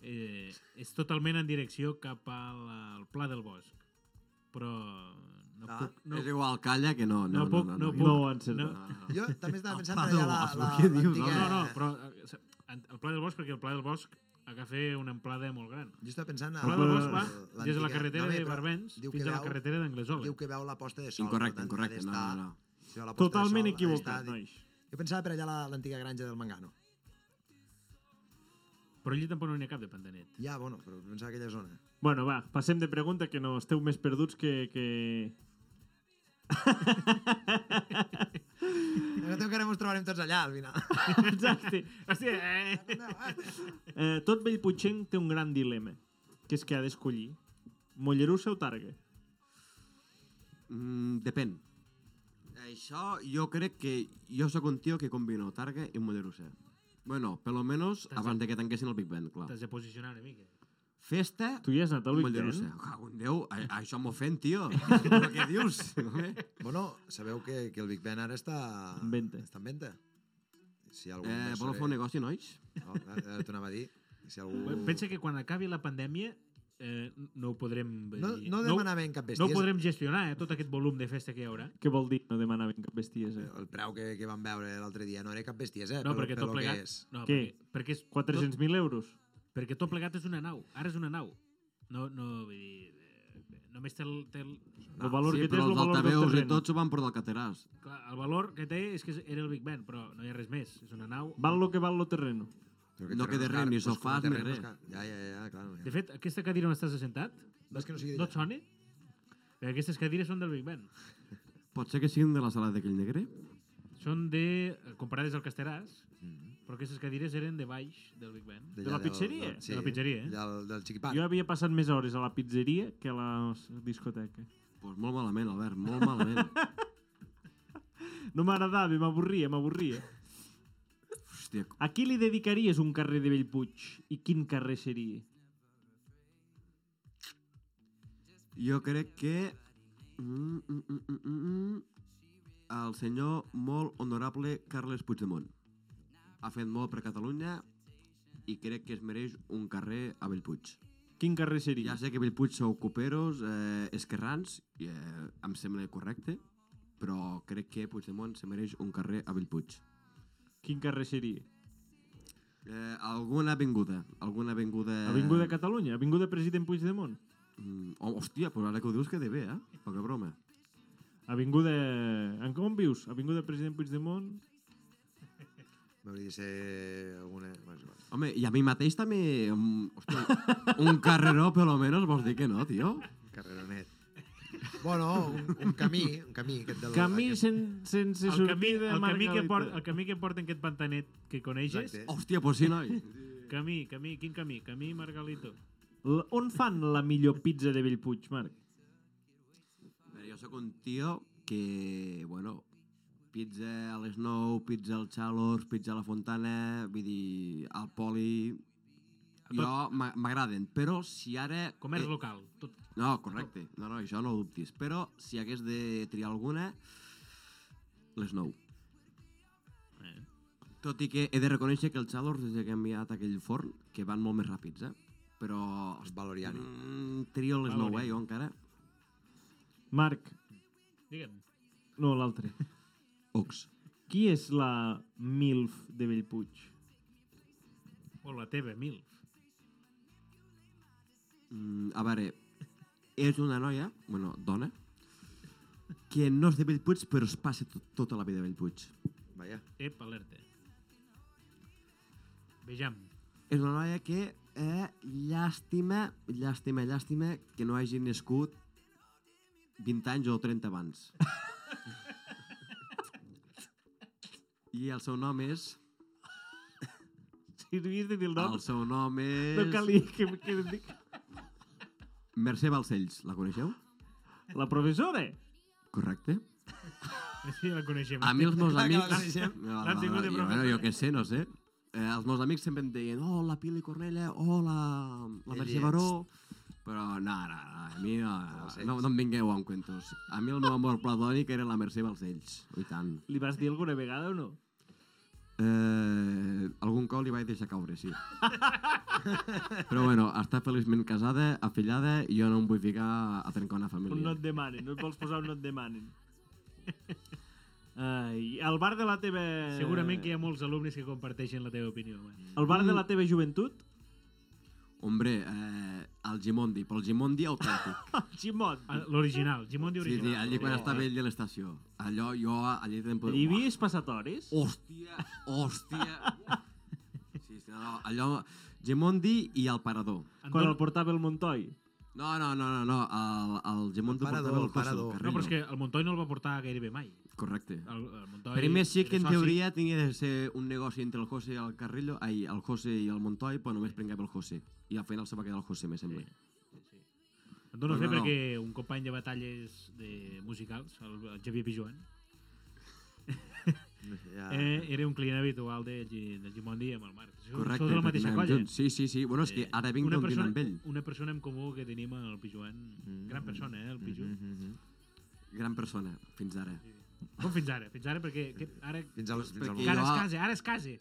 [SPEAKER 4] Eh, és totalment en direcció cap al, al Pla del Bosc. Però no
[SPEAKER 3] Ah,
[SPEAKER 4] puc... No,
[SPEAKER 6] És igual, calla, que no.
[SPEAKER 4] No
[SPEAKER 6] No,
[SPEAKER 4] puc-
[SPEAKER 6] no,
[SPEAKER 4] no
[SPEAKER 6] no,
[SPEAKER 1] no ho encerta.
[SPEAKER 4] no,
[SPEAKER 1] No.
[SPEAKER 3] Jo també estava
[SPEAKER 6] Ah, El
[SPEAKER 3] pensant
[SPEAKER 6] Pla
[SPEAKER 3] per
[SPEAKER 6] del
[SPEAKER 3] allà la-
[SPEAKER 6] Bosc,
[SPEAKER 3] la-
[SPEAKER 6] què dius,
[SPEAKER 3] l'antiga...
[SPEAKER 6] home?
[SPEAKER 4] no, no, però eh, s- en- el Pla del Bosc, perquè el Pla del Bosc ha de fer una amplada molt gran.
[SPEAKER 3] Jo estava pensant...
[SPEAKER 4] El Pla
[SPEAKER 1] però-
[SPEAKER 4] del Bosc va
[SPEAKER 3] l'antiga-
[SPEAKER 4] des de la carretera
[SPEAKER 3] No, bé,
[SPEAKER 4] de
[SPEAKER 3] però
[SPEAKER 4] Barbens
[SPEAKER 3] diu
[SPEAKER 4] fins
[SPEAKER 3] que
[SPEAKER 4] a la
[SPEAKER 3] veu-
[SPEAKER 4] carretera d'Anglesola.
[SPEAKER 3] Diu que veu la posta de sol. per
[SPEAKER 6] Incorrecte,
[SPEAKER 3] tant, ha
[SPEAKER 6] incorrecte. No,
[SPEAKER 3] d'estar-
[SPEAKER 6] no, no.
[SPEAKER 3] si veu la posta de sol, ha
[SPEAKER 1] Totalment
[SPEAKER 3] d'estar
[SPEAKER 1] equivocat,
[SPEAKER 3] dit.
[SPEAKER 1] nois.
[SPEAKER 3] Jo pensava per allà la- l'antiga granja del Mangano.
[SPEAKER 4] Però allí tampoc no n'hi ha cap de pantanet.
[SPEAKER 3] Ja, bueno, però pensava aquella zona.
[SPEAKER 1] Bueno, va, passem de pregunta, que no esteu més perduts que... que...
[SPEAKER 3] Nosaltres encara ens trobarem tots allà, al final.
[SPEAKER 1] Exacte. Hòstia, eh? eh, tot Bellputxenc té un gran dilema, que és que ha d'escollir Mollerussa o Targa.
[SPEAKER 6] Mm, depèn. Això jo crec que jo sóc un tio que combino Targa i Mollerussa. Bueno, per lo menos
[SPEAKER 4] T'has de-
[SPEAKER 6] abans de que tanquessin el Big Ben, clar.
[SPEAKER 4] T'has de posicionar una mica.
[SPEAKER 6] Festa
[SPEAKER 1] Tu ja has anat al
[SPEAKER 6] Mollerussa.
[SPEAKER 1] weekend?
[SPEAKER 6] Cago en Déu, a- això m'ofèn, tio. Però què dius? home?
[SPEAKER 3] Bueno, sabeu que, que el Big Ben ara està...
[SPEAKER 1] En venta.
[SPEAKER 3] Està en venda. Si algú
[SPEAKER 6] Eh, voleu fer un negoci, nois?
[SPEAKER 3] No, ara t'ho anava a dir. Si algú...
[SPEAKER 4] Bé, Pensa que quan acabi la pandèmia eh, no ho podrem... vull
[SPEAKER 3] No,
[SPEAKER 4] dir,
[SPEAKER 3] no demanaven cap
[SPEAKER 4] no,
[SPEAKER 3] bèsties.
[SPEAKER 4] ho podrem gestionar, eh, tot aquest volum de festa que hi haurà.
[SPEAKER 1] Què vol dir no demanaven cap bestiesa?
[SPEAKER 6] Eh,
[SPEAKER 3] El preu que, que vam veure l'altre dia no era cap bèsties, eh?
[SPEAKER 4] No, perquè tot
[SPEAKER 3] que
[SPEAKER 4] plegat...
[SPEAKER 3] és.
[SPEAKER 4] No,
[SPEAKER 1] Què?
[SPEAKER 4] perquè, perquè, és, tot,
[SPEAKER 1] 400.000 euros?
[SPEAKER 4] perquè tot plegat és una nau. Ara és una nau. No, no, vull dir... eh, Només té el, té el,
[SPEAKER 1] El valor
[SPEAKER 6] sí,
[SPEAKER 1] que té és
[SPEAKER 6] però
[SPEAKER 1] el
[SPEAKER 6] els
[SPEAKER 1] valor del
[SPEAKER 6] altaveus i
[SPEAKER 1] terreny.
[SPEAKER 6] tots ho van portar al Cateràs.
[SPEAKER 4] clar, el valor que té és que era el Big Ben, però no hi ha res més. És una nau...
[SPEAKER 1] Val lo que val lo terreno.
[SPEAKER 3] Però
[SPEAKER 6] No
[SPEAKER 3] terreno
[SPEAKER 6] queda
[SPEAKER 3] és
[SPEAKER 6] res,
[SPEAKER 3] car,
[SPEAKER 6] ni
[SPEAKER 3] pues, com
[SPEAKER 6] sofàs,
[SPEAKER 3] el terreno
[SPEAKER 6] ni
[SPEAKER 3] és
[SPEAKER 6] res.
[SPEAKER 3] car. Ja, ja, ja, clar. Ja.
[SPEAKER 4] De fet, aquesta cadira on estàs assentat,
[SPEAKER 3] No, és que no sigui
[SPEAKER 4] no
[SPEAKER 3] d'allà.
[SPEAKER 4] et sona? Perquè Aquestes cadires són del Big Ben.
[SPEAKER 6] Pot ser que siguin de la sala d'aquell negre?
[SPEAKER 4] Són de... eh, Comparades al Casteràs,
[SPEAKER 3] Mhm.
[SPEAKER 4] però aquestes cadires eren de baix del Big Ben.
[SPEAKER 3] D'allà
[SPEAKER 1] la
[SPEAKER 3] del-
[SPEAKER 1] pizzeria?
[SPEAKER 3] del-
[SPEAKER 4] De la pizzeria, eh?
[SPEAKER 3] Del, del xiquipac.
[SPEAKER 1] Jo havia passat més hores a la pizzeria que a la discoteca.
[SPEAKER 6] Doncs molt malament, Albert, molt malament.
[SPEAKER 1] No m'agradava, m'avorria, m'avorria.
[SPEAKER 6] Hòstia,
[SPEAKER 1] A qui li dedicaries un carrer de Bellpuig? I quin carrer seria?
[SPEAKER 6] jo crec que... Mm, mm, mm, mm, mm, mm, el senyor molt honorable Carles Puigdemont ha fet molt per Catalunya i crec que es mereix un carrer a Bellpuig.
[SPEAKER 1] Quin carrer
[SPEAKER 6] Ja
[SPEAKER 1] seria?
[SPEAKER 6] sé que Bellpuig sou coperos, eh, esquerrans, i, eh, em sembla correcte, però crec que Puigdemont se mereix un carrer a Bellpuig.
[SPEAKER 1] Quin carrer seria?
[SPEAKER 6] Eh, alguna avinguda, alguna avinguda...
[SPEAKER 1] Avinguda Catalunya? Avinguda President Puigdemont?
[SPEAKER 6] Mm, oh, hòstia, però ara que ho dius que de bé, eh? Poca broma.
[SPEAKER 1] Avinguda... En com vius? Avinguda President Puigdemont?
[SPEAKER 3] M'hauria de ser alguna... Bueno, és igual.
[SPEAKER 6] Home, i a mi mateix també... mm, Hòstia, un carreró, per almenys, vols dir que no, tio?
[SPEAKER 3] Carreronet. Bueno, un, un camí, un camí. Aquest del,
[SPEAKER 1] Camí
[SPEAKER 3] aquest,
[SPEAKER 1] sen, sense
[SPEAKER 4] el camí,
[SPEAKER 1] sortida
[SPEAKER 4] el camí, que
[SPEAKER 1] Margalita.
[SPEAKER 4] port, el camí que porta en aquest pantanet que coneixes,
[SPEAKER 3] Exacte.
[SPEAKER 6] Hòstia, pues sí, noi.
[SPEAKER 4] camí, camí, quin camí? Camí Margalito.
[SPEAKER 1] L- On fan la millor pizza de Bellpuig, Marc?
[SPEAKER 6] A veure, jo sóc un tio que, bueno, pizza a les 9, pizza al Xalors, pizza a la Fontana, vull dir, al Poli... Jo m'a- m'agraden, però si ara...
[SPEAKER 4] Comerç
[SPEAKER 6] eh,
[SPEAKER 4] local. Tot.
[SPEAKER 6] No, correcte. No, no, això no ho dubtis. Però si hagués de triar alguna, les 9.
[SPEAKER 4] Eh.
[SPEAKER 6] Tot i que he de reconèixer que els Chalors, des de que hem enviat aquell forn, que van molt més ràpids, eh? Però...
[SPEAKER 3] Els Valoriani.
[SPEAKER 6] Mm, trio les nou, eh, jo encara.
[SPEAKER 1] Marc,
[SPEAKER 4] Digue'm.
[SPEAKER 1] no l'altre.
[SPEAKER 3] Ox.
[SPEAKER 1] Qui és la MILF de Bellpuig?
[SPEAKER 4] O la teva, mil.
[SPEAKER 6] Mm, a veure, és una noia, bueno, dona, que no és de Bellpuig, però es passa tot, tota la vida a Bellpuig.
[SPEAKER 3] Vaja.
[SPEAKER 4] Ep, alerta. Vejam.
[SPEAKER 6] És una noia que, eh, llàstima, llàstima, llàstima que no hagi nascut 20 anys o 30 abans. I el seu nom és...
[SPEAKER 1] Si havies de dir el nom,
[SPEAKER 6] El seu nom és...
[SPEAKER 1] no calia que, que em dic.
[SPEAKER 6] Mercè Balcells, la coneixeu?
[SPEAKER 1] La professora?
[SPEAKER 6] Correcte.
[SPEAKER 4] Sí, la coneixem.
[SPEAKER 6] A mi els meus
[SPEAKER 3] Clar que la
[SPEAKER 6] amics...
[SPEAKER 3] coneixem.
[SPEAKER 6] No,
[SPEAKER 4] L'han tingut de
[SPEAKER 6] jo,
[SPEAKER 4] professora.
[SPEAKER 6] bueno, jo què sé, no sé. Eh, els meus amics sempre em deien oh, la Pili Cornella, oh, la, la Mercè
[SPEAKER 3] Eliets.
[SPEAKER 6] Baró... Però no, no, no, a mi no, no, no em vingueu amb cuentos. A mi el meu amor platònic era la Mercè Balcells, i tant.
[SPEAKER 1] Li vas dir alguna vegada o no?
[SPEAKER 6] Eh, algun cop li vaig deixar caure, sí. Però bueno, està feliçment casada, afillada, i jo no em vull ficar a trencar una família.
[SPEAKER 1] Un no et demanen, no et vols posar un no et demanen. Ai, el bar de la teva...
[SPEAKER 4] Segurament que hi ha molts alumnes que comparteixen la teva opinió. eh.
[SPEAKER 6] Mm.
[SPEAKER 4] Bueno.
[SPEAKER 1] El bar de la teva joventut?
[SPEAKER 6] Hombre, eh, el Gimondi, però el Gimondi autèntic.
[SPEAKER 1] El Ximot.
[SPEAKER 4] Ah, L'original, Gimondi
[SPEAKER 6] sí,
[SPEAKER 4] original. Eh,
[SPEAKER 6] sí, allí quan estava ell de l'estació. Allò, jo, allí... Allí
[SPEAKER 1] Allí havies passat hores?
[SPEAKER 6] Hòstia, hòstia. Sí, sí, no, allò... Gimondi i el parador.
[SPEAKER 1] Quan el portava el Montoy?
[SPEAKER 6] No, no, no, no, no. El, el Gimondi
[SPEAKER 3] El parador,
[SPEAKER 6] portava
[SPEAKER 3] el parador.
[SPEAKER 6] Coso,
[SPEAKER 4] No, però és que el Montoy no el va portar gairebé mai.
[SPEAKER 6] Correcte.
[SPEAKER 4] El, el Montoy
[SPEAKER 6] Primer sí que en
[SPEAKER 4] era soci.
[SPEAKER 6] teoria tenia de ser un negoci entre el José i el Carrillo, ai, el José i el Montoy, però només prenguem el José. I al final se va quedar el José, me sembla. Sí.
[SPEAKER 4] Em dono
[SPEAKER 6] No,
[SPEAKER 4] fe
[SPEAKER 6] no, no.
[SPEAKER 4] perquè un company de batalles de musicals, el, el Xavier Pijoan,
[SPEAKER 3] Ja.
[SPEAKER 6] Ah,
[SPEAKER 4] eh, era un client habitual de, Gi- del Gimondi amb el Marc. Són-
[SPEAKER 6] Correcte.
[SPEAKER 4] Són de la mateixa
[SPEAKER 6] patinàvem
[SPEAKER 4] colla.
[SPEAKER 6] junts. Sí, sí, sí. Bueno, és que ara
[SPEAKER 4] eh?
[SPEAKER 6] vinc
[SPEAKER 4] una
[SPEAKER 6] d'un dinar
[SPEAKER 4] persona,
[SPEAKER 6] amb ell. Mm.
[SPEAKER 4] Una persona en comú que tenim al Pijoan. Gran persona, eh, el Pijoan.
[SPEAKER 3] Mm,
[SPEAKER 6] Gran persona, fins ara.
[SPEAKER 4] Com fins ara? Fins ara perquè que, ara,
[SPEAKER 3] Fins al, fins al
[SPEAKER 6] Perquè-
[SPEAKER 3] moment.
[SPEAKER 4] ara es
[SPEAKER 6] jo-
[SPEAKER 4] casa, ara es casa.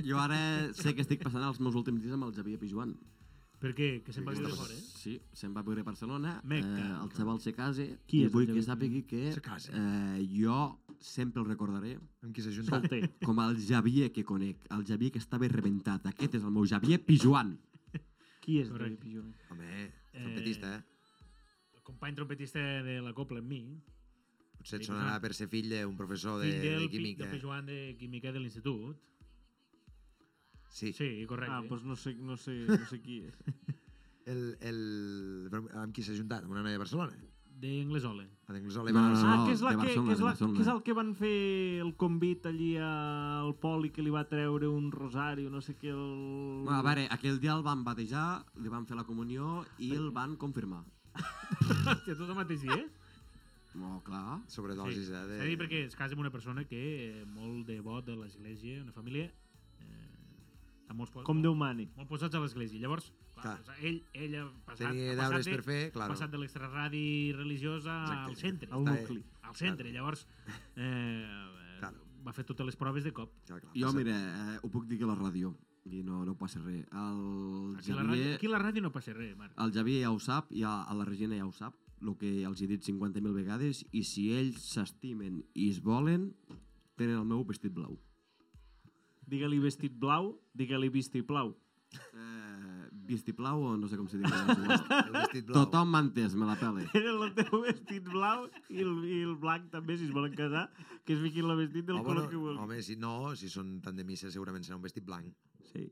[SPEAKER 6] Jo ara sé que estic passant els meus últims dies amb el Xavier Pijuan.
[SPEAKER 4] Per què? Que se'n va viure fora, eh?
[SPEAKER 6] Sí, se'n va viure a Barcelona, eh,
[SPEAKER 4] Meca.
[SPEAKER 6] el xaval se case,
[SPEAKER 1] Qui és
[SPEAKER 6] i
[SPEAKER 1] el
[SPEAKER 6] vull que
[SPEAKER 1] Xavier
[SPEAKER 6] sàpigui que
[SPEAKER 3] Se case.
[SPEAKER 6] eh, jo sempre el recordaré
[SPEAKER 3] Amb qui s'ajunta?
[SPEAKER 1] Solter.
[SPEAKER 6] com el Xavier que conec, el Xavier que estava rebentat. Aquest és el meu Xavier Pijuan.
[SPEAKER 1] Qui és
[SPEAKER 4] Correcte.
[SPEAKER 1] David Pijón?
[SPEAKER 3] Home, trompetista, eh?
[SPEAKER 4] El company trompetista de la Copla amb mi,
[SPEAKER 3] Potser et sonarà per ser fill d'un professor de,
[SPEAKER 4] fill del,
[SPEAKER 3] de
[SPEAKER 4] Pi-
[SPEAKER 3] química.
[SPEAKER 4] del Pijoan de química de l'institut.
[SPEAKER 3] Sí.
[SPEAKER 4] Sí, correcte. eh?
[SPEAKER 1] Ah, doncs no sé, no sé, no sé qui és.
[SPEAKER 3] El, el... però Amb qui s'ha ajuntat? Amb una noia de Barcelona?
[SPEAKER 4] D'Anglesola.
[SPEAKER 3] A d'Anglesola i
[SPEAKER 6] No,
[SPEAKER 3] va a
[SPEAKER 6] no, no.
[SPEAKER 3] Barcelona.
[SPEAKER 1] ah, que és, la
[SPEAKER 6] de
[SPEAKER 1] que,
[SPEAKER 6] Barcelona,
[SPEAKER 1] que és,
[SPEAKER 6] de
[SPEAKER 1] la,
[SPEAKER 6] Barcelona.
[SPEAKER 1] que és el que van fer el convit allí al poli que li va treure un rosari o no sé què... El...
[SPEAKER 6] Bueno, a veure, aquell dia el van batejar, li van fer la comunió i el van confirmar.
[SPEAKER 4] Hòstia, tot el mateix dia, eh?
[SPEAKER 6] No, Oh, clar.
[SPEAKER 3] Sobredosis, eh?
[SPEAKER 4] S'ha de dir perquè es casa amb una persona que eh, molt devot de l'església, una família... Eh, amb molts po-
[SPEAKER 1] Com Déu mani.
[SPEAKER 4] Molt posats a l'església. Llavors, clar,
[SPEAKER 3] Clar.
[SPEAKER 4] doncs ell, ell ha passat,
[SPEAKER 3] Tenia
[SPEAKER 4] ha
[SPEAKER 3] deures
[SPEAKER 4] passat,
[SPEAKER 3] per
[SPEAKER 4] de,
[SPEAKER 3] fer,
[SPEAKER 4] ha
[SPEAKER 3] claro.
[SPEAKER 4] passat de l'extraradi religiosa
[SPEAKER 3] Exacte.
[SPEAKER 4] al centre.
[SPEAKER 1] Al
[SPEAKER 3] Està bé.
[SPEAKER 1] nucli.
[SPEAKER 4] Al centre. Llavors, eh, eh,
[SPEAKER 3] Claro.
[SPEAKER 4] va fer totes les proves de cop.
[SPEAKER 3] Ja, clar,
[SPEAKER 6] Jo,
[SPEAKER 3] passa-
[SPEAKER 6] mira, eh, ho puc dir que la ràdio. I no, no passa res. El
[SPEAKER 4] Aquí a la, ràdio, aquí
[SPEAKER 6] Xavier,
[SPEAKER 4] a la ràdio no passa res,
[SPEAKER 3] Ah.
[SPEAKER 4] Marc.
[SPEAKER 6] el Xavier ja ho sap, i a, a la Regina ja ho sap, el que els he dit 50.000 vegades, i si ells s'estimen i es volen, tenen el meu vestit blau.
[SPEAKER 1] Digue-li vestit blau, digue-li vestit blau.
[SPEAKER 6] Eh, vistiplau o no sé com se diu.
[SPEAKER 3] El
[SPEAKER 6] Tothom
[SPEAKER 3] vestit blau.
[SPEAKER 6] m'ha entès, me la pele.
[SPEAKER 1] Era el teu vestit blau i el, i el blanc també, si es volen casar, que es fiquin el vestit
[SPEAKER 6] Ah,
[SPEAKER 1] del
[SPEAKER 3] Oh,
[SPEAKER 1] color
[SPEAKER 3] bueno,
[SPEAKER 1] que vulguin.
[SPEAKER 3] home, si no, si són tant de missa, segurament serà un vestit blanc.
[SPEAKER 1] Sí.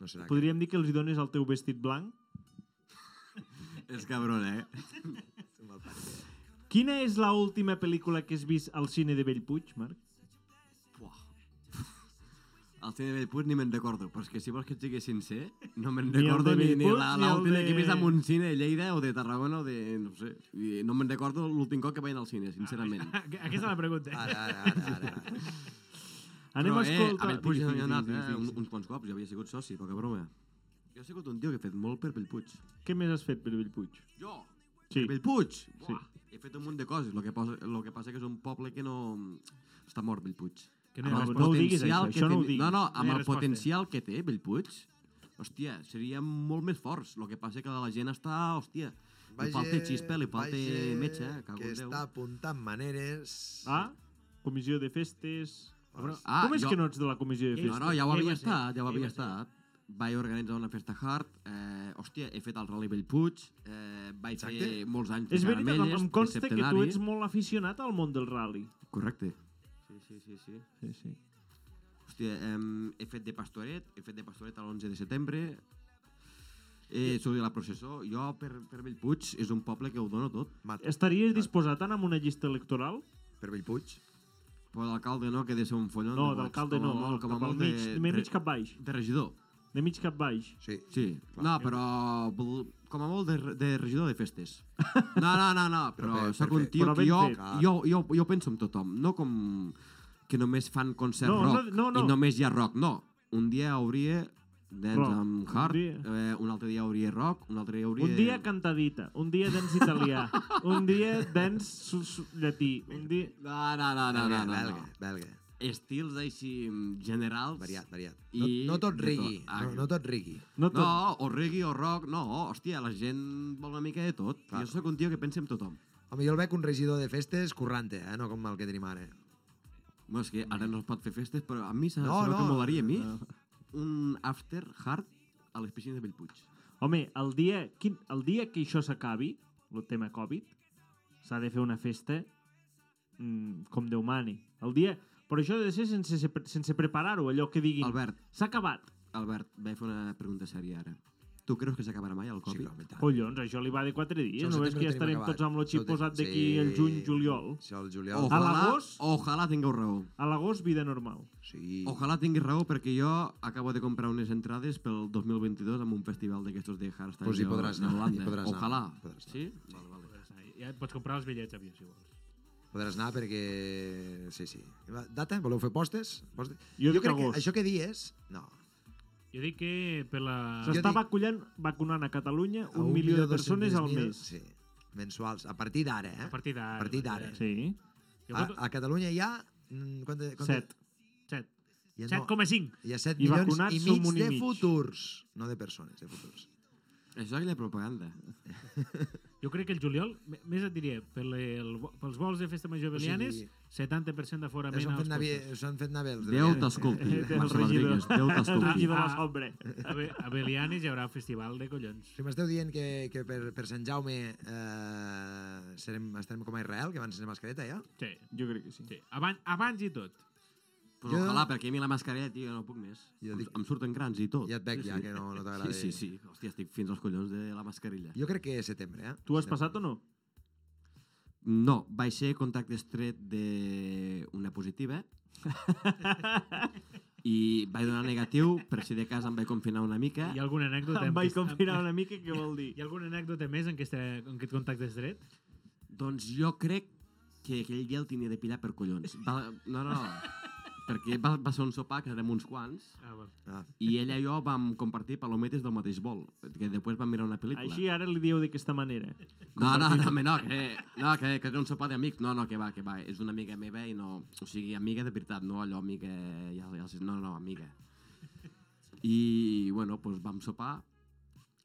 [SPEAKER 3] No serà que-
[SPEAKER 1] Podríem dir que els hi dones el teu vestit blanc?
[SPEAKER 6] És cabron, eh?
[SPEAKER 3] Mal pare.
[SPEAKER 1] Quina és la última pel·lícula que has vist al cine de Bellpuig, Marc?
[SPEAKER 6] El cine de Bellpuig ni me'n recordo, però és que si vols que et sigui sincer, no me'n
[SPEAKER 1] Ni el
[SPEAKER 6] recordo
[SPEAKER 1] de
[SPEAKER 6] ni, ni
[SPEAKER 1] Bellpuig,
[SPEAKER 6] la-
[SPEAKER 1] ni el
[SPEAKER 6] l'última
[SPEAKER 1] de-
[SPEAKER 6] que he vist en un cine de Lleida o de Tarragona o de... no sé. I no me'n recordo l'últim cop que vaig anar al cine, sincerament.
[SPEAKER 4] Ah, Aquesta és la pregunta. eh?
[SPEAKER 3] Ara, ara, ara, ara. ara.
[SPEAKER 1] Anem
[SPEAKER 6] però,
[SPEAKER 1] a escoltar...
[SPEAKER 6] Eh, a Bellpuig
[SPEAKER 1] Digui,
[SPEAKER 6] no hi he
[SPEAKER 1] digui,
[SPEAKER 6] anat
[SPEAKER 1] digui,
[SPEAKER 6] eh,
[SPEAKER 1] digui,
[SPEAKER 6] un,
[SPEAKER 1] digui.
[SPEAKER 6] uns quants cops, jo havia sigut soci, poca broma. Jo he sigut un tio que he fet molt per Bellpuig.
[SPEAKER 1] Què més has fet per Bellpuig?
[SPEAKER 6] Jo?
[SPEAKER 1] Sí.
[SPEAKER 6] Per Bellpuig? Buah,
[SPEAKER 1] Sí.
[SPEAKER 6] He fet un munt de coses, el que, posa, lo que passa que és un poble que no... Està mort, Bellpuig.
[SPEAKER 4] Que no,
[SPEAKER 6] Amb
[SPEAKER 4] hi ha
[SPEAKER 1] No,
[SPEAKER 6] el
[SPEAKER 4] res
[SPEAKER 1] Ah, no ho diguis,
[SPEAKER 4] per-
[SPEAKER 6] potencial
[SPEAKER 1] això,
[SPEAKER 6] que
[SPEAKER 1] això no ho
[SPEAKER 6] ten-
[SPEAKER 1] diguis.
[SPEAKER 6] No, no,
[SPEAKER 4] No hi ha
[SPEAKER 6] amb el
[SPEAKER 4] resposta.
[SPEAKER 6] potencial que té Bellpuig, hòstia, seríem molt més forts. El que passa que la gent està, hòstia, li falta xispa, li falta
[SPEAKER 3] vagi
[SPEAKER 6] metge, cago
[SPEAKER 3] que
[SPEAKER 6] en Déu.
[SPEAKER 3] està apuntant maneres...
[SPEAKER 1] Ah, comissió de festes...
[SPEAKER 6] Ah,
[SPEAKER 1] Com és
[SPEAKER 6] jo- Eh,
[SPEAKER 1] que no ets de la comissió de
[SPEAKER 4] Ell-
[SPEAKER 6] No,
[SPEAKER 1] festes?
[SPEAKER 6] no, ja ho
[SPEAKER 4] ell
[SPEAKER 6] havia
[SPEAKER 4] va ser,
[SPEAKER 6] estat, ja ho
[SPEAKER 4] ell
[SPEAKER 6] havia
[SPEAKER 4] va ser.
[SPEAKER 6] estat. Vaig organitzar una festa hard, eh, hòstia, he fet el Rally Bellpuig, eh, vaig fer
[SPEAKER 3] Exacte.
[SPEAKER 6] molts anys de
[SPEAKER 1] És veritat, em,
[SPEAKER 6] caramelles,
[SPEAKER 1] em
[SPEAKER 6] de
[SPEAKER 1] consta que tu
[SPEAKER 6] septenari.
[SPEAKER 1] ets molt aficionat al món del rally.
[SPEAKER 6] Correcte. Sí, sí, sí, sí.
[SPEAKER 1] Sí, sí.
[SPEAKER 6] Hòstia, em, he fet de pastoret, he fet de pastoret a l'11 de setembre, eh, sóc de la processó, jo per, per Bellpuig és un poble que ho dono tot.
[SPEAKER 3] Mat,
[SPEAKER 6] Ah.
[SPEAKER 1] Estaries disposat a anar amb una llista electoral?
[SPEAKER 3] per Bellpuig.
[SPEAKER 6] Però d'alcalde no, que de ser un follon
[SPEAKER 1] No,
[SPEAKER 6] de boig,
[SPEAKER 1] d'alcalde
[SPEAKER 6] com a
[SPEAKER 1] no.
[SPEAKER 6] molt, com a
[SPEAKER 1] cap al
[SPEAKER 6] molt
[SPEAKER 1] mig,
[SPEAKER 6] de,
[SPEAKER 1] de mig cap baix.
[SPEAKER 6] de regidor.
[SPEAKER 1] De mig cap baix.
[SPEAKER 3] Sí.
[SPEAKER 6] Sí, no, però vol- com a molt de, re- de regidor de festes. No, no, no, no però,
[SPEAKER 3] Però bé,
[SPEAKER 6] sóc un
[SPEAKER 3] perfecte.
[SPEAKER 6] tio
[SPEAKER 1] Però
[SPEAKER 6] que
[SPEAKER 1] ben
[SPEAKER 6] jo,
[SPEAKER 1] fet.
[SPEAKER 6] jo, jo, jo penso en tothom, no com que només fan concert
[SPEAKER 1] No, no,
[SPEAKER 6] rock
[SPEAKER 1] no, no.
[SPEAKER 6] i només hi ha rock, no. Un dia hauria dance
[SPEAKER 1] Rock.
[SPEAKER 6] amb hard,
[SPEAKER 1] Un dia.
[SPEAKER 6] eh, un altre dia hauria rock, un altre dia hauria...
[SPEAKER 1] Un dia cantadita, un dia dans italià, un dia dans su- su- llatí, un dia...
[SPEAKER 6] No, no, no, no, no,
[SPEAKER 3] belga,
[SPEAKER 6] no,
[SPEAKER 3] belga,
[SPEAKER 6] no.
[SPEAKER 3] belga.
[SPEAKER 6] Estils així mm, generals...
[SPEAKER 3] Variat, variat. No,
[SPEAKER 6] I
[SPEAKER 3] no tot
[SPEAKER 6] de
[SPEAKER 3] rigui.
[SPEAKER 6] tot. Ah,
[SPEAKER 3] No, no tot rigui.
[SPEAKER 1] No tot.
[SPEAKER 6] No, o reggae o rock, no, hòstia, la gent vol una mica de tot.
[SPEAKER 3] Clar.
[SPEAKER 6] Jo sóc un tio que pensa en tothom.
[SPEAKER 3] Home, jo el veig un regidor de festes currante, eh? no com el que tenim ara.
[SPEAKER 6] No, és que ara no es pot fer festes, però a mi s'ha
[SPEAKER 3] No,
[SPEAKER 6] no, no,
[SPEAKER 3] no,
[SPEAKER 6] que molaria a mi un after hard a les piscines de Bellpuig.
[SPEAKER 1] Home, el dia, quin, el dia que això s'acabi, el tema Covid, s'ha de fer una festa mm, com Déu mani. El dia... Però això ha de ser sense, sense preparar-ho, allò que diguin.
[SPEAKER 6] Albert,
[SPEAKER 1] S'ha acabat.
[SPEAKER 6] Albert, vaig fer una pregunta sèria ara. Tu creus que s'acabarà mai el Covid?
[SPEAKER 3] clar, home, i tant.
[SPEAKER 1] Collons, això li va de 4 dies,
[SPEAKER 3] Això al
[SPEAKER 1] només que
[SPEAKER 3] setembre ho
[SPEAKER 1] ja
[SPEAKER 3] tenim
[SPEAKER 1] estarem
[SPEAKER 3] acabat.
[SPEAKER 1] tots amb lo
[SPEAKER 3] Això ho
[SPEAKER 1] xip posat
[SPEAKER 3] tenim-
[SPEAKER 1] d'aquí el
[SPEAKER 3] sí.
[SPEAKER 1] juny, juliol.
[SPEAKER 3] Això el
[SPEAKER 1] Ojalà.
[SPEAKER 3] juliol.
[SPEAKER 6] Ojalà,
[SPEAKER 1] l'agost?
[SPEAKER 6] ojalà tingueu raó.
[SPEAKER 1] A l'agost, vida normal.
[SPEAKER 3] Sí.
[SPEAKER 6] Ojalà tinguis raó perquè jo acabo de comprar unes entrades pel 2022 amb un festival d'aquestos de hardstyle
[SPEAKER 3] Pues hi
[SPEAKER 6] a-
[SPEAKER 3] podràs
[SPEAKER 6] a
[SPEAKER 3] anar, hi
[SPEAKER 6] Holanda.
[SPEAKER 3] podràs anar,
[SPEAKER 6] Ojalà.
[SPEAKER 3] hi podràs anar.
[SPEAKER 6] Sí? Vale, vale.
[SPEAKER 4] Ja et pots comprar els bitllets d'avió, si vols.
[SPEAKER 3] Podràs anar perquè... Sí, sí. Va, Data? Voleu fer postes? postes?
[SPEAKER 1] Jo dic
[SPEAKER 3] crec
[SPEAKER 1] agost.
[SPEAKER 3] que això que dies... No.
[SPEAKER 4] Jo dic que per la...
[SPEAKER 3] Jo
[SPEAKER 1] S'està
[SPEAKER 3] dic-
[SPEAKER 1] vacunant, vacunant a Catalunya
[SPEAKER 3] A
[SPEAKER 1] un, milió de
[SPEAKER 3] 1.200.000,
[SPEAKER 1] persones al mes.
[SPEAKER 3] Sí. Mensuals. A partir d'ara, eh?
[SPEAKER 4] A partir d'ara. eh?
[SPEAKER 3] A partir d'ara. Ah,
[SPEAKER 1] Sí.
[SPEAKER 4] Jo
[SPEAKER 3] A,
[SPEAKER 4] voto-
[SPEAKER 3] a Catalunya hi ha... mm, Quanta, quanta,
[SPEAKER 1] Set.
[SPEAKER 4] Set.
[SPEAKER 3] Hi ha, no,
[SPEAKER 4] 7,5.
[SPEAKER 3] hi ha 7
[SPEAKER 1] I
[SPEAKER 3] milions
[SPEAKER 1] vacunats
[SPEAKER 3] i
[SPEAKER 1] som
[SPEAKER 3] mig
[SPEAKER 1] un i
[SPEAKER 3] de
[SPEAKER 1] mig.
[SPEAKER 3] futurs. No de persones, de futurs.
[SPEAKER 6] Això és aquella propaganda.
[SPEAKER 4] Jo crec que el juliol, m- més et diria, per le, el, vo- pels vols de festa major
[SPEAKER 3] O
[SPEAKER 4] belianes,
[SPEAKER 3] sigui,
[SPEAKER 4] 70% d'aforament
[SPEAKER 3] S'han
[SPEAKER 4] als
[SPEAKER 3] fet, navi...
[SPEAKER 4] cossos.
[SPEAKER 3] s'han fet navels. de
[SPEAKER 6] Déu
[SPEAKER 3] veritat.
[SPEAKER 6] t'escolti,
[SPEAKER 1] Eh, del
[SPEAKER 6] Max
[SPEAKER 1] regidor.
[SPEAKER 6] Rodríguez. Déu
[SPEAKER 1] El
[SPEAKER 6] t'escolti.
[SPEAKER 1] regidor de la
[SPEAKER 4] Ah.
[SPEAKER 1] Sobre.
[SPEAKER 4] A, Be a Belianes hi haurà festival de collons.
[SPEAKER 3] Si m'esteu dient que, que per, per Sant Jaume eh, serem, estarem com a Israel, que van sense mascareta, ja?
[SPEAKER 4] Sí,
[SPEAKER 1] Jo crec que sí.
[SPEAKER 4] sí. Abans, abans i tot.
[SPEAKER 6] Però
[SPEAKER 3] Jo-
[SPEAKER 6] ojalà, perquè a mi la mascarella, tio, no puc més.
[SPEAKER 3] Jo
[SPEAKER 6] Em,
[SPEAKER 3] dic-
[SPEAKER 6] em surten grans i tot.
[SPEAKER 3] Ja et veig ja, que no- no t'agrada.
[SPEAKER 6] Oh, Sí, sí, sí. Hòstia, estic fins als collons de la mascarilla.
[SPEAKER 3] Jo crec que és setembre, eh?
[SPEAKER 1] Tu has
[SPEAKER 3] Setembre.
[SPEAKER 1] passat o no?
[SPEAKER 6] No, vaig ser contacte estret d'una positiva i vaig donar negatiu, per si de cas em vaig confinar una mica.
[SPEAKER 4] Hi ha alguna anècdota...
[SPEAKER 1] Em
[SPEAKER 4] en
[SPEAKER 1] vaig
[SPEAKER 4] què-
[SPEAKER 1] confinar una mica, què vol dir?
[SPEAKER 4] Hi ha alguna anècdota més en què, este, en què et contactes dret?
[SPEAKER 6] Doncs jo crec que aquell dia el tenia de pillar per collons. Va, no, no, perquè va, va ser un sopar que érem uns quants
[SPEAKER 4] Ah, val.
[SPEAKER 3] Ah,
[SPEAKER 6] i ella i jo vam compartir palometes del mateix bol, que després vam mirar una pel·lícula.
[SPEAKER 1] Així ara li dieu d'aquesta manera.
[SPEAKER 6] No, no, no, home, no, que, no, que, que és un sopar d'amics. No, no, que va, que va. És una amiga meva i no... O sigui, amiga de veritat, no allò amiga... Ja, ja, els- no, no, amiga. I, bueno, doncs vam sopar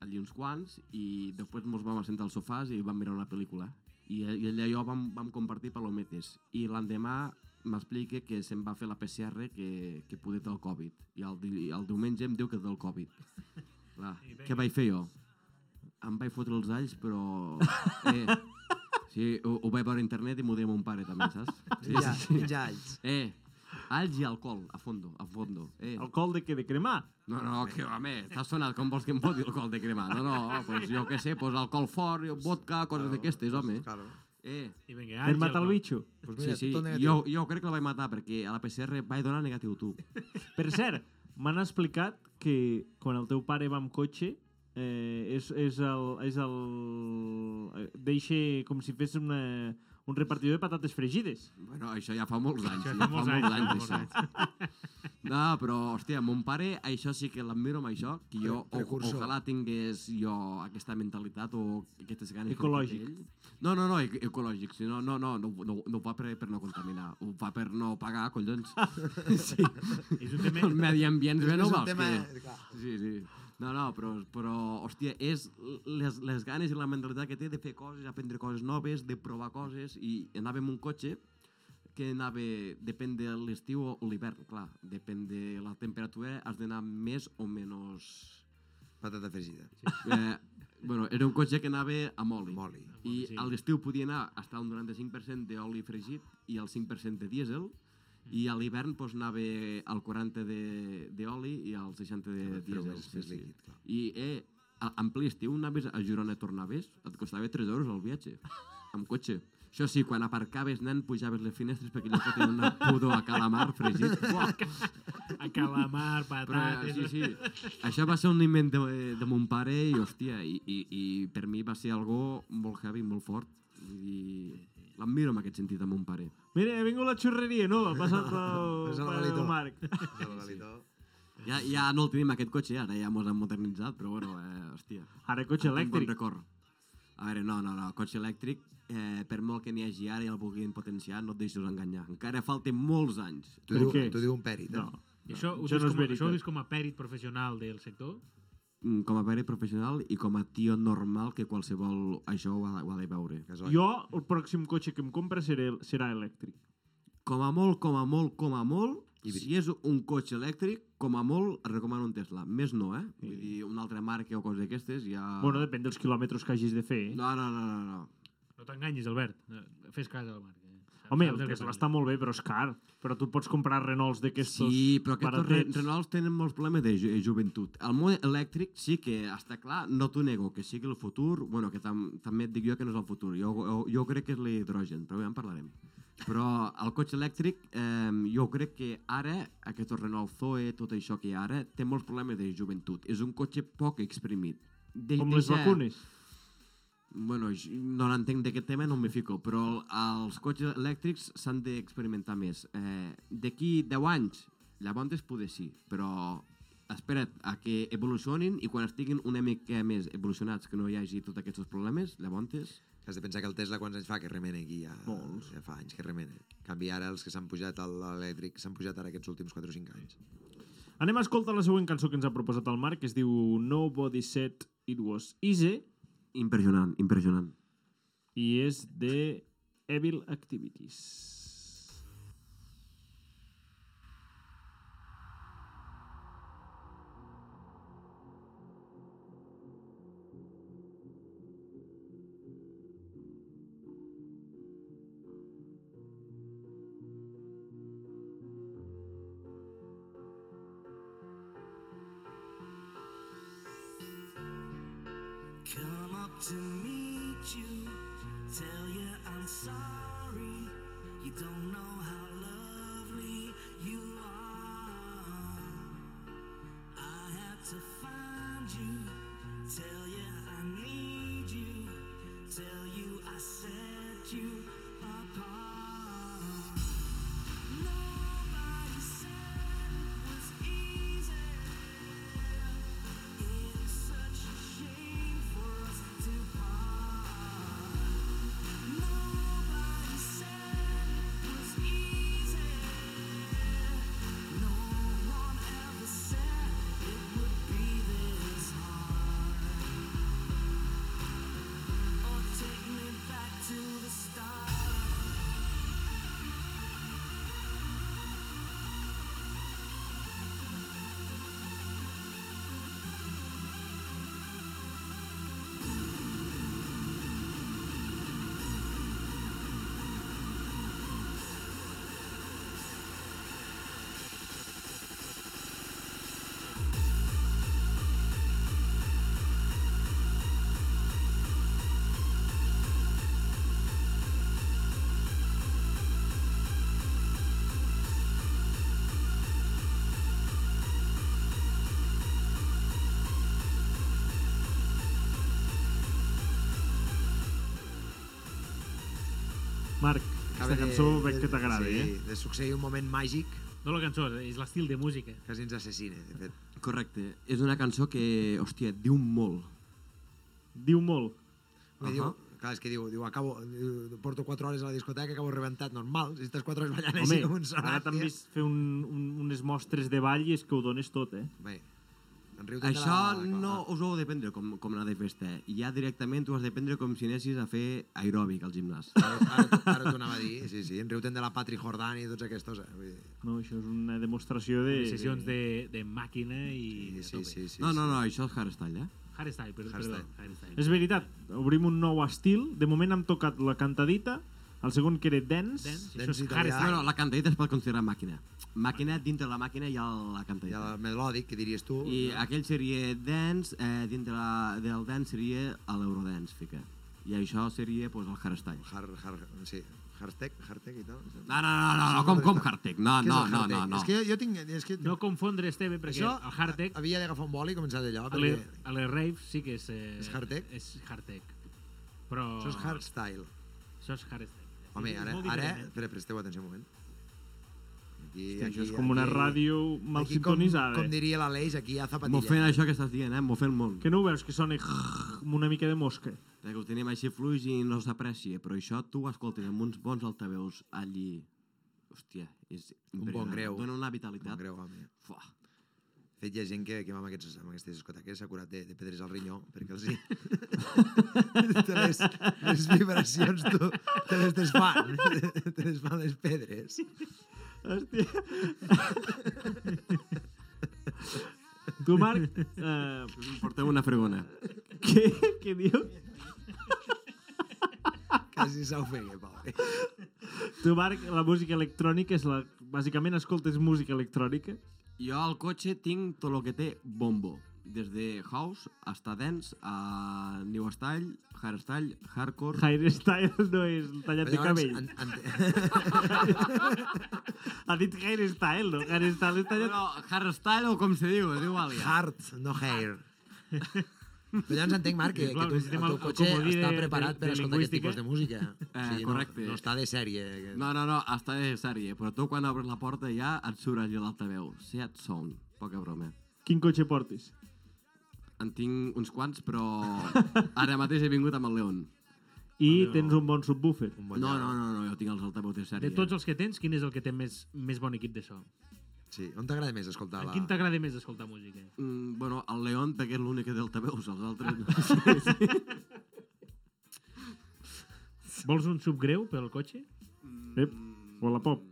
[SPEAKER 6] allí uns quants i després mos vam assentar als sofàs i vam mirar una pel·lícula. I, i ella i jo vam, vam compartir palometes. I l'endemà m'explica que se'm va fer la PCR que, que poder té el Covid. I el, di- el diumenge em diu que té el Covid. Clar, què vaig fer jo? Em vaig fotre els alls, però... Eh, sí, ho, ho vaig veure a internet i m'ho deia mon pare, també, saps? Sí,
[SPEAKER 3] ja,
[SPEAKER 6] sí, sí.
[SPEAKER 3] ja, ells.
[SPEAKER 6] Eh, alls i alcohol, a fondo, a fondo. Eh.
[SPEAKER 1] Alcohol de què? De cremar?
[SPEAKER 6] No, no, que home, està sonat com vols que em foti alcohol de cremar. No, no, pues jo què sé, pues alcohol fort, vodka, coses d'aquestes, home.
[SPEAKER 3] Claro.
[SPEAKER 6] Eh,
[SPEAKER 4] I vinga,
[SPEAKER 1] Per
[SPEAKER 4] àngel,
[SPEAKER 1] matar el
[SPEAKER 4] va.
[SPEAKER 1] bitxo.
[SPEAKER 3] Pues
[SPEAKER 6] sí,
[SPEAKER 3] mira,
[SPEAKER 6] sí,
[SPEAKER 3] tot negatiu.
[SPEAKER 6] jo, jo crec que la vaig matar perquè a la PCR vaig donar negatiu tu.
[SPEAKER 1] Per cert, m'han explicat que quan el teu pare va amb cotxe eh, és, és el... És el eh, deixa com si fes una, un repartidor de patates fregides.
[SPEAKER 6] Bueno, això ja fa molts anys.
[SPEAKER 4] Això
[SPEAKER 6] ja
[SPEAKER 4] fa molts anys, fa molts
[SPEAKER 6] això. No, però, hòstia, mon pare, això sí que l'admiro amb això, que jo
[SPEAKER 3] Pre-
[SPEAKER 6] o,
[SPEAKER 3] precursor.
[SPEAKER 6] ojalà tingués jo aquesta mentalitat o aquestes ganes... com
[SPEAKER 1] Ecològic.
[SPEAKER 6] que té ell. No, no, no, ec- ecològic, si no, no, no, no, ho- no, ho- no ho fa per, per no contaminar, ho fa per no pagar, collons. sí.
[SPEAKER 4] És un tema...
[SPEAKER 6] El medi ambient
[SPEAKER 3] És
[SPEAKER 6] bé no
[SPEAKER 3] un
[SPEAKER 6] val.
[SPEAKER 3] tema- eh,
[SPEAKER 6] Que...
[SPEAKER 3] clar.
[SPEAKER 6] Sí, sí. No, no, però, però hòstia, és les, les ganes i la mentalitat que té de fer coses, aprendre coses noves, de provar coses, i anava amb un cotxe que anava, depèn de l'estiu o l'hivern, clar, depèn de la temperatura, has d'anar més o menys...
[SPEAKER 3] Patata fregida.
[SPEAKER 6] Eh, bueno, era un cotxe que anava amb oli.
[SPEAKER 3] Moli.
[SPEAKER 6] I
[SPEAKER 4] Sí.
[SPEAKER 6] a l'estiu podia anar hasta un 95% d'oli fregit i el 5% de dièsel, i a l'hivern pues, anava al 40 de- d'oli i al 60 de
[SPEAKER 3] Feu
[SPEAKER 6] dièsel.
[SPEAKER 3] més-
[SPEAKER 6] Sí,
[SPEAKER 3] més
[SPEAKER 6] sí.
[SPEAKER 3] líquid, clar.
[SPEAKER 6] I eh, a- en ple estiu anaves a Girona i tornaves, et costava 3 euros el viatge, amb cotxe. Això sí, quan aparcaves, nen, pujaves les finestres perquè allò que tenia una pudor a calamar fregit. Buah,
[SPEAKER 4] A calamar,
[SPEAKER 6] però,
[SPEAKER 4] patates...
[SPEAKER 6] Ah, sí, sí. Això va ser un invent de, de mon pare i, hòstia, i, i, i per mi va ser algo molt heavy, molt fort. I l'admiro en aquest sentit a mon pare.
[SPEAKER 1] Mira, ha vingut la xurreria nova, ha passat
[SPEAKER 3] És el
[SPEAKER 1] el, el,
[SPEAKER 3] Galito.
[SPEAKER 1] Marc.
[SPEAKER 6] Ja, ja no el tenim aquest cotxe, ara ja mos han modernitzat, però bueno, eh, hòstia.
[SPEAKER 1] Ara cotxe
[SPEAKER 6] en tinc Bon
[SPEAKER 1] elèctric.
[SPEAKER 6] record. A veure, no, no, no, cotxe elèctric, eh, per molt que n'hi hagi ara i el vulguin potenciar, no et deixis enganyar. Encara falten molts anys.
[SPEAKER 3] T'ho diu,
[SPEAKER 1] què?
[SPEAKER 3] t'ho diu un pèrit, eh?
[SPEAKER 1] No.
[SPEAKER 4] I això, ho
[SPEAKER 1] Això
[SPEAKER 4] dius
[SPEAKER 1] no és
[SPEAKER 4] com, a-
[SPEAKER 1] veritat.
[SPEAKER 4] això ho dius com a pèrit professional del sector?
[SPEAKER 6] Mm, Com a pare professional i com a tio normal que qualsevol això ho ha, ho ha de veure.
[SPEAKER 3] Gasol.
[SPEAKER 1] Jo, el pròxim cotxe que em compra seré, serà elèctric.
[SPEAKER 6] Com a molt, com a molt, com a molt,
[SPEAKER 3] Híbrid.
[SPEAKER 6] si és un cotxe elèctric, com a molt, et recomano un Tesla. Més no, eh? Vull dir, una altra marca o coses d'aquestes ja...
[SPEAKER 1] Bueno, depèn dels quilòmetres que hagis de fer. Eh?
[SPEAKER 6] Ah. No, no, no, no, no.
[SPEAKER 4] No t'enganyis, Albert. Fes cas al Marc. eh? Saps-
[SPEAKER 1] Home,
[SPEAKER 4] saps
[SPEAKER 1] el
[SPEAKER 4] del que
[SPEAKER 1] Tesla
[SPEAKER 4] parla.
[SPEAKER 1] està molt bé, però és car. Però tu pots comprar Renaults d'aquestos
[SPEAKER 6] Sí, però aquests re
[SPEAKER 1] baratets.
[SPEAKER 6] Renaults tenen molts problemes de ju eh, joventut. El món elèctric sí que està clar, no t'ho nego, que sí que el futur, bueno, que tam també et dic jo que no és el futur, jo, jo, jo crec que és l'hidrogen, però ja en parlarem. Però el cotxe elèctric, eh, jo crec que ara, aquest Renault Zoe, tot això que hi ha ara, té molts problemes de joventut. És un cotxe poc exprimit. De,
[SPEAKER 1] Com les
[SPEAKER 6] deixa-
[SPEAKER 1] vacunes.
[SPEAKER 6] Bueno, jo no n'entenc d'aquest tema, no m'hi fico, però el- els cotxes elèctrics s'han d'experimentar més. Eh, D'aquí 10 anys, llavors poder sí, però espera't a que evolucionin i quan estiguin una mica més evolucionats, que no hi hagi tots aquests problemes, llavors...
[SPEAKER 3] Has de pensar que el Tesla quants anys fa que remena aquí ja?
[SPEAKER 1] Molts.
[SPEAKER 3] Ja fa anys que remena. En canvi, ara els que s'han pujat a l'elèctric s'han pujat ara aquests últims 4 o 5 anys.
[SPEAKER 1] Anem a escoltar la següent cançó que ens ha proposat el Marc, que es diu Nobody Said It Was Easy,
[SPEAKER 6] Impressionant, impressionant.
[SPEAKER 1] i és de Evil Activities.
[SPEAKER 5] Come up to meet you, tell you I'm sorry. You don't know how lovely you are. I had to find you, tell you I need you, tell you I set you apart. Nobody said it was easy. It's such a shame for us to part. Nobody said it was easy. No one ever said it would be this hard. Oh, take me back to the start.
[SPEAKER 1] Marc, aquesta
[SPEAKER 3] Acaba de-
[SPEAKER 1] cançó veig
[SPEAKER 3] de-
[SPEAKER 1] que t'agrada,
[SPEAKER 3] sí,
[SPEAKER 1] sí. eh? eh.
[SPEAKER 6] eh?
[SPEAKER 3] de succeir un moment màgic
[SPEAKER 4] No la cançó, és l'estil de música.
[SPEAKER 3] Quasi ens assassina, de fet.
[SPEAKER 6] Correcte. És una cançó que, hòstia, diu molt.
[SPEAKER 1] Diu molt.
[SPEAKER 3] Uh -huh. diu, clar, és que diu, diu, acabo, diu, porto 4 hores a la discoteca, acabo rebentat, normal, si estàs 4 hores ballant
[SPEAKER 1] Home,
[SPEAKER 3] així com un
[SPEAKER 1] ara
[SPEAKER 3] sonat,
[SPEAKER 1] t'han vist fer un, un, unes mostres de ball i és que ho dones tot, eh?
[SPEAKER 3] Bé, en riu
[SPEAKER 6] Això no us ho heu de prendre com, com anar de festa. eh? Ja directament ho has de prendre com si anessis a fer aeròbic al gimnàs.
[SPEAKER 3] Ara, ara, ara t'ho anava a dir, sí, sí, en riu de la Patri Jordani i tots aquests. Eh? Vull dir,
[SPEAKER 1] No, això és una demostració de...
[SPEAKER 4] De sessions de, de màquina i...
[SPEAKER 3] sí, sí, sí, sí,
[SPEAKER 6] No, no, no, això és hardstyle, eh?
[SPEAKER 4] Hardstyle, perdó.
[SPEAKER 3] Hardstyle.
[SPEAKER 4] perdó, Hardstyle.
[SPEAKER 1] És veritat, obrim un nou estil. De moment hem tocat la cantadita, el segon que era dance,
[SPEAKER 4] Dance,
[SPEAKER 3] Dance
[SPEAKER 4] això és
[SPEAKER 3] italià.
[SPEAKER 6] No,
[SPEAKER 4] hardstyle.
[SPEAKER 6] no, la cantadita es pot considerar màquina. Màquina, dintre la màquina hi ha la
[SPEAKER 3] Hi ha
[SPEAKER 6] cantadita.
[SPEAKER 3] el melòdic, que diries tu.
[SPEAKER 6] I
[SPEAKER 3] no?
[SPEAKER 6] aquell seria dance, eh, dintre la, del dance seria a l'eurodance, fica. I això seria pues, el hardstyle.
[SPEAKER 3] Hard, hard, sí, hardtech, hardtech i tal.
[SPEAKER 6] No, no, no, no, no com, com hardtech?
[SPEAKER 3] Què
[SPEAKER 6] No,
[SPEAKER 3] és
[SPEAKER 6] no,
[SPEAKER 3] el
[SPEAKER 6] no,
[SPEAKER 3] hardtech?
[SPEAKER 6] no, no.
[SPEAKER 3] És que jo, jo tinc... És que
[SPEAKER 4] No confondre, Esteve, perquè
[SPEAKER 3] això
[SPEAKER 4] el hardtech
[SPEAKER 3] havia d'agafar un bol i començar d'allò,
[SPEAKER 4] a,
[SPEAKER 3] perquè
[SPEAKER 4] les, a les raves sí que és... Eh,
[SPEAKER 3] És hardtech?
[SPEAKER 4] És hardtech. Però...
[SPEAKER 3] això és hardstyle.
[SPEAKER 4] Això és hardtech.
[SPEAKER 3] Home,
[SPEAKER 4] És
[SPEAKER 3] ara,
[SPEAKER 4] molt
[SPEAKER 3] ara
[SPEAKER 4] diferent, eh?
[SPEAKER 3] espera, presteu atenció un moment. Aquí,
[SPEAKER 1] que això és com una ràdio mal eh?
[SPEAKER 3] aquí
[SPEAKER 1] sintonitzada.
[SPEAKER 3] Com, com diria l'Aleix, aquí hi ha
[SPEAKER 6] M'ho
[SPEAKER 3] zapatilla.
[SPEAKER 6] fent això que estàs dient, eh? M'ho fent molt.
[SPEAKER 1] Que no ho veus, que sona amb una mica de mosca.
[SPEAKER 6] Perquè ho tenim així fluix i no s'aprecia, però això tu ho escoltes amb uns bons altaveus allí. Hòstia, és
[SPEAKER 3] bon
[SPEAKER 6] impressionant.
[SPEAKER 3] greu.
[SPEAKER 6] Dóna una
[SPEAKER 3] Com
[SPEAKER 6] vitalitat.
[SPEAKER 3] greu, home.
[SPEAKER 6] Fuà.
[SPEAKER 3] De fet, hi ha gent que, que va amb, aquests, amb aquestes discoteques s'ha curat de, de pedres al rinyó, perquè els hi... te les, les vibracions tu, te les desfan. te les fan les pedres.
[SPEAKER 1] Hòstia. tu, Marc, eh,
[SPEAKER 6] Porteu una fregona.
[SPEAKER 1] què, què dius?
[SPEAKER 3] Quasi s'ofega, pobre.
[SPEAKER 1] Tu, Marc, la música electrònica és la... Bàsicament escoltes música electrònica.
[SPEAKER 6] Jo al cotxe tinc tot el que té bombo. Des de house, hasta dance, a new style, hardstyle, hardcore...
[SPEAKER 1] Hairstyle no és el tallat de cabell.
[SPEAKER 3] en, en,
[SPEAKER 1] Ha dit hairstyle, no? Hairstyle és tallat...
[SPEAKER 6] Bueno, hardstyle o com se diu, és igual ja.
[SPEAKER 3] heart, no hair. Però llavors entenc, Marc, que,
[SPEAKER 4] Clar,
[SPEAKER 3] que tu, el
[SPEAKER 4] necessitem el-
[SPEAKER 3] teu
[SPEAKER 4] el
[SPEAKER 3] cotxe
[SPEAKER 4] comodí
[SPEAKER 3] està
[SPEAKER 4] de-
[SPEAKER 3] preparat
[SPEAKER 4] de-
[SPEAKER 3] per
[SPEAKER 4] de
[SPEAKER 3] escoltar aquest
[SPEAKER 4] lingüística.
[SPEAKER 3] tipus de música. O
[SPEAKER 6] Eh,
[SPEAKER 3] no,
[SPEAKER 6] correcte.
[SPEAKER 3] no està de sèrie. aquest.
[SPEAKER 6] No, no, no, està de sèrie, però tu quan obres la porta ja et surt allò l'altaveu. Seat Sound, poca broma.
[SPEAKER 1] Quin cotxe portis?
[SPEAKER 6] En tinc uns quants, però ara mateix he vingut amb el León.
[SPEAKER 1] I tens un bon subwoofer.
[SPEAKER 3] Un bon
[SPEAKER 6] No, no,
[SPEAKER 3] lloc.
[SPEAKER 6] no, no, jo tinc els altaveus de eh. sèrie.
[SPEAKER 4] De tots els que tens, quin és el que té més, més bon equip de so?
[SPEAKER 3] Sí, on t'agrada més escoltar
[SPEAKER 4] En
[SPEAKER 3] la...
[SPEAKER 4] quin t'agrada més escoltar música?
[SPEAKER 6] Mm, bueno, el León, perquè és l'únic que té altaveus, els altres... no.
[SPEAKER 4] Vols un subgreu per al cotxe?
[SPEAKER 1] Ep, o la pop.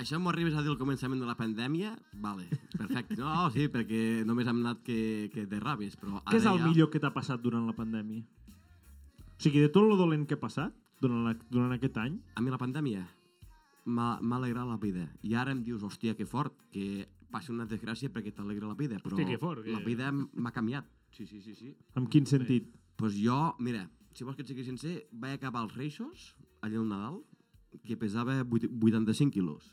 [SPEAKER 6] Això m'ho arribes a dir al començament de la pandèmia? Vale, perfecte. No, Oh, sí, perquè només hem anat que, que de ràbies, però ara
[SPEAKER 1] Què és el
[SPEAKER 6] ja...
[SPEAKER 1] millor que t'ha passat durant la pandèmia? O sigui, de tot lo dolent que ha passat durant, la, durant aquest any,
[SPEAKER 6] A mi la pandèmia m'ha m'ha alegrat la vida. I ara em dius, hòstia, que fort, que passi una desgràcia perquè t'alegra la vida, però
[SPEAKER 4] Hòstia, que fort, que-
[SPEAKER 6] la vida m- m'ha canviat. Sí, sí, sí, sí.
[SPEAKER 1] en quin sentit?
[SPEAKER 6] pues jo, mira, si vols que et sigui sincer, vaig acabar els Reixos, allà al Nadal, que pesava vuit- 85 quilos.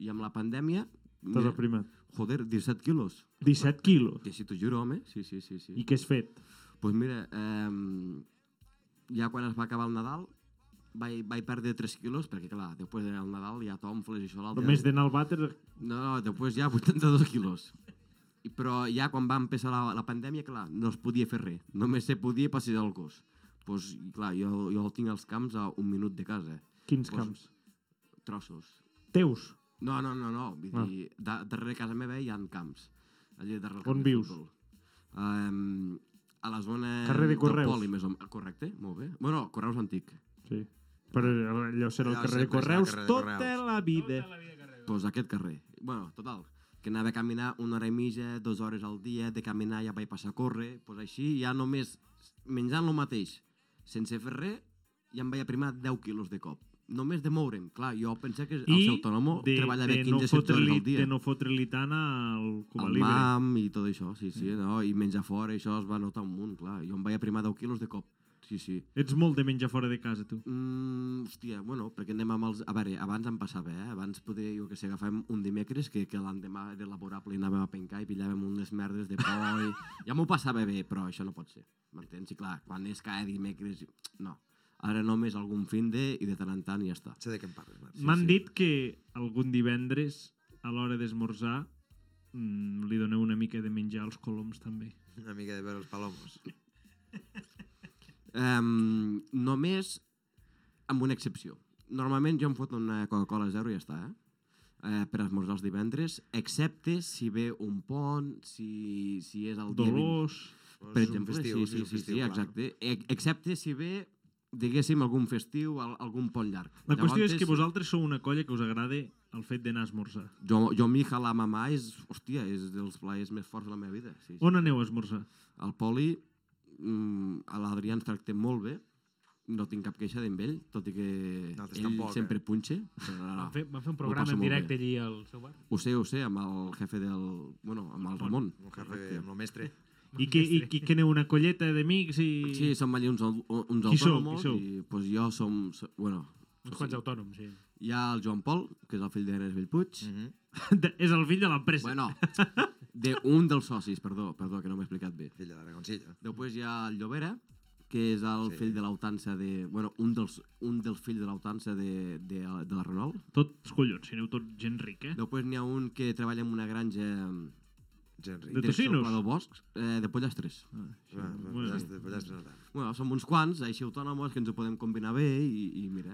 [SPEAKER 6] I amb la pandèmia...
[SPEAKER 1] T'has
[SPEAKER 6] Mira,
[SPEAKER 1] aprimat.
[SPEAKER 6] joder, 17 quilos.
[SPEAKER 1] 17 quilos.
[SPEAKER 6] Que si t'ho juro, home, sí, sí, sí. sí.
[SPEAKER 1] I què has fet?
[SPEAKER 6] pues mira, eh, ja quan es va acabar el Nadal, vaig, vaig perdre 3 quilos, perquè clar, després del Nadal ja t'omfles i això l'altre.
[SPEAKER 1] Només d'anar al vàter...
[SPEAKER 6] No, no, després ja 82 quilos. I- Però ja quan va empezar la, la pandèmia, clar, no es podia fer res. Només se podia passejar el gos. Pues, i clar, jo, jo el tinc als camps a un minut de casa.
[SPEAKER 1] Quins
[SPEAKER 6] Pues-
[SPEAKER 1] camps?
[SPEAKER 6] Trossos.
[SPEAKER 1] Teus.
[SPEAKER 6] No, no, no, no. Vull
[SPEAKER 1] Ah.
[SPEAKER 6] dir, da, darrere casa meva hi ha camps. Allà darrere el
[SPEAKER 1] On
[SPEAKER 6] camp de
[SPEAKER 1] vius?
[SPEAKER 6] futbol. Um, a la zona
[SPEAKER 1] Carrer de
[SPEAKER 6] del
[SPEAKER 1] Correus.
[SPEAKER 6] Poli, més o menys. Correcte, molt bé. Bueno, Correus Antic.
[SPEAKER 1] Sí. Però allò serà el
[SPEAKER 3] Allò
[SPEAKER 1] carrer de
[SPEAKER 3] sempre serà el
[SPEAKER 1] Correus
[SPEAKER 3] carrer de
[SPEAKER 1] tota
[SPEAKER 3] Correus.
[SPEAKER 1] la vida.
[SPEAKER 6] Doncs aquest carrer. Bueno, total, que anava a caminar una hora i mitja, dues hores al dia, de caminar ja vaig passar a córrer, doncs pues així, ja només menjant el mateix, sense fer res, ja em vaig aprimar 10 quilos de cop. Només de moure'm. Clar, jo pensava que el seu autònomo treballava 15 no hores
[SPEAKER 1] fotre-li
[SPEAKER 6] al dia.
[SPEAKER 1] de no fotre-li tant al Cuba
[SPEAKER 6] el
[SPEAKER 1] Libre.
[SPEAKER 6] mam i tot això, sí, sí, no? i menjar fora, això es va notar un munt, clar. Jo em vaig aprimar 10 quilos de cop, sí, sí.
[SPEAKER 1] Ets molt de menjar fora de casa, tu.
[SPEAKER 6] Mm, hòstia, bueno, perquè anem amb els... A veure, abans em passava, eh? Abans podria, jo que sé, agafem un dimecres que, que l'endemà era laborable i anàvem a pencar i pillàvem unes merdes de por i... Ja m'ho passava bé, però això no pot ser, m'entens? I clar, quan és cada dimecres... No, ara només algun fin de i de tant en tant i ja està.
[SPEAKER 3] Sé de què em parles, Marc.
[SPEAKER 1] M'han
[SPEAKER 6] sí.
[SPEAKER 1] dit que algun divendres a l'hora d'esmorzar mm, li doneu una mica de menjar als coloms també.
[SPEAKER 3] Una mica de veure els palomos.
[SPEAKER 6] Um, només amb una excepció. Normalment jo em foto una Coca-Cola zero i ja està, eh? Eh, per esmorzar els divendres, excepte si ve un pont, si, si és el dia... vint-
[SPEAKER 1] Dolors...
[SPEAKER 6] Per
[SPEAKER 3] És un
[SPEAKER 6] exemple,
[SPEAKER 3] festiu, és
[SPEAKER 6] sí, sí,
[SPEAKER 3] un
[SPEAKER 6] sí,
[SPEAKER 3] festiu,
[SPEAKER 6] sí,
[SPEAKER 3] clar.
[SPEAKER 6] exacte. E- Excepte si ve, diguéssim, algun festiu, al- algun pont llarg.
[SPEAKER 1] La qüestió és
[SPEAKER 6] Llavors,
[SPEAKER 1] que vosaltres sou una colla que us agrada el fet d'anar a esmorzar.
[SPEAKER 6] Jo, jo mi la mamà és, hòstia, és dels plaers més forts de la meva vida. Sí, sí.
[SPEAKER 1] On aneu a esmorzar?
[SPEAKER 6] El Poli, mm, a l'Adrià ens tractem molt bé, no tinc cap queixa d'en ell, tot i que
[SPEAKER 3] Nosaltres
[SPEAKER 6] ell
[SPEAKER 3] tampoc, eh? Ah.
[SPEAKER 6] sempre punxe. Però no,
[SPEAKER 4] Van fer,
[SPEAKER 6] no.
[SPEAKER 4] van fer un
[SPEAKER 6] passa
[SPEAKER 4] programa en
[SPEAKER 6] molt
[SPEAKER 4] directe
[SPEAKER 6] bé.
[SPEAKER 4] allí al seu bar.
[SPEAKER 6] Ho sé, ho sé, amb el jefe del... Bueno, amb el Ramon.
[SPEAKER 3] Un jefe, amb el mestre.
[SPEAKER 1] I que, i que, que aneu una colleta d'amics i...
[SPEAKER 6] Sí, som allà uns, au- uns
[SPEAKER 1] Qui sou?
[SPEAKER 6] autònoms
[SPEAKER 1] Qui sou?
[SPEAKER 6] i pues, jo som... so- Bueno,
[SPEAKER 4] Uns quants autònoms, sí.
[SPEAKER 6] hi ha el Joan Pol, que és el fill d'Ernest Bellpuig, mm.
[SPEAKER 1] De, és el fill de
[SPEAKER 3] Mm.
[SPEAKER 1] l'empresa.
[SPEAKER 6] Bueno, de un dels socis, perdó, perdó, que no m'he explicat bé.
[SPEAKER 3] Filla de Dragoncilla.
[SPEAKER 6] Després hi ha el Llobera, que és el sí. fill de l'autança de... Bueno, un dels, un dels fills de l'autança de, de, de la Renault.
[SPEAKER 1] Tots collons, si aneu tot gent rica. eh?
[SPEAKER 6] Després n'hi ha un que treballa en una granja de
[SPEAKER 3] Gens
[SPEAKER 1] De
[SPEAKER 3] ric.
[SPEAKER 1] tocinos.
[SPEAKER 6] del bosc, eh, de pollastres. Ah.
[SPEAKER 3] Va, va,
[SPEAKER 1] Molt bé.
[SPEAKER 3] pollastre- pollastre no tant.
[SPEAKER 6] Bueno, som uns quants, així autònoms, que ens ho podem combinar bé i, i mira.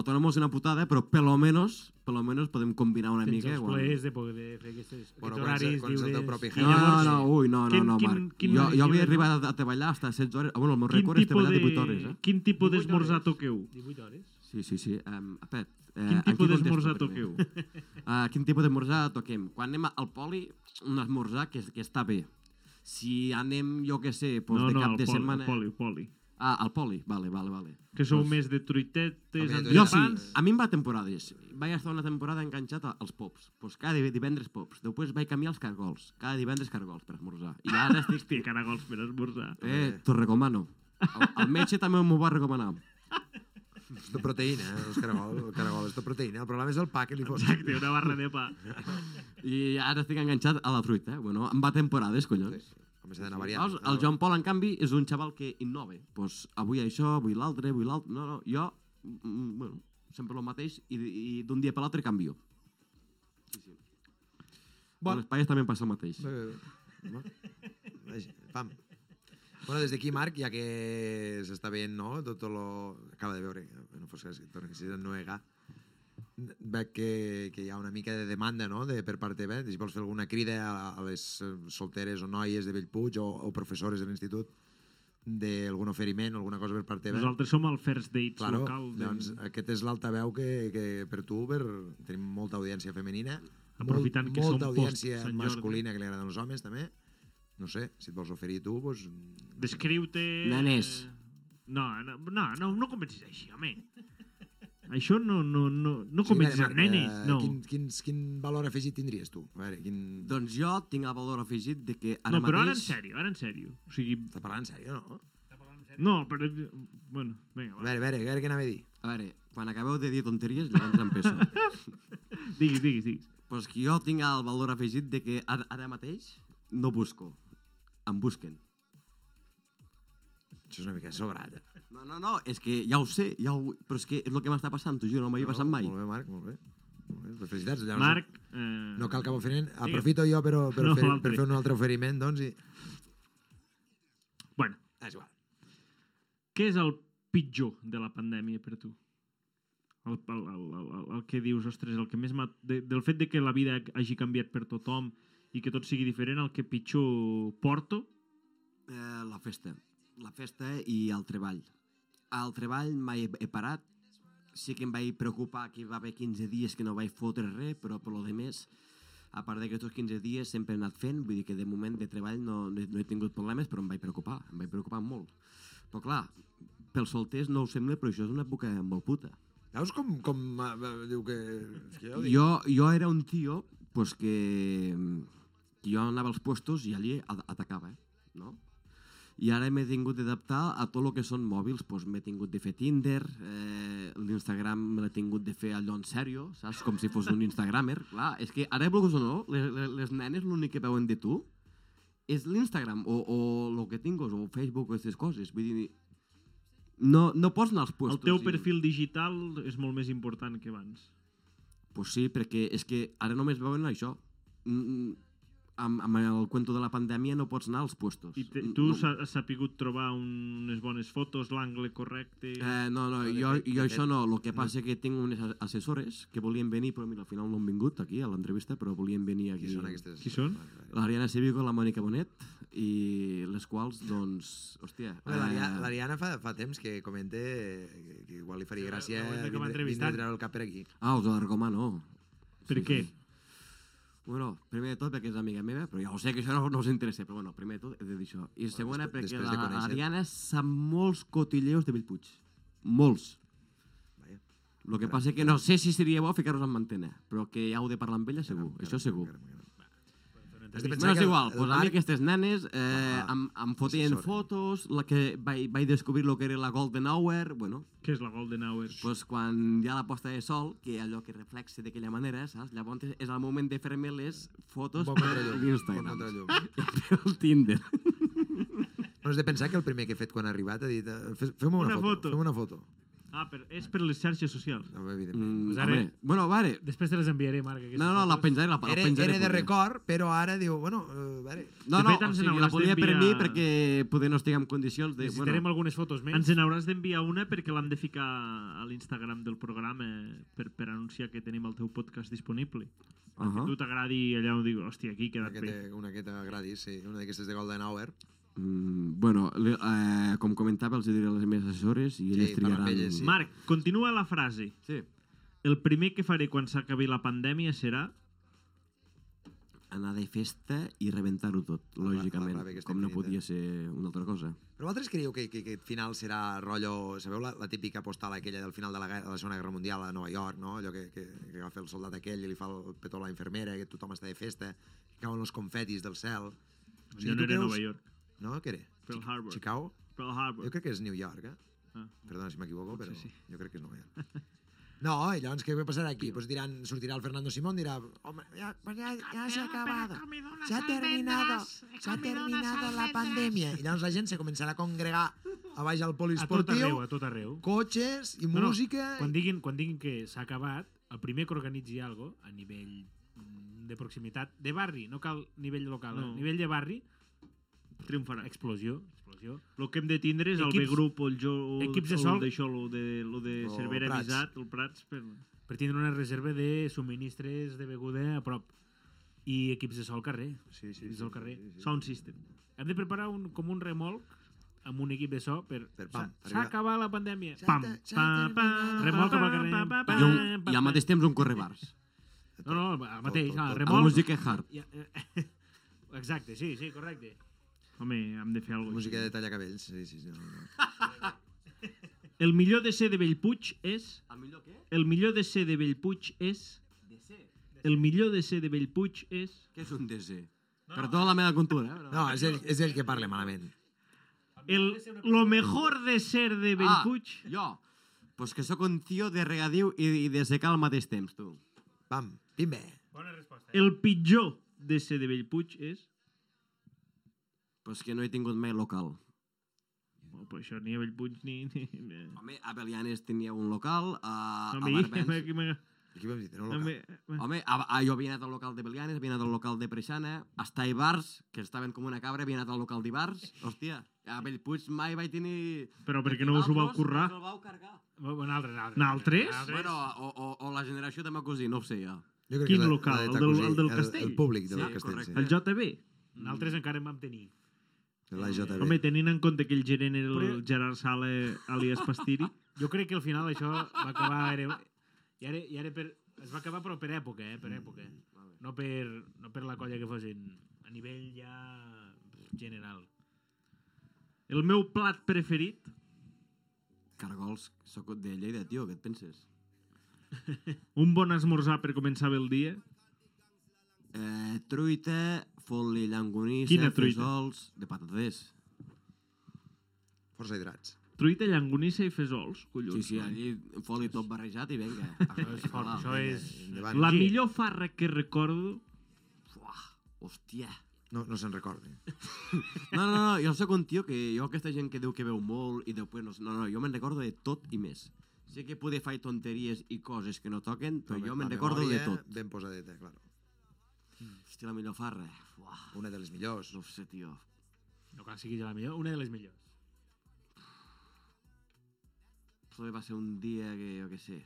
[SPEAKER 6] Autònoms és una putada, però per lo menos, per lo menos podem combinar una
[SPEAKER 4] Tens
[SPEAKER 6] mica.
[SPEAKER 4] els
[SPEAKER 6] quan-
[SPEAKER 4] plaers de poder fer aquestes, aquests
[SPEAKER 3] Bueno, quan és-
[SPEAKER 4] horaris
[SPEAKER 3] quan és el teu
[SPEAKER 4] lliures.
[SPEAKER 3] propi
[SPEAKER 6] No, no, no, ui, no, no,
[SPEAKER 1] Quin-
[SPEAKER 6] no,
[SPEAKER 1] quin-
[SPEAKER 6] Marc.
[SPEAKER 1] quin-
[SPEAKER 6] jo, jo havia
[SPEAKER 1] quin-
[SPEAKER 6] arribat a, a treballar fins a 16 hores. ah, Bueno, el meu
[SPEAKER 1] Quin
[SPEAKER 6] rècord és
[SPEAKER 1] tipus,
[SPEAKER 6] treballar 18 hores,
[SPEAKER 1] de...
[SPEAKER 6] eh?
[SPEAKER 1] Quin tipus
[SPEAKER 4] 18
[SPEAKER 1] d'esmorzar
[SPEAKER 4] hores.
[SPEAKER 1] toqueu?
[SPEAKER 4] 18 hores.
[SPEAKER 6] Sí, sí, sí. Um, a Pep, eh,
[SPEAKER 1] Quin
[SPEAKER 6] a qui
[SPEAKER 1] tipus
[SPEAKER 6] contesto
[SPEAKER 1] d'esmorzar
[SPEAKER 6] primer?
[SPEAKER 1] toqueu?
[SPEAKER 6] Uh, quin tipus d'esmorzar toquem? Quan anem al poli, un esmorzar que, que està bé. Si anem, jo què sé, doncs
[SPEAKER 1] no,
[SPEAKER 6] de
[SPEAKER 1] no,
[SPEAKER 6] cap
[SPEAKER 1] el
[SPEAKER 6] de
[SPEAKER 1] poli,
[SPEAKER 6] setmana...
[SPEAKER 1] el poli, el poli.
[SPEAKER 6] Ah, al poli, vale, vale, vale.
[SPEAKER 1] Que sou
[SPEAKER 6] Doncs-
[SPEAKER 1] més de truitetes,
[SPEAKER 3] Home,
[SPEAKER 6] Jo
[SPEAKER 3] Jo
[SPEAKER 6] sí,
[SPEAKER 1] entrepans...
[SPEAKER 6] a mi em va a temporades. Vaig estar una temporada enganxat a- als pops. Pues cada divendres pops. Després vaig canviar els cargols. Cada divendres cargols per esmorzar. I ara estic...
[SPEAKER 1] Hòstia, caragols per esmorzar.
[SPEAKER 6] eh, t'ho recomano. El, el metge també m'ho va recomanar.
[SPEAKER 3] És de proteïna, eh, els caragol, el caragol és de proteïna. El problema és el pa que li posa.
[SPEAKER 6] Eh.
[SPEAKER 1] Exacte, una barra de pa.
[SPEAKER 6] I ara estic enganxat a la fruita. Eh? Bueno, em va a temporades, collons.
[SPEAKER 3] Home, s'ha d'anar variant. Ah,
[SPEAKER 6] Llavors, Ah, el Joan Pol, en canvi, és un xaval que innova. Pues, avui això, avui l'altre, avui l'altre... No, no, jo, mm, bueno, sempre el mateix i, i d'un dia per l'altre canvio. Bon.
[SPEAKER 3] Bon.
[SPEAKER 6] A les paies també em passa el mateix.
[SPEAKER 3] Bé, bé, bé. Home, vaja, Pam. Bueno, des d'aquí, Marc, ja que s'està veient, no? Tot lo... Acaba de veure, que no fos cas que tornessis a ennuegar. Veig que, que hi ha una mica de demanda, no?, de, per part teva. Si vols fer alguna crida a, a les eh, solteres o noies de Bellpuig o, o professores de l'institut d'algun oferiment o alguna cosa per part teva.
[SPEAKER 1] Nosaltres som el first dates
[SPEAKER 3] Claro,
[SPEAKER 1] local. De...
[SPEAKER 3] doncs aquest és l'altaveu que, que per tu, per, tenim molta audiència femenina,
[SPEAKER 1] Aprofitant
[SPEAKER 3] molt,
[SPEAKER 1] que som
[SPEAKER 3] molta audiència
[SPEAKER 1] post Sant Jordi.
[SPEAKER 3] masculina que li agraden als homes també, no sé, si et vols oferir tu, doncs...
[SPEAKER 1] Descriu-te...
[SPEAKER 6] Nenes.
[SPEAKER 1] No, no, no, no, no comencis així, home. Això no, no, no, no
[SPEAKER 3] Sí,
[SPEAKER 1] comencis
[SPEAKER 3] Marc,
[SPEAKER 1] amb nenes,
[SPEAKER 3] eh,
[SPEAKER 1] no.
[SPEAKER 3] Quin, quins, quin valor afegit tindries tu? A veure, quin...
[SPEAKER 6] Doncs jo tinc el valor afegit de que ara
[SPEAKER 1] No, però ara en
[SPEAKER 6] mateix...
[SPEAKER 1] sèrio, ara en sèrio. O sigui,
[SPEAKER 3] Estàs parlant en sèrio, no?
[SPEAKER 1] no, però... Bueno, vinga, va.
[SPEAKER 3] A veure, a veure, a veure què anava a dir.
[SPEAKER 6] A veure, quan acabeu de dir tonteries, llavors empeço.
[SPEAKER 1] Diguis, diguis, diguis.
[SPEAKER 6] pues que jo tinc el valor afegit de que ara, ara mateix no busco. Em busquen.
[SPEAKER 3] Això és una mica sobrat. eh?
[SPEAKER 6] No, no, no, és que ja ho sé, ja ho... però és que és el que m'està passant, t'ho juro, no m'havia passat mai.
[SPEAKER 3] Molt bé, Marc, molt bé. Molt bé. Doncs felicitats. Llavors,
[SPEAKER 1] Marc... Eh...
[SPEAKER 3] No cal cap oferiment. Aprofito jo per, per,
[SPEAKER 1] No,
[SPEAKER 3] fer, per
[SPEAKER 1] l'altre.
[SPEAKER 3] fer un altre oferiment, doncs, i...
[SPEAKER 1] Bueno,
[SPEAKER 3] Ah, és igual.
[SPEAKER 1] què és el pitjor de la pandèmia per tu? El, el, el, el, el- el que dius, ostres, el que més m'ha... De, del fet de que la vida hagi canviat per tothom i que tot sigui diferent, el que pitjor porto...
[SPEAKER 6] Eh, la festa. La festa i el treball. Al treball mai he- he parat. Sí que em vaig preocupar que hi va haver 15 dies que no vaig fotre res, però per lo de més, a part d'aquests 15 dies sempre he anat fent, vull dir que de moment de treball no, no, he, no he tingut problemes, però em vaig preocupar, em vaig preocupar molt. Però clar, pels solters no ho sembla, però això és una època molt puta.
[SPEAKER 3] Veus com, com eh, eh, diu que... és que ja ho dic.
[SPEAKER 6] Jo, jo era un tio pues, que, que jo anava als puestos i allí a- atacava, eh? no? I ara m'he tingut d'adaptar a tot el que són mòbils. Pues, m'he tingut de fer Tinder, eh, l'Instagram me l'he tingut de fer allò en sèrio, saps? Com si fos un Instagramer. Clar, és que ara, vulguis o no, les, les- les nenes l'únic que veuen de tu és l'Instagram o, o el que tingues, o Facebook o aquestes coses. Vull dir, no, no pots anar als
[SPEAKER 1] El
[SPEAKER 6] puestos.
[SPEAKER 1] teu
[SPEAKER 6] i-
[SPEAKER 1] perfil digital és molt més important que abans.
[SPEAKER 6] pues sí, perquè és que ara només veuen això. Mm, amb, amb el cuento de la pandèmia no pots anar als puestos.
[SPEAKER 1] I te,
[SPEAKER 6] Mm,
[SPEAKER 1] tu
[SPEAKER 6] no.
[SPEAKER 1] no. has sapigut trobar un, unes bones fotos, l'angle correcte...
[SPEAKER 6] Eh, no, no,
[SPEAKER 3] de
[SPEAKER 6] jo,
[SPEAKER 3] fet-
[SPEAKER 6] jo
[SPEAKER 3] de
[SPEAKER 6] això
[SPEAKER 3] fet-
[SPEAKER 6] no. El que passa que tinc unes as- assessores que volien venir, però mira, al final no han vingut aquí a l'entrevista, però volien venir aquí.
[SPEAKER 3] Qui són aquestes?
[SPEAKER 1] Qui són?
[SPEAKER 6] L'Ariana Sevigo, la Mònica Bonet, i les quals, doncs, hòstia...
[SPEAKER 3] Bé, l'Aria-
[SPEAKER 6] eh,
[SPEAKER 3] L'Ariana fa, fa temps que comenta que, que igual li faria
[SPEAKER 1] Sí,
[SPEAKER 3] gràcia
[SPEAKER 1] la- la
[SPEAKER 3] vindre,
[SPEAKER 1] que m'ha
[SPEAKER 3] vindre
[SPEAKER 1] entrevistat.
[SPEAKER 3] a treure el cap per aquí.
[SPEAKER 6] Ah, us l'argoma no.
[SPEAKER 1] Per què?
[SPEAKER 6] Bueno, primer de tot perquè és amiga meva, però ja ho sé que això no, no us interessa, però bueno, primer de tot he de dir això. I segona
[SPEAKER 3] després-
[SPEAKER 6] perquè
[SPEAKER 3] després de
[SPEAKER 6] la, la
[SPEAKER 3] conèixer-te.
[SPEAKER 6] Diana sap molts cotilleos de Bellpuig. Molts.
[SPEAKER 3] Vaja.
[SPEAKER 6] El que passa que no sé si seria bo ficar-vos en mantena, però que ja heu de parlar amb ella segur,
[SPEAKER 3] Caram,
[SPEAKER 6] això
[SPEAKER 3] caram,
[SPEAKER 6] segur.
[SPEAKER 3] caram, caram. Has de
[SPEAKER 6] Bueno,
[SPEAKER 3] pensar
[SPEAKER 6] és
[SPEAKER 3] que el-
[SPEAKER 6] igual,
[SPEAKER 3] el
[SPEAKER 6] pues a mi
[SPEAKER 3] Marc-
[SPEAKER 6] aquestes nenes eh,
[SPEAKER 3] Ah,
[SPEAKER 6] em, em fotien
[SPEAKER 3] assessora.
[SPEAKER 6] fotos, la que vaig, vaig descobrir el que era la Golden Hour, bueno,
[SPEAKER 1] Què és la Golden Hour?
[SPEAKER 6] pues quan hi ha la posta de sol, que allò que reflexa d'aquella manera, saps? Llavors és el moment de fer-me les
[SPEAKER 3] Un
[SPEAKER 6] fotos
[SPEAKER 3] bon
[SPEAKER 6] per
[SPEAKER 3] contrallum, bon
[SPEAKER 6] l'Instagram.
[SPEAKER 3] contrallum.
[SPEAKER 6] El Tinder.
[SPEAKER 3] No has de pensar que el primer que he fet quan ha arribat ha dit eh, "Fes- fem una,
[SPEAKER 1] Una
[SPEAKER 3] foto,
[SPEAKER 1] foto.
[SPEAKER 3] fem una foto.
[SPEAKER 1] Ah, per, és per les xarxes socials.
[SPEAKER 3] No, evidentment.
[SPEAKER 6] Mm,
[SPEAKER 4] Pues ara-
[SPEAKER 6] home, bueno, vale.
[SPEAKER 4] Després te les enviaré, Marc. aquestes
[SPEAKER 6] No, no, la
[SPEAKER 4] fotos.
[SPEAKER 6] penjaré, la, la
[SPEAKER 3] Era,
[SPEAKER 6] Mm, penjaré.
[SPEAKER 3] era de
[SPEAKER 6] perquè-
[SPEAKER 3] record, però ara diu, bueno, eh, vale.
[SPEAKER 6] No,
[SPEAKER 1] De
[SPEAKER 6] no,
[SPEAKER 1] fet,
[SPEAKER 6] o
[SPEAKER 1] ens
[SPEAKER 6] sigui, la
[SPEAKER 1] n'hauràs
[SPEAKER 6] volia per mi
[SPEAKER 1] d'enviar-
[SPEAKER 6] perquè poder no estic en condicions de...
[SPEAKER 4] Necessitarem
[SPEAKER 6] Bueno,
[SPEAKER 4] algunes fotos més.
[SPEAKER 1] Ens n'hauràs d'enviar una perquè l'hem de ficar a l'Instagram del programa eh, per, per anunciar que tenim el teu podcast disponible.
[SPEAKER 6] uh
[SPEAKER 3] Ah.
[SPEAKER 1] Que
[SPEAKER 6] -huh.
[SPEAKER 1] tu t'agradi allà on diu, hòstia, aquí he
[SPEAKER 3] Una
[SPEAKER 1] quedat
[SPEAKER 3] que,
[SPEAKER 1] bé.
[SPEAKER 3] te, una que t'agradi, sí. Una d'aquestes de Golden Hour.
[SPEAKER 6] mm, bueno li- eh, com comentava, els diré a les meves assessores i
[SPEAKER 3] Sí,
[SPEAKER 6] elles
[SPEAKER 3] parla amb
[SPEAKER 6] triaran...
[SPEAKER 3] elles, sí.
[SPEAKER 1] Marc, continua la frase.
[SPEAKER 6] Sí,
[SPEAKER 1] El primer que faré quan s'acabi la pandèmia serà...
[SPEAKER 6] anar de festa i rebentar-ho tot,
[SPEAKER 3] la
[SPEAKER 6] lògicament,
[SPEAKER 3] rave aquesta
[SPEAKER 6] com no
[SPEAKER 3] infinita.
[SPEAKER 6] podia ser una altra cosa.
[SPEAKER 3] Però vosaltres creieu que, que, que aquest final serà rotllo... Sabeu la, la típica postal aquella del final de la, guerra, de la Segona Guerra Mundial a Nova York, no? Allò que, que, que agafa el soldat aquell i li fa el petó a la infermera, que tothom està de festa, que cauen els confetis del cel. O
[SPEAKER 1] Jo no
[SPEAKER 3] tu
[SPEAKER 1] era a
[SPEAKER 3] creus-
[SPEAKER 1] Nova York, ah,
[SPEAKER 3] No, què era?
[SPEAKER 1] Pearl
[SPEAKER 3] Chi-
[SPEAKER 1] Harbor.
[SPEAKER 3] Chicago?
[SPEAKER 1] Pearl
[SPEAKER 3] Jo
[SPEAKER 1] Harbor.
[SPEAKER 3] crec que és New York, eh?
[SPEAKER 1] Ah.
[SPEAKER 3] Perdona si m'equivoco, però
[SPEAKER 1] sí.
[SPEAKER 3] jo crec que és Nova York. No, i llavors què passarà aquí? Pues diran, sortirà el Fernando Simón, dirà, home, ja, pues ya, ya se ha acabado, se ha terminado, se ha terminado la pandemia. I llavors la gent se començarà a congregar a baix al
[SPEAKER 4] a tot arreu,
[SPEAKER 3] poliesportiu,
[SPEAKER 4] a tot arreu.
[SPEAKER 3] cotxes i
[SPEAKER 4] no,
[SPEAKER 3] música.
[SPEAKER 4] Quan diguin, quan diguin que s'ha acabat, el primer que organitzi algo a nivell mm, de proximitat, de barri, no cal nivell local, no.
[SPEAKER 1] No.
[SPEAKER 4] a nivell de barri,
[SPEAKER 1] Triomfarà.
[SPEAKER 4] explosió, explosió.
[SPEAKER 1] El que hem de tindre és el
[SPEAKER 4] Equips-
[SPEAKER 1] B-grup o el jo, o el-
[SPEAKER 4] equips de
[SPEAKER 1] o el
[SPEAKER 4] sol.
[SPEAKER 1] d'això, el de, el de
[SPEAKER 3] O
[SPEAKER 1] Cervera
[SPEAKER 3] Prats.
[SPEAKER 1] Visat, el Prats, per...
[SPEAKER 4] per tindre una reserva de subministres de beguda a prop i equips de sol al carrer.
[SPEAKER 3] Sí, sí,
[SPEAKER 4] Dins del carrer.
[SPEAKER 1] Sound System.
[SPEAKER 4] Hem de preparar un, com un remolc amb un equip de so per...
[SPEAKER 3] Per
[SPEAKER 4] s'ha-
[SPEAKER 3] pam,
[SPEAKER 4] S'ha
[SPEAKER 3] arribar.
[SPEAKER 4] acabat la pandèmia.
[SPEAKER 3] S'ha
[SPEAKER 4] Pam!
[SPEAKER 3] ter- s'ha
[SPEAKER 1] Pa, pa,
[SPEAKER 3] terminat.
[SPEAKER 4] Remolc
[SPEAKER 1] pa,
[SPEAKER 4] cap al carrer.
[SPEAKER 1] pa, pa, pa,
[SPEAKER 6] I, un,
[SPEAKER 1] pa,
[SPEAKER 6] i al
[SPEAKER 1] pa.
[SPEAKER 6] mateix temps un correbars.
[SPEAKER 4] No, no, el mateix,
[SPEAKER 3] tot, tot.
[SPEAKER 4] ah,
[SPEAKER 6] Amb
[SPEAKER 4] remolc...
[SPEAKER 6] música hard.
[SPEAKER 4] Ja, eh, Exacte, sí, sí, correcte.
[SPEAKER 1] Home, hem de fer alguna cosa.
[SPEAKER 3] Música de tallacabells, sí, sí, sí. No, no.
[SPEAKER 1] El millor de ser de Bellpuig és...
[SPEAKER 6] El millor què?
[SPEAKER 1] El millor de ser de Bellpuig és...
[SPEAKER 6] De ser.
[SPEAKER 1] El millor de ser de Bellpuig és...
[SPEAKER 6] Què és un DC? Perdó la meva cultura, eh?
[SPEAKER 3] no és, ell, és ell que parla malament.
[SPEAKER 1] El, lo mejor de ser de Bellpuig...
[SPEAKER 6] Ah, jo. Pues que sóc un tio de regadiu i, i de secar al mateix temps, tu.
[SPEAKER 3] Pam, pimbe.
[SPEAKER 1] El pitjor de ser de Bellpuig és...
[SPEAKER 6] Pues que no he tingut mai local.
[SPEAKER 1] Bueno, pues això ni a Bellpuig ni... ni, ni...
[SPEAKER 6] Home, a Belianes tenia un local, a, Ah, a
[SPEAKER 1] Home,
[SPEAKER 6] Barbens...
[SPEAKER 1] aquí m'aga-
[SPEAKER 3] Aquí vam dir, no,
[SPEAKER 1] home,
[SPEAKER 3] local.
[SPEAKER 6] Home, a, a, jo havia anat al local de Belianes, havia anat al local de Preixana, hasta a Ibars, que estaven com una cabra, havia anat al local d'Ibars. Hòstia, a Bellpuig mai vaig tenir...
[SPEAKER 1] Però perquè no us ho vau
[SPEAKER 6] Vosaltres
[SPEAKER 1] currar.
[SPEAKER 6] us el vau cargar.
[SPEAKER 4] Un altre, un altre.
[SPEAKER 1] Naltres?
[SPEAKER 4] Un altre.
[SPEAKER 6] Ah, Bueno, o, o, o la generació de ma cosí, no ho sé jo.
[SPEAKER 3] Jo crec
[SPEAKER 1] Quin
[SPEAKER 3] que és la-
[SPEAKER 1] local?
[SPEAKER 3] la de
[SPEAKER 1] El del- el del
[SPEAKER 3] Tacosí, El,
[SPEAKER 1] castell?
[SPEAKER 3] el públic del
[SPEAKER 6] Sí,
[SPEAKER 3] castell,
[SPEAKER 6] correcte.
[SPEAKER 3] sí.
[SPEAKER 1] El JB.
[SPEAKER 4] Naltres encara en vam tenir.
[SPEAKER 3] La JB.
[SPEAKER 1] Home, tenint en compte que el gerent era el
[SPEAKER 4] Però-
[SPEAKER 1] Gerard Sala alias Pastiri,
[SPEAKER 4] Jo crec que al final això va acabar... Era, i ara, i ara per, es va acabar però per època, eh?
[SPEAKER 3] Mm,
[SPEAKER 4] Per època. No per, no per la colla que fossin. A nivell ja general.
[SPEAKER 1] el meu plat preferit...
[SPEAKER 6] Cargols, sóc de Lleida, tio, què et penses?
[SPEAKER 1] Un bon esmorzar per començar bé el dia.
[SPEAKER 6] Eh, truita, foli llangonissa,
[SPEAKER 1] Quina truita?
[SPEAKER 6] fesols, de pataters.
[SPEAKER 3] Força hidrats.
[SPEAKER 1] Truita, llangonissa i fesols, collons.
[SPEAKER 6] Sí, sí, allí foli tot barrejat i vinga.
[SPEAKER 4] Això és fort, això és...
[SPEAKER 3] Endavant.
[SPEAKER 1] La
[SPEAKER 4] Sí.
[SPEAKER 1] millor farra que recordo...
[SPEAKER 6] Fuà, hòstia.
[SPEAKER 3] No, no se'n recorda.
[SPEAKER 6] No, no, no, jo sóc un tio que jo aquesta gent que diu que veu molt i després no, sé- no, no jo me'n recordo de tot i més. Sé que poder faig tonteries i coses que no toquen, però
[SPEAKER 3] Home,
[SPEAKER 6] jo me'n
[SPEAKER 3] la
[SPEAKER 6] recordo de
[SPEAKER 3] memòria
[SPEAKER 6] tot.
[SPEAKER 3] Ben posadeta, claro.
[SPEAKER 6] Hòstia, la millor farra. Uah,
[SPEAKER 3] Una de les millors.
[SPEAKER 6] no ho sé, tio.
[SPEAKER 4] No cal sigui la millor, una de les millors.
[SPEAKER 6] Potser va ser un dia que, jo què sé...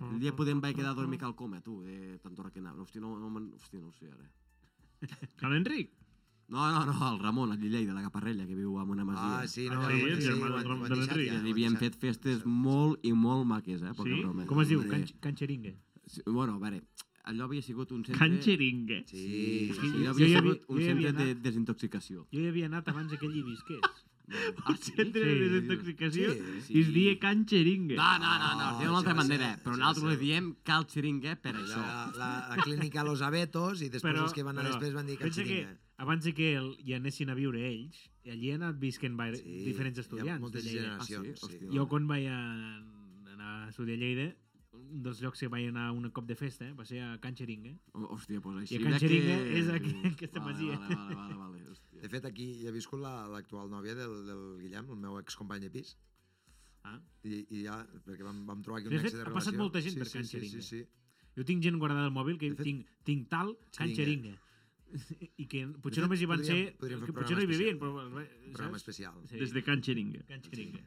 [SPEAKER 6] El dia podem vaig quedar a dormir al coma, tu, de tanta hora que anava. Hòstia, no, no, me'n- hòstia, no ho sé, ara.
[SPEAKER 1] Can Enric?
[SPEAKER 6] No, no, no, el Ramon, el Lleida, la Caparrella, que viu en una masia.
[SPEAKER 3] Ah, sí, no,
[SPEAKER 1] Ah, sí, el germà del
[SPEAKER 3] ho han- ho han
[SPEAKER 1] Ramon
[SPEAKER 3] deixat
[SPEAKER 1] Enric.
[SPEAKER 3] ja, ho han
[SPEAKER 6] Li havien
[SPEAKER 3] deixat.
[SPEAKER 6] fet festes
[SPEAKER 3] Sí.
[SPEAKER 6] molt i molt maques, eh? Poca
[SPEAKER 1] Sí?
[SPEAKER 6] broma.
[SPEAKER 4] Com es diu?
[SPEAKER 6] Hombre,
[SPEAKER 4] Can, can Xeringue.
[SPEAKER 6] sí, Bueno, a veure, allò havia sigut un centre...
[SPEAKER 1] Can Xeringue.
[SPEAKER 3] Sí,
[SPEAKER 6] Sí,
[SPEAKER 3] sí,
[SPEAKER 6] sí,
[SPEAKER 4] Jo
[SPEAKER 6] allò
[SPEAKER 4] hi
[SPEAKER 6] havia
[SPEAKER 4] havia-
[SPEAKER 6] sigut un
[SPEAKER 4] jo hi havia
[SPEAKER 6] centre de
[SPEAKER 4] anat.
[SPEAKER 6] desintoxicació.
[SPEAKER 4] Jo hi havia anat abans que ell hi visqués.
[SPEAKER 6] Ah, sí?
[SPEAKER 1] Centre de
[SPEAKER 4] Sí,
[SPEAKER 1] desintoxicació
[SPEAKER 6] sí.
[SPEAKER 1] i es deia Can Xeringue.
[SPEAKER 6] No, no, no, no, té
[SPEAKER 3] No,
[SPEAKER 6] una altra
[SPEAKER 3] ja
[SPEAKER 6] bandera,
[SPEAKER 3] sé,
[SPEAKER 6] però
[SPEAKER 3] ja
[SPEAKER 6] nosaltres
[SPEAKER 3] sé.
[SPEAKER 6] li diem cal xeringa per això.
[SPEAKER 3] La, la, la clínica Los Abetos i després els que van anar després van dir que
[SPEAKER 4] pensa que abans de que el, hi anessin a viure ells, allí han anat visquent va, diferents
[SPEAKER 3] Hi
[SPEAKER 4] estudiants.
[SPEAKER 3] ha moltes
[SPEAKER 4] de Lleida.
[SPEAKER 3] generacions.
[SPEAKER 6] Ah, sí?
[SPEAKER 3] sí,
[SPEAKER 6] Hòstia.
[SPEAKER 4] Jo quan vaig a, anar a estudiar a Lleida, un dels llocs que vaig anar un cop de festa eh, va ser a Can Xeringa.
[SPEAKER 6] Hò- Hòstia, doncs així...
[SPEAKER 4] I a Can
[SPEAKER 6] era
[SPEAKER 4] Xeringa és aquí, aquesta
[SPEAKER 6] vale,
[SPEAKER 4] masia.
[SPEAKER 6] Vale, vale, vale, vale, hòstia.
[SPEAKER 3] De fet, aquí hi ha viscut la- l'actual la, nòvia del, del Guillem, el meu excompany de pis.
[SPEAKER 4] Ah.
[SPEAKER 3] I, i ja, perquè vam, vam trobar aquí
[SPEAKER 4] De
[SPEAKER 3] un
[SPEAKER 4] fet,
[SPEAKER 3] nexe de
[SPEAKER 4] ha
[SPEAKER 3] relació.
[SPEAKER 4] passat molta gent per Can
[SPEAKER 3] sí, sí, sí,
[SPEAKER 4] Xeringa.
[SPEAKER 3] sí.
[SPEAKER 4] Jo tinc gent guardada al mòbil que
[SPEAKER 3] De fet,
[SPEAKER 4] tinc, tinc tal Can Xeringa.
[SPEAKER 3] Xeringa.
[SPEAKER 4] I que
[SPEAKER 3] De
[SPEAKER 4] potser
[SPEAKER 3] fet,
[SPEAKER 4] només hi van
[SPEAKER 3] podríem-
[SPEAKER 4] ser...
[SPEAKER 3] podríem fer
[SPEAKER 4] que
[SPEAKER 3] un
[SPEAKER 4] potser
[SPEAKER 3] programa
[SPEAKER 4] no hi vivien,
[SPEAKER 3] especial.
[SPEAKER 4] però... eh,
[SPEAKER 3] Un programa
[SPEAKER 4] Saps?
[SPEAKER 3] especial.
[SPEAKER 4] Sí.
[SPEAKER 1] Des de Can Xeringue.
[SPEAKER 4] Can Xeringa.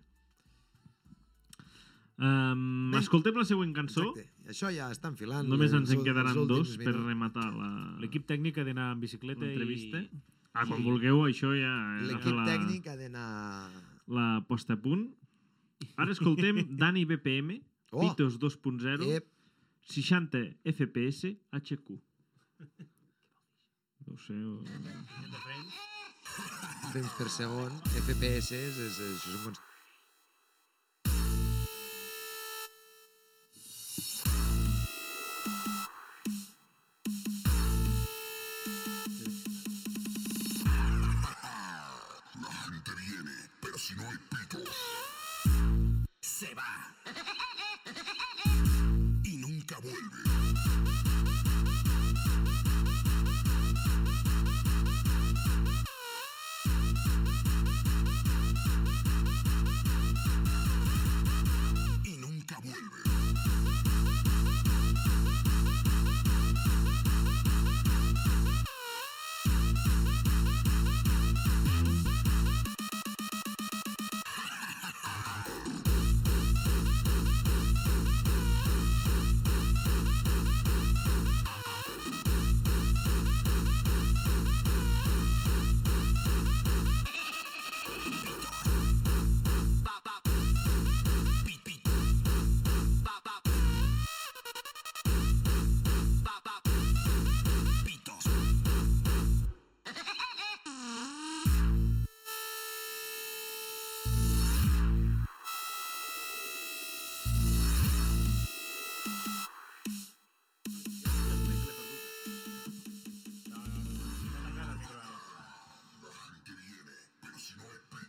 [SPEAKER 1] Um,
[SPEAKER 3] Bé.
[SPEAKER 1] escoltem la següent cançó.
[SPEAKER 3] Exacte. Això ja està enfilant.
[SPEAKER 1] Només ens
[SPEAKER 3] els
[SPEAKER 1] en
[SPEAKER 3] ú- els
[SPEAKER 1] quedaran
[SPEAKER 3] últims
[SPEAKER 1] dos per
[SPEAKER 3] minuts.
[SPEAKER 1] rematar la-
[SPEAKER 4] L'equip tècnic ha d'anar amb bicicleta
[SPEAKER 1] l'entrevista.
[SPEAKER 4] i...
[SPEAKER 1] Ah, quan
[SPEAKER 4] Sí.
[SPEAKER 1] vulgueu, això ja...
[SPEAKER 3] L'equip
[SPEAKER 1] la-
[SPEAKER 3] tècnic ha d'anar...
[SPEAKER 1] La posta a punt. Ara escoltem Dani BPM,
[SPEAKER 3] Oh!
[SPEAKER 1] Pitos 2.0,
[SPEAKER 3] Ep,
[SPEAKER 1] 60 FPS HQ. No ho sé... o-
[SPEAKER 3] temps per segon, FPS, és, és, és un const-
[SPEAKER 7] se va. Y nunca vuelve. Y nunca vuelve.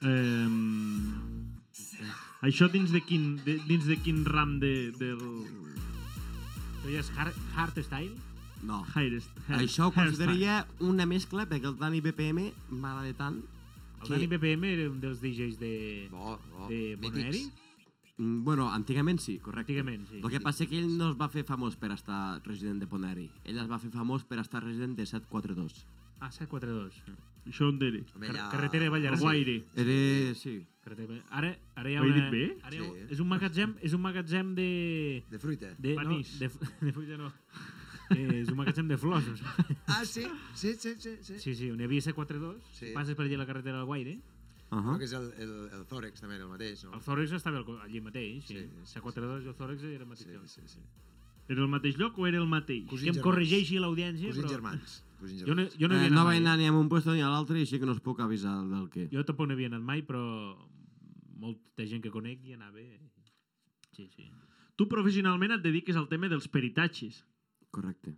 [SPEAKER 1] Eh, això dins de quin, de, dins de quin ram de, del
[SPEAKER 4] Això ja és hard, hard style.
[SPEAKER 6] No.
[SPEAKER 1] hairest, hair,
[SPEAKER 6] Això ho
[SPEAKER 1] hairstyle?
[SPEAKER 6] consideraria una mescla, perquè el Dani BPM m'agrada tant.
[SPEAKER 4] El
[SPEAKER 6] que-
[SPEAKER 4] Dani BPM era un dels DJs de,
[SPEAKER 3] Bo, bo,
[SPEAKER 4] de Boneri.
[SPEAKER 3] mítics.
[SPEAKER 6] Mm, Bueno, antigament sí, correcte.
[SPEAKER 4] Antigament, sí.
[SPEAKER 6] El que passa que ell no es va fer famós per estar resident de Ponari. Ell es va fer famós per estar resident de 742.
[SPEAKER 4] Ah, 742.
[SPEAKER 1] Això on era?
[SPEAKER 3] Home,
[SPEAKER 4] Car
[SPEAKER 3] ja-
[SPEAKER 4] Carretera de
[SPEAKER 1] El
[SPEAKER 4] Ballarà.
[SPEAKER 1] guaire.
[SPEAKER 6] Era... Eh, sí.
[SPEAKER 4] Carretera de Ballarà. Ara, ara hi ha
[SPEAKER 1] Ho he
[SPEAKER 4] una...
[SPEAKER 1] dit bé?
[SPEAKER 4] Ara hi ha...
[SPEAKER 3] Sí.
[SPEAKER 4] És un magatzem, és un magatzem de...
[SPEAKER 3] De fruita.
[SPEAKER 4] de no,
[SPEAKER 1] Panís.
[SPEAKER 4] de, de fulla no. Eh, és un magatzem de flors. em sembla.
[SPEAKER 3] Ah, sí, sí, sí, sí. sí. sí.
[SPEAKER 4] Sí, sí, on hi havia 742, sí.
[SPEAKER 3] Sí.
[SPEAKER 4] passes per allà la carretera del Guaire.
[SPEAKER 6] Uh
[SPEAKER 3] Crec
[SPEAKER 6] -huh.
[SPEAKER 3] que és el, el, el Zòrex també, era el mateix, no?
[SPEAKER 4] El Zòrex estava al co- allí mateix, eh? sí.
[SPEAKER 3] Sí,
[SPEAKER 4] sí,
[SPEAKER 3] sí,
[SPEAKER 4] sí 742 i el Zòrex era el mateix.
[SPEAKER 3] Sí,
[SPEAKER 4] lloc.
[SPEAKER 3] sí, sí.
[SPEAKER 1] Era el mateix lloc o era el mateix?
[SPEAKER 3] Cosins
[SPEAKER 4] Que em
[SPEAKER 3] germans.
[SPEAKER 4] corregeixi l'audiència,
[SPEAKER 3] Cosins
[SPEAKER 4] però...
[SPEAKER 3] germans. Cosins
[SPEAKER 4] Jo no,
[SPEAKER 3] germans.
[SPEAKER 4] jo no hi
[SPEAKER 6] eh,
[SPEAKER 4] havia
[SPEAKER 6] no
[SPEAKER 4] anat
[SPEAKER 6] vaig
[SPEAKER 4] mai.
[SPEAKER 6] anar ni a un lloc ni a l'altre, així que no us puc avisar del que.
[SPEAKER 4] Jo tampoc no havia anat mai, però molta gent que conec hi anava. Sí, sí.
[SPEAKER 1] Tu professionalment et dediques al tema dels peritatges.
[SPEAKER 6] Correcte.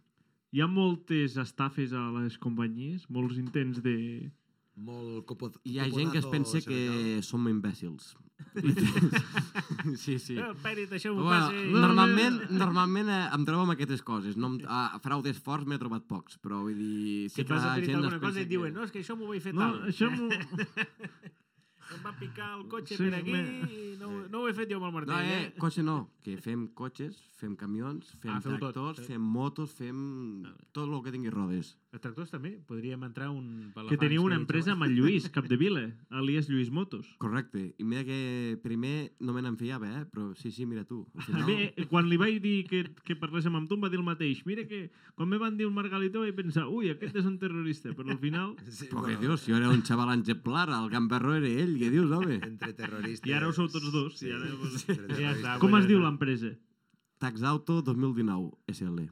[SPEAKER 1] Hi ha moltes estafes a les companyies, molts intents de...
[SPEAKER 3] Molt copo...
[SPEAKER 6] Hi ha gent que es
[SPEAKER 3] coponazo
[SPEAKER 6] pensa que som imbècils. sí, sí.
[SPEAKER 4] sí. El Perit, això m'ho
[SPEAKER 6] Bueno,
[SPEAKER 4] passi.
[SPEAKER 6] normalment, normalment eh, em trobo amb aquestes coses. No, em- a fraudes forts m'he trobat pocs, però vull dir...
[SPEAKER 4] Si et vas a
[SPEAKER 6] la
[SPEAKER 4] perit
[SPEAKER 6] gent es
[SPEAKER 4] alguna cosa
[SPEAKER 6] pensa
[SPEAKER 4] i et diuen,
[SPEAKER 6] que-
[SPEAKER 4] no, és que això m'ho vaig fer
[SPEAKER 1] No,
[SPEAKER 4] tal.
[SPEAKER 1] això m'ho...
[SPEAKER 4] Em va picar el cotxe
[SPEAKER 1] Sí,
[SPEAKER 4] per aquí
[SPEAKER 1] me-
[SPEAKER 4] i no, ho- no ho he fet jo amb el martell,
[SPEAKER 6] No,
[SPEAKER 4] eh?
[SPEAKER 6] eh, cotxe no, que fem cotxes, fem camions, fem
[SPEAKER 4] Ah,
[SPEAKER 6] ah,
[SPEAKER 4] feu tot,
[SPEAKER 6] tractors,
[SPEAKER 4] sí.
[SPEAKER 6] fem motos, fem tot el que tingui rodes.
[SPEAKER 4] A tractors també podríem entrar un...
[SPEAKER 1] Que teniu una empresa amb el Lluís Capdevila, alias Lluís Motos.
[SPEAKER 6] Correcte. I mira que primer no me n'enfiava, eh? però sí, sí, mira tu. Al final,
[SPEAKER 1] També, eh, quan li vaig dir que, que parléssim amb tu, em va dir el mateix. Mira que, quan me van dir el Margalito, vaig pensar, ui, aquest és un terrorista, però al final...
[SPEAKER 3] Sí,
[SPEAKER 6] Però què dius? Jo era un xaval exemplar, el gamberro era ell, què dius, home?
[SPEAKER 3] Entre terroristes...
[SPEAKER 1] I ara ho sou tots dos, i ara vos-
[SPEAKER 3] entre
[SPEAKER 4] Ja
[SPEAKER 3] terroristes.
[SPEAKER 4] està,
[SPEAKER 1] Com
[SPEAKER 4] pues
[SPEAKER 1] es
[SPEAKER 4] ja
[SPEAKER 1] diu
[SPEAKER 4] està.
[SPEAKER 1] l'empresa?
[SPEAKER 6] Taxauto 2019, SL.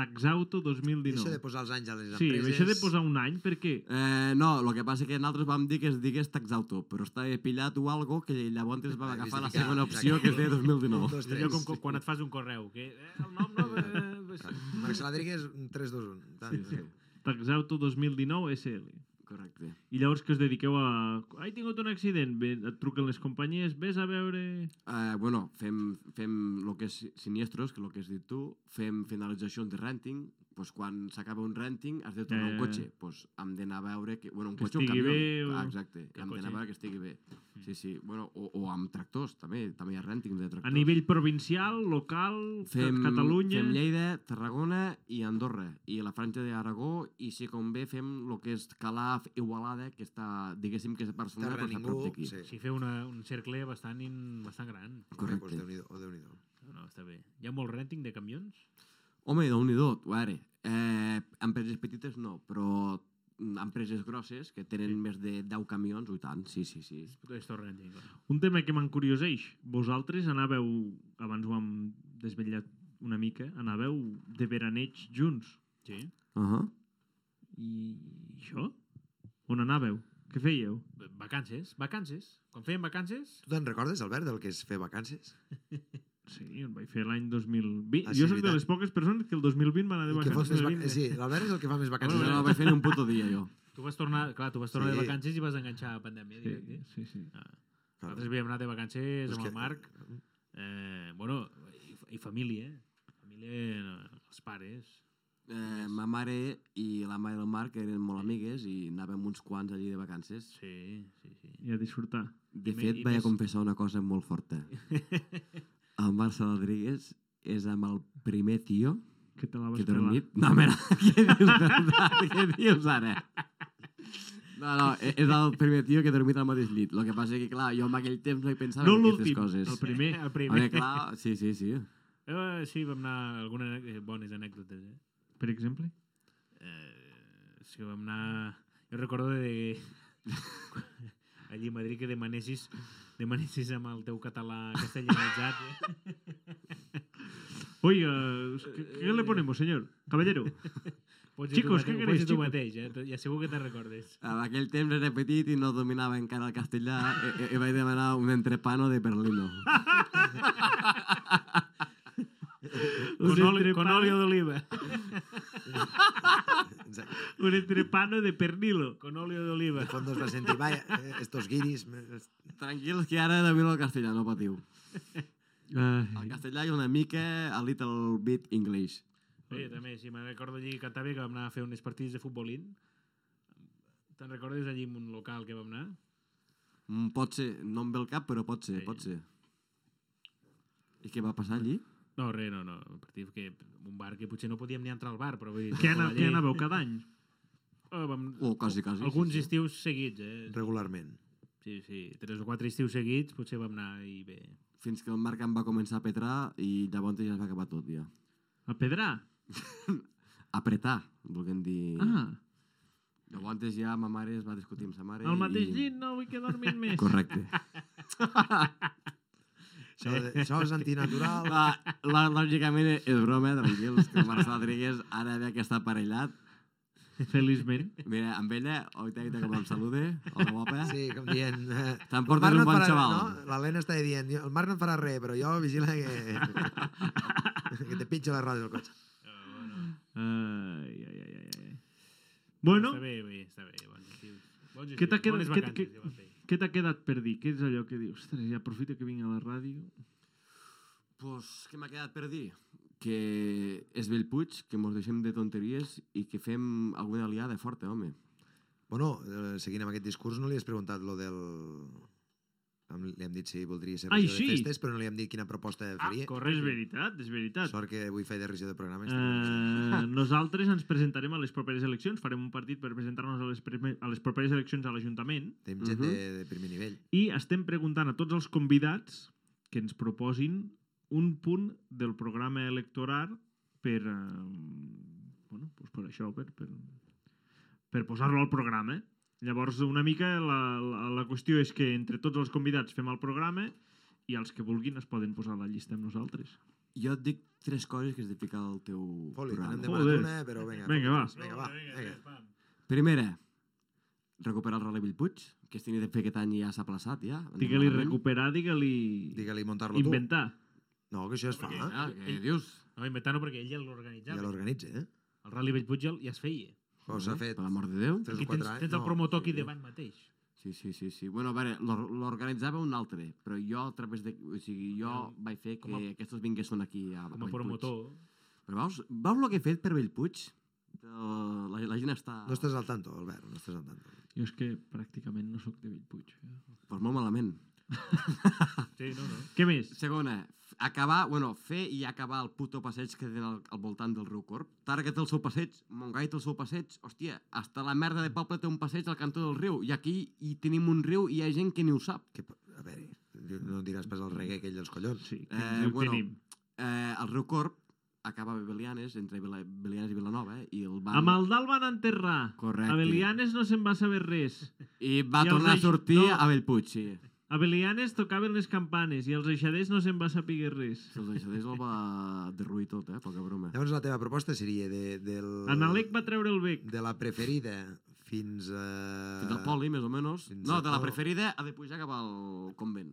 [SPEAKER 1] Taxauto
[SPEAKER 3] Això de
[SPEAKER 1] 2019.
[SPEAKER 3] posar els anys a les
[SPEAKER 1] Sí,
[SPEAKER 3] empreses...
[SPEAKER 1] això de posar un any, perquè...
[SPEAKER 6] Eh, no, el que passa que nosaltres vam dir que es digués Taxauto, però estava pillat o algo que llavors es va
[SPEAKER 3] Ah,
[SPEAKER 6] agafar la
[SPEAKER 3] justificar,
[SPEAKER 6] segona opció
[SPEAKER 3] exacte.
[SPEAKER 6] que es deia 2019.
[SPEAKER 3] Dos,
[SPEAKER 4] És allò
[SPEAKER 3] tres.
[SPEAKER 4] com co- quan et fas un correu, que eh, el nom no... Eh, és-
[SPEAKER 3] Marc Saladriga és un 3, 2, 1. Tant, sí, sí.
[SPEAKER 1] Taxauto 2019 SL.
[SPEAKER 6] Correcte.
[SPEAKER 1] I llavors que us dediqueu a... Ai, he tingut un accident. Bé, et truquen les companyies, vés a veure...
[SPEAKER 6] Eh, bueno, fem, fem lo que és siniestros, que el que has dit tu, fem finalitzacions de renting, pues quan s'acaba un renting has de tornar
[SPEAKER 1] Eh.
[SPEAKER 6] un cotxe, pues hem d'anar a veure que... Bueno, un
[SPEAKER 1] Que
[SPEAKER 6] cotxe o un
[SPEAKER 1] estigui
[SPEAKER 6] camió.
[SPEAKER 1] bé o- Mm.
[SPEAKER 6] Ah, Exacte,
[SPEAKER 4] Que
[SPEAKER 6] hem d'anar
[SPEAKER 4] cotxe.
[SPEAKER 6] a veure que estigui bé. Sí, sí. Bueno, o, o amb tractors, també. També hi ha rèntings de tractors.
[SPEAKER 1] A nivell provincial, local, fem, Catalunya...
[SPEAKER 6] Fem Lleida, Tarragona i Andorra, i la franja d'Aragó, i si convé fem el que és Calaf, Igualada, que està, diguéssim, que és a Barcelona,
[SPEAKER 3] Terra
[SPEAKER 6] però està a prop
[SPEAKER 3] ningú...
[SPEAKER 6] d'aquí.
[SPEAKER 3] Sí.
[SPEAKER 4] Sí, fer una, un cercle bastant, in, bastant gran.
[SPEAKER 3] Correcte. Pues
[SPEAKER 6] Correcte.
[SPEAKER 3] Déu-n'hi-do, oh, Déu-n'hi-do.
[SPEAKER 4] No, no, està bé. Hi ha molt renting de camions?
[SPEAKER 6] Home, déu nhi a veure, eh, empreses petites no, però mm, empreses grosses que tenen més de 10 camions, o i tant, sí, sí, sí.
[SPEAKER 4] És tot renting. clar.
[SPEAKER 1] Un tema que m'encurioseix. Vosaltres anàveu, abans ho hem desvetllat una mica, anàveu de veraneig junts.
[SPEAKER 4] Sí.
[SPEAKER 6] Uh -huh.
[SPEAKER 1] I això? On anàveu? Què fèieu?
[SPEAKER 4] Vacances, vacances. Quan fèiem vacances...
[SPEAKER 3] Tu te'n recordes, Albert, del que és fer vacances?
[SPEAKER 1] Sí, on vaig fer l'any 2020.
[SPEAKER 3] Ah,
[SPEAKER 1] Ah,
[SPEAKER 3] sí,
[SPEAKER 1] sí, jo soc de
[SPEAKER 3] veritat.
[SPEAKER 1] les poques persones que el 2020 van anar de
[SPEAKER 3] El que fa
[SPEAKER 1] vacances.
[SPEAKER 3] més vac- Sí, l'Albert és el que fa més
[SPEAKER 6] No,
[SPEAKER 3] vacances.
[SPEAKER 6] no, vaig fer ni un puto dia, jo.
[SPEAKER 4] Tu vas tornar... Clar, tu vas tornar sí.
[SPEAKER 3] Sí.
[SPEAKER 4] de vacances i vas enganxar a pandèmia.
[SPEAKER 1] Sí,
[SPEAKER 4] Sí.
[SPEAKER 1] sí, sí.
[SPEAKER 3] Clar.
[SPEAKER 4] Nosaltres havíem anat de vacances
[SPEAKER 3] Però és
[SPEAKER 4] amb
[SPEAKER 3] que-
[SPEAKER 4] el Marc. Eh, bueno, i, i família, eh? Família, no, els pares.
[SPEAKER 6] Eh, ma mare i la mare del Marc eren molt amigues i anàvem uns quants allí de vacances.
[SPEAKER 4] Sí, sí, sí.
[SPEAKER 1] I a disfrutar.
[SPEAKER 6] De
[SPEAKER 4] I me-
[SPEAKER 6] fet,
[SPEAKER 4] i
[SPEAKER 6] vaig a
[SPEAKER 4] més-
[SPEAKER 6] confessar una cosa molt forta. El Marc Saladrigues és amb el primer tio
[SPEAKER 1] Que te la vas
[SPEAKER 6] que t'he
[SPEAKER 1] pelar.
[SPEAKER 6] reunit. No, mira, què dius, Bernat? què dius ara? No, no, e- és el primer tio que he dormit al mateix llit. El que passa que, clar, jo en aquell temps no hi pensava
[SPEAKER 1] No
[SPEAKER 6] en aquestes
[SPEAKER 1] l'últim,
[SPEAKER 6] coses. Eh,
[SPEAKER 1] el primer.
[SPEAKER 4] El
[SPEAKER 6] Home,
[SPEAKER 4] primer.
[SPEAKER 6] clar, sí, sí, sí.
[SPEAKER 4] Eh, sí, vam anar algunes anè- bones anècdotes, eh?
[SPEAKER 1] Per exemple?
[SPEAKER 4] Eh, sí, vam anar... Jo recordo de... Allí a Madrid que demanessis, demanessis amb el teu català castellanitzat. Eh?
[SPEAKER 1] Oiga, ¿qué, qué eh, le ponemos, señor? Caballero.
[SPEAKER 4] Pots
[SPEAKER 1] Chicos,
[SPEAKER 4] dir tu
[SPEAKER 1] què queréis,
[SPEAKER 4] mateix, pots dir tu
[SPEAKER 1] chicos?
[SPEAKER 4] mateix, eh? Ja segur que te'n recordes.
[SPEAKER 6] En aquell temps era petit i no dominava encara el castellà i, i, i vaig demanar un entrepano de Berlino.
[SPEAKER 1] Un
[SPEAKER 4] Con, oli, con
[SPEAKER 1] entrepano-
[SPEAKER 4] óleo d'oliva.
[SPEAKER 3] Exacte.
[SPEAKER 1] Un entrepano de pernilo.
[SPEAKER 4] Con óleo d'oliva.
[SPEAKER 3] De fondos va sentir, vaya, eh, estos guiris... eh,
[SPEAKER 6] Tranquils, que ara domino el castellà, no patiu.
[SPEAKER 1] Ai, Eh,
[SPEAKER 6] El castellà i una mica a little bit English.
[SPEAKER 4] Sí, també, sí, me'n recordo allí a Cantàbria que vam anar a fer unes partides de futbolín. Te'n recordes allí en un local que vam anar?
[SPEAKER 6] Mm, pot ser, no em ve el cap, però pot ser,
[SPEAKER 4] Sí.
[SPEAKER 6] pot ser. I què va passar allí?
[SPEAKER 4] No, res, no, no. Un partit que... Un bar que potser no podíem ni entrar al bar, però vull dir...
[SPEAKER 1] Què, ana,
[SPEAKER 4] allí-
[SPEAKER 1] què anàveu cada any?
[SPEAKER 4] Eh, vam,
[SPEAKER 6] O quasi, quasi.
[SPEAKER 4] Alguns
[SPEAKER 6] Oh, sí, sí.
[SPEAKER 4] estius seguits, eh?
[SPEAKER 3] Regularment.
[SPEAKER 4] Sí, sí, tres o quatre estius seguits potser vam anar i bé.
[SPEAKER 6] Fins que el Marc em va començar a petrar i llavors ja es va acabar tot, ja.
[SPEAKER 1] A pedrar?
[SPEAKER 6] Apretar, vulguem dir.
[SPEAKER 1] Ah,
[SPEAKER 6] Llavors ja ma mare es va discutir amb sa mare.
[SPEAKER 1] al mateix
[SPEAKER 6] i-
[SPEAKER 1] llit no vull que dormin més.
[SPEAKER 6] Correcte.
[SPEAKER 3] Això, això és antinatural. eh?
[SPEAKER 6] la, la, lògicament és broma, tranquils, que el Marc Rodríguez ara ve que està aparellat.
[SPEAKER 1] Feliçment.
[SPEAKER 6] Mira, amb ella, oita, oita, com em salude, hola guapa.
[SPEAKER 3] Sí, com dient... Eh,
[SPEAKER 6] Tampoc
[SPEAKER 3] el Marc
[SPEAKER 6] és un
[SPEAKER 3] et
[SPEAKER 6] bon
[SPEAKER 3] farà,
[SPEAKER 6] xaval.
[SPEAKER 3] No? L'Helena està dient, "Jo- el Marc no et farà res, però jo vigila que... que te pitja la roda del cotxe.
[SPEAKER 1] Ai, ai, ai, ai, ai. Bueno,
[SPEAKER 4] Està bé, bé, està bé. Bons estius. Bons estius.
[SPEAKER 1] Què t'ha quedat-
[SPEAKER 4] Bones
[SPEAKER 1] què-
[SPEAKER 4] vacances,
[SPEAKER 1] què-
[SPEAKER 4] ja vam fer.
[SPEAKER 1] què t'ha quedat per dir? Què és allò que dius? Ostres, ja aprofito que vinc a la ràdio.
[SPEAKER 6] Pues, què m'ha quedat per dir? Que és Bellpuig, que mos deixem de tonteries i que fem alguna aliada forta, home.
[SPEAKER 3] Bueno, eh, seguint amb aquest discurs, no li has preguntat lo del... Em- Li hem dit si voldria ser
[SPEAKER 1] Ai,
[SPEAKER 3] regió
[SPEAKER 1] sí.
[SPEAKER 3] de festes, però no li hem dit quina proposta
[SPEAKER 6] Ah,
[SPEAKER 3] faria.
[SPEAKER 1] Corre, és veritat, és veritat.
[SPEAKER 3] Sort que avui feia de regió de programa. Uh...
[SPEAKER 1] Eh, nosaltres ens presentarem a les properes eleccions, farem un partit per presentar-nos a, les primer- a les properes eleccions a l'Ajuntament
[SPEAKER 3] Tenim gent
[SPEAKER 6] uh-huh.
[SPEAKER 3] de, de primer nivell.
[SPEAKER 1] i estem preguntant a tots els convidats que ens proposin un punt del programa electoral per, eh, bueno, doncs per això, per, per, per posar-lo al programa. Llavors, una mica la, la, la qüestió és que entre tots els convidats fem el programa i els que vulguin es poden posar a la llista amb nosaltres.
[SPEAKER 6] Jo et dic tres coses que has de ficar al teu
[SPEAKER 3] Foli, te n'hem
[SPEAKER 6] programa.
[SPEAKER 1] de-
[SPEAKER 3] demanat
[SPEAKER 1] Joder.
[SPEAKER 3] una, eh, però vinga.
[SPEAKER 1] Vinga, va.
[SPEAKER 3] Vinga, va. Vinga.
[SPEAKER 6] Primera, recuperar el Relé Bellpuig, que es tenia de fer aquest any i ja s'ha plaçat, ja.
[SPEAKER 1] Digue-li
[SPEAKER 6] Malament.
[SPEAKER 1] recuperar, digue-li
[SPEAKER 3] Digue-li muntar-lo tu.
[SPEAKER 1] inventar.
[SPEAKER 3] No, que això es fa. Eh?
[SPEAKER 6] Ah, què dius?
[SPEAKER 4] No, inventant-ho perquè ell ja
[SPEAKER 3] Ja
[SPEAKER 4] l'organitzava.
[SPEAKER 3] l'organitza, eh?
[SPEAKER 4] El Rally Bellpuig ja, ja es feia.
[SPEAKER 3] Però s'ha fet
[SPEAKER 6] Eh, Per l'amor de Déu.
[SPEAKER 3] 3
[SPEAKER 4] Aquí
[SPEAKER 3] o
[SPEAKER 4] tens,
[SPEAKER 3] 4 anys.
[SPEAKER 4] tens el promotor aquí davant mateix.
[SPEAKER 6] Sí, sí, sí, sí. Bueno, a veure, l'or- l'organitzava un altre, però jo a través de... O sigui, jo vaig fer que
[SPEAKER 4] Com a-
[SPEAKER 6] aquests vinguessin aquí a,
[SPEAKER 4] Com a
[SPEAKER 6] Bellpuig.
[SPEAKER 4] promotor.
[SPEAKER 6] Però veus, veus el que he fet per Bellpuig? Eh, la, la gent està...
[SPEAKER 3] No estàs al tanto, Albert, no estàs al tanto.
[SPEAKER 1] Jo és que pràcticament no sóc de Bellpuig. Eh?
[SPEAKER 6] Pues molt malament.
[SPEAKER 4] Sí, no, no.
[SPEAKER 1] Què més?
[SPEAKER 6] Segona, f- acabar, bueno, fer i acabar el puto passeig que tenen al, al voltant del riu Corb. Targa té el seu passeig, Montgai té el seu passeig, hòstia, hasta la merda de poble té un passeig al cantó del riu, i aquí hi tenim un riu i hi ha gent que ni ho sap.
[SPEAKER 3] Que, a veure, no diràs pas el reggae aquell dels collons.
[SPEAKER 1] Sí, que
[SPEAKER 6] Eh,
[SPEAKER 1] eh, ho
[SPEAKER 6] bueno,
[SPEAKER 1] tenim.
[SPEAKER 6] Eh, el riu Corb acaba a Belianes, entre Bela- Belianes i Vilanova, eh, i el van...
[SPEAKER 1] A Maldà el van enterrar.
[SPEAKER 6] Correcte.
[SPEAKER 1] A Belianes no se'n va saber res.
[SPEAKER 6] I va
[SPEAKER 1] I els
[SPEAKER 6] tornar a
[SPEAKER 1] aix-
[SPEAKER 6] sortir
[SPEAKER 1] no.
[SPEAKER 6] a Bellpuig, sí.
[SPEAKER 1] A Belianes tocaven les campanes i als eixaders no se'n va saber res.
[SPEAKER 6] Se'ls deixadés el va derruir tot, eh, poca broma.
[SPEAKER 3] Llavors la teva proposta seria de, del,
[SPEAKER 1] En Alec va treure el bec.
[SPEAKER 3] de la preferida fins a...
[SPEAKER 6] Fins al poli, més o menys.
[SPEAKER 3] fins
[SPEAKER 6] No,
[SPEAKER 3] al
[SPEAKER 6] de la
[SPEAKER 3] pol.
[SPEAKER 6] preferida ha de pujar cap al convent.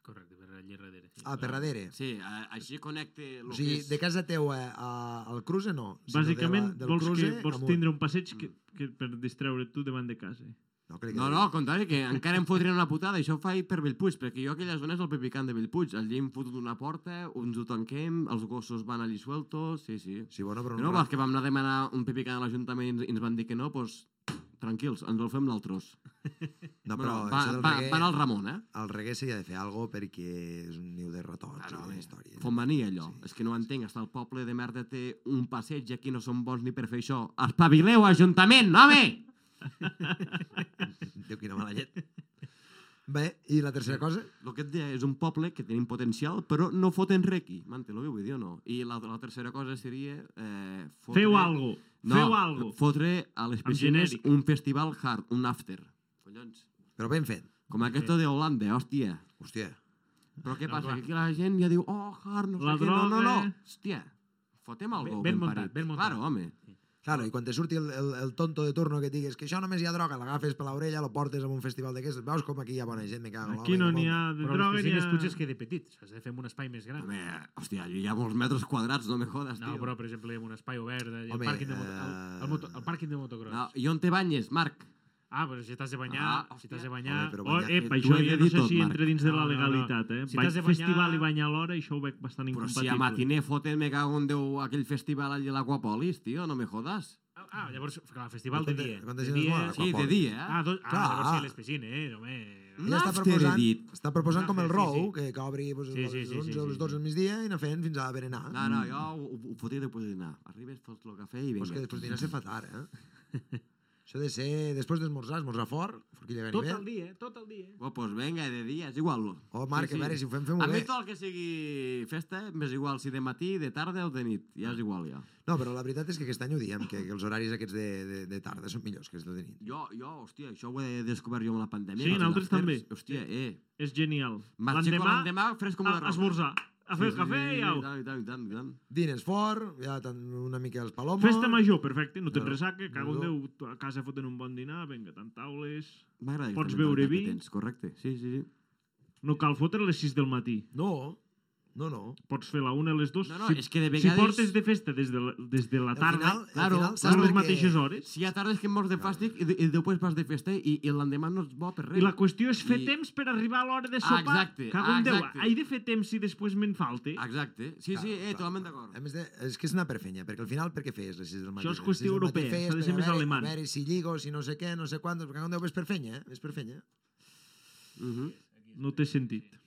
[SPEAKER 4] Correcte, per allà darrere. Sí.
[SPEAKER 3] Ah, per darrere.
[SPEAKER 6] Sí, eh, així connecte el
[SPEAKER 3] O sigui,
[SPEAKER 6] que és...
[SPEAKER 3] de casa teua a, al Cruse no. sinó
[SPEAKER 1] Bàsicament,
[SPEAKER 3] de la, del
[SPEAKER 1] vols, que,
[SPEAKER 3] Cruse
[SPEAKER 1] vols
[SPEAKER 3] amunt.
[SPEAKER 1] tindre un passeig que, que per distreure't tu davant de casa.
[SPEAKER 3] No, crec que
[SPEAKER 6] No, no, al contrari, que encara em fotrien una putada, això ho faig per Bellpuig, perquè jo aquella zona és el pepicant de Bellpuig, allí hem fotut una porta, uns ho tanquem, els gossos van allí sueltos, sí, sí.
[SPEAKER 3] Sí, bueno, però...
[SPEAKER 6] Però no,
[SPEAKER 3] No,
[SPEAKER 6] vols que vam anar a demanar un pepicant a l'Ajuntament i ens- i ens van dir que no, doncs tranquils, ens el fem nosaltres.
[SPEAKER 3] no, Ah, però
[SPEAKER 6] Bueno, va,
[SPEAKER 3] això del
[SPEAKER 6] va,
[SPEAKER 3] reggae...
[SPEAKER 6] van al Ramon, eh?
[SPEAKER 3] El reggae s'hi ha de fer algo perquè és un niu de retocs ah,
[SPEAKER 6] Ah, no,
[SPEAKER 3] no,
[SPEAKER 6] bé.
[SPEAKER 3] i història.
[SPEAKER 6] Fomania, allò.
[SPEAKER 3] Sí.
[SPEAKER 6] Sí. És que no ho entenc. Està el poble de merda té un passeig i aquí no són bons ni per fer això. Espavileu, Ajuntament, home!
[SPEAKER 3] Déu, quina mala llet. Bé, i la tercera cosa?
[SPEAKER 6] El que et deia és un poble que tenim potencial, però no foten re aquí. M'entén el que vull dir o no? I la, la tercera cosa seria... Eh, fotre...
[SPEAKER 1] Feu algo.
[SPEAKER 6] No,
[SPEAKER 1] Feu algo.
[SPEAKER 6] Fotre a les piscines
[SPEAKER 1] genèric.
[SPEAKER 6] un festival hard, un after. Collons.
[SPEAKER 3] Però ben fet.
[SPEAKER 6] Com aquesta de Holanda, hòstia.
[SPEAKER 3] Hòstia,
[SPEAKER 6] Però què
[SPEAKER 4] No,
[SPEAKER 6] passa?
[SPEAKER 4] clar.
[SPEAKER 6] Que aquí la gent ja diu, oh, hard, no
[SPEAKER 1] La
[SPEAKER 6] sé què, no, no,
[SPEAKER 1] droga.
[SPEAKER 6] no. Hòstia, fotem algo
[SPEAKER 4] Ben- ben
[SPEAKER 6] ben
[SPEAKER 4] muntat,
[SPEAKER 6] parit.
[SPEAKER 4] ben muntat.
[SPEAKER 6] Claro, home.
[SPEAKER 3] Claro, i quan te surti el, el, el tonto de turno que et digues que això només hi ha droga, l'agafes per l'orella, lo portes a un festival d'aquests, veus com aquí hi ha bona gent, me cago. en
[SPEAKER 1] Aquí no
[SPEAKER 3] l'home, que
[SPEAKER 1] n'hi
[SPEAKER 3] bon-
[SPEAKER 1] ha de
[SPEAKER 4] Però les
[SPEAKER 1] droga ni
[SPEAKER 4] piscines
[SPEAKER 1] ha...
[SPEAKER 4] potser es queda petit. S'ha de fer amb un espai més gran.
[SPEAKER 6] Home, hòstia, allò hi ha molts metres quadrats, no me jodes,
[SPEAKER 4] No,
[SPEAKER 6] tio.
[SPEAKER 4] però, per exemple, amb un espai obert, allà,
[SPEAKER 3] Home,
[SPEAKER 4] el, pàrquing de moto, el,
[SPEAKER 3] eh,
[SPEAKER 4] el, moto, el pàrquing de motocross.
[SPEAKER 6] No, I on te banyes, Marc?
[SPEAKER 4] Ah, però si t'has de banyar,
[SPEAKER 6] Ah,
[SPEAKER 4] si t'has de
[SPEAKER 6] hòstia.
[SPEAKER 4] banyar...
[SPEAKER 3] Home, però
[SPEAKER 1] Oh,
[SPEAKER 3] banyar-
[SPEAKER 1] epa,
[SPEAKER 6] Eh,
[SPEAKER 1] això
[SPEAKER 6] t'ho he
[SPEAKER 1] ja
[SPEAKER 6] de
[SPEAKER 1] no
[SPEAKER 6] dir
[SPEAKER 1] sé
[SPEAKER 6] tot,
[SPEAKER 1] si
[SPEAKER 6] Marc.
[SPEAKER 1] entra dins de
[SPEAKER 4] No,
[SPEAKER 1] la
[SPEAKER 4] no, no.
[SPEAKER 1] legalitat, eh?
[SPEAKER 4] Si
[SPEAKER 1] Vaig
[SPEAKER 4] t'has de
[SPEAKER 1] festival i
[SPEAKER 4] banyar-
[SPEAKER 1] banyar l'hora, això ho veig bastant
[SPEAKER 6] Però
[SPEAKER 1] incompatible.
[SPEAKER 6] si a matiner foten me cago en Déu aquell festival allà a l'Aquapolis, tio, no me jodas.
[SPEAKER 4] Ah, llavors, clar, festival de
[SPEAKER 3] Quanta-
[SPEAKER 4] dia.
[SPEAKER 3] quanta
[SPEAKER 4] de
[SPEAKER 3] gent es
[SPEAKER 4] dia...
[SPEAKER 3] mola?
[SPEAKER 6] Sí, de
[SPEAKER 3] Aquapolis.
[SPEAKER 6] dia, eh?
[SPEAKER 4] Ah, dos... ah,
[SPEAKER 3] Clar. Mm.
[SPEAKER 4] llavors sí, les piscines, home...
[SPEAKER 6] Un
[SPEAKER 3] Ella està
[SPEAKER 6] after, he
[SPEAKER 3] proposant,
[SPEAKER 6] dit.
[SPEAKER 3] està proposant com el
[SPEAKER 4] Un
[SPEAKER 3] Rou,
[SPEAKER 4] after, sí, sí.
[SPEAKER 3] que, que obri pues,
[SPEAKER 4] Sí,
[SPEAKER 3] sí, sí,
[SPEAKER 4] sí, sí,
[SPEAKER 3] les 11
[SPEAKER 4] sí,
[SPEAKER 3] o
[SPEAKER 4] sí,
[SPEAKER 3] les
[SPEAKER 4] sí.
[SPEAKER 3] 12 al migdia i anar fent fins a berenar.
[SPEAKER 6] No, no, jo ho, ho- ho fotria després de dinar. Arribes, fots el cafè i
[SPEAKER 3] Però és que
[SPEAKER 6] Ah, vinga.
[SPEAKER 3] després dinar se fa tard, eh? Això de ser... Després d'esmorzar, esmorzar fort, forquilla
[SPEAKER 4] Tot el
[SPEAKER 3] ganivet.
[SPEAKER 4] dia, eh, tot el dia.
[SPEAKER 6] Bueno, Oh, pues venga, de dia, és igual.
[SPEAKER 3] Oh, Marc,
[SPEAKER 6] Sí, sí.
[SPEAKER 3] a veure, si ho fem, fem-ho
[SPEAKER 6] A mi
[SPEAKER 3] bé.
[SPEAKER 6] tot el que sigui festa, eh, m'és igual si de matí, de tarda o de nit. Ja és igual, ja.
[SPEAKER 3] No, però la veritat és que aquest any ho diem, que, que els horaris aquests de, de, de tarda són millors que els de nit.
[SPEAKER 6] Jo, jo, hòstia, això ho he descobert jo amb la pandèmia.
[SPEAKER 1] Sí,
[SPEAKER 6] amb els
[SPEAKER 1] nosaltres
[SPEAKER 6] afters.
[SPEAKER 1] també.
[SPEAKER 6] Hòstia, eh.
[SPEAKER 1] És genial.
[SPEAKER 6] M'aixeco l'endemà, fresc com
[SPEAKER 1] a
[SPEAKER 6] una roca.
[SPEAKER 1] esmorzar, a fer el cafè i au.
[SPEAKER 6] I tant, i tant, i tant, i tant.
[SPEAKER 3] Dines fort, ja tant una mica els palomos...
[SPEAKER 1] Festa major, perfecte, no tens
[SPEAKER 3] No,
[SPEAKER 1] ressaca, cago en
[SPEAKER 3] no.
[SPEAKER 1] Déu, tu a casa foten un bon dinar, vinga, tant taules...
[SPEAKER 6] M'agrada aquesta
[SPEAKER 1] Pots beure
[SPEAKER 6] mentalitat que
[SPEAKER 1] vi.
[SPEAKER 6] Tens, correcte, sí, sí, sí.
[SPEAKER 1] No cal fotre a les 6 del matí.
[SPEAKER 3] No, no, no.
[SPEAKER 1] Pots fer la 1 a les 2.
[SPEAKER 6] No, no,
[SPEAKER 1] si,
[SPEAKER 6] és que de
[SPEAKER 1] si
[SPEAKER 6] vegades-
[SPEAKER 1] portes de festa des de la, des de la
[SPEAKER 3] Al
[SPEAKER 1] tarda,
[SPEAKER 3] final- al
[SPEAKER 1] claro,
[SPEAKER 3] final,
[SPEAKER 1] no
[SPEAKER 3] saps
[SPEAKER 1] les
[SPEAKER 3] perquè-
[SPEAKER 1] mateixes hores.
[SPEAKER 6] Si hi ha tardes que em mors de fàstic i, de- i després vas de festa i, i l'endemà no ets bo per res.
[SPEAKER 1] I la qüestió és fer
[SPEAKER 6] I-
[SPEAKER 1] temps per arribar a l'hora de sopar.
[SPEAKER 6] Ah, Exacte,
[SPEAKER 1] Cago en Déu,
[SPEAKER 6] exacte. Ah,
[SPEAKER 1] he de fer temps si després me'n falte.
[SPEAKER 6] Exacte. Sí, sí, eh, totalment d'acord.
[SPEAKER 3] A més, de, és que és anar per fenya, perquè al final per què feies les 6 del matí?
[SPEAKER 1] Això és
[SPEAKER 3] Les
[SPEAKER 1] qüestió
[SPEAKER 3] sis del matí
[SPEAKER 1] europea,
[SPEAKER 3] feies
[SPEAKER 1] s'ha de
[SPEAKER 3] per
[SPEAKER 1] ser
[SPEAKER 3] a
[SPEAKER 1] més
[SPEAKER 3] veure-
[SPEAKER 1] alemany.
[SPEAKER 3] A veure si lligo, si no sé què, no sé quantos, perquè quan deu ves per fenya, eh? Ves per fenya.
[SPEAKER 6] Uh -huh.
[SPEAKER 1] No té sentit.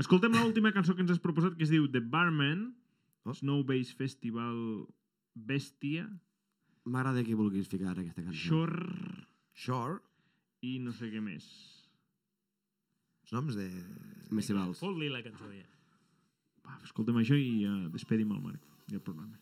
[SPEAKER 1] Escoltem l'última cançó que ens has proposat, que es diu The Barman,
[SPEAKER 3] Oh.
[SPEAKER 1] Snow Base Festival Bèstia,
[SPEAKER 8] M'agrada que vulguis ficar aquesta cançó.
[SPEAKER 1] Shore
[SPEAKER 3] Shore,
[SPEAKER 1] i no sé què més.
[SPEAKER 3] els noms de...
[SPEAKER 8] Més si vals.
[SPEAKER 4] Fot-li la cançó, ja.
[SPEAKER 1] Va, escoltem això i uh, despedim el Marc i el programa.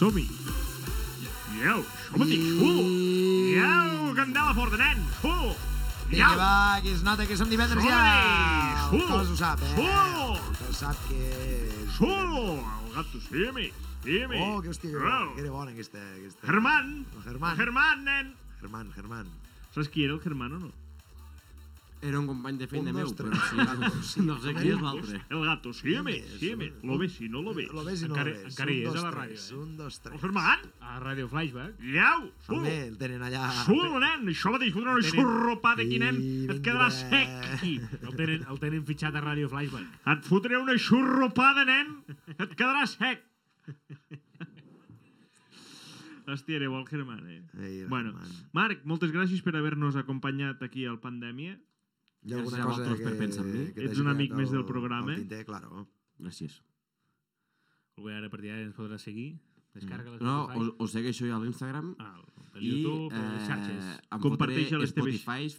[SPEAKER 1] Som-hi! Iau, som-hi! Uh! Iau, candela forta, nen! Uh!
[SPEAKER 3] Vinga, va, que es nota que som divendres ja!
[SPEAKER 1] Som-hi!
[SPEAKER 3] El Carles ho sap, eh?
[SPEAKER 1] Som!
[SPEAKER 3] El Carles sap que...
[SPEAKER 1] Solo! El gato, sí-me! Sí-me!
[SPEAKER 3] Oh, que hòstia, que, bona, que era bona aquesta... aquesta...
[SPEAKER 1] Germán!
[SPEAKER 3] El Germán.
[SPEAKER 1] Germán, nen!
[SPEAKER 3] Germán, Germán.
[SPEAKER 1] Saps qui era el Germán o no?
[SPEAKER 6] Era un company de feina
[SPEAKER 3] Un,
[SPEAKER 6] meu,
[SPEAKER 3] dos,
[SPEAKER 6] però
[SPEAKER 3] tres, quatre,
[SPEAKER 6] sí, no sé qui és l'altre.
[SPEAKER 1] El gato, sí-me!
[SPEAKER 3] Sí,
[SPEAKER 1] Sí-me!
[SPEAKER 3] sí.
[SPEAKER 1] Lo ves i no lo ves.
[SPEAKER 3] Lo ves i no
[SPEAKER 4] Encara-
[SPEAKER 3] lo ves.
[SPEAKER 4] encara hi
[SPEAKER 3] Un,
[SPEAKER 4] és
[SPEAKER 3] dos,
[SPEAKER 4] a la
[SPEAKER 3] tres,
[SPEAKER 4] ràdio, eh?
[SPEAKER 3] Un, dos,
[SPEAKER 1] El
[SPEAKER 3] tres.
[SPEAKER 1] Oh, Germán!
[SPEAKER 4] A Radio Flashback.
[SPEAKER 1] Iau! Solo!
[SPEAKER 3] També el tenen allà...
[SPEAKER 1] Solo, nen! Això mateix, fotre una
[SPEAKER 4] Tenen-
[SPEAKER 1] xorropada aquí, nen!
[SPEAKER 3] I
[SPEAKER 1] Et quedarà
[SPEAKER 3] vindrà-
[SPEAKER 1] sec aquí!
[SPEAKER 4] El tenen, el tenen fitxat a Radio Flashback.
[SPEAKER 1] Et fotré una xorropada, nen! Et quedarà sec! Hòstia, era bo el Germán, eh?
[SPEAKER 3] Ei, el
[SPEAKER 1] Bueno,
[SPEAKER 3] Germán.
[SPEAKER 1] Marc, moltes gràcies per haver-nos acompanyat aquí al Pandèmia.
[SPEAKER 3] Hi ha alguna
[SPEAKER 6] Gràcies a
[SPEAKER 3] cosa
[SPEAKER 6] vosaltres
[SPEAKER 3] que,
[SPEAKER 6] per pensar en mi.
[SPEAKER 3] que t'hagi
[SPEAKER 1] Ets un amic
[SPEAKER 3] quedat
[SPEAKER 1] més del
[SPEAKER 3] al-
[SPEAKER 1] programa.
[SPEAKER 3] al Tinter, claro.
[SPEAKER 6] Gràcies.
[SPEAKER 4] Bé, ara a partir d'ara ens podrà seguir. Descarga les
[SPEAKER 6] No,
[SPEAKER 4] Spotify.
[SPEAKER 6] us, us segueixo jo a l'Instagram eh,
[SPEAKER 4] Ah, el YouTube, I, les xarxes.
[SPEAKER 6] em
[SPEAKER 1] Comparteix
[SPEAKER 6] fotré
[SPEAKER 1] a les teves.
[SPEAKER 6] Spotify,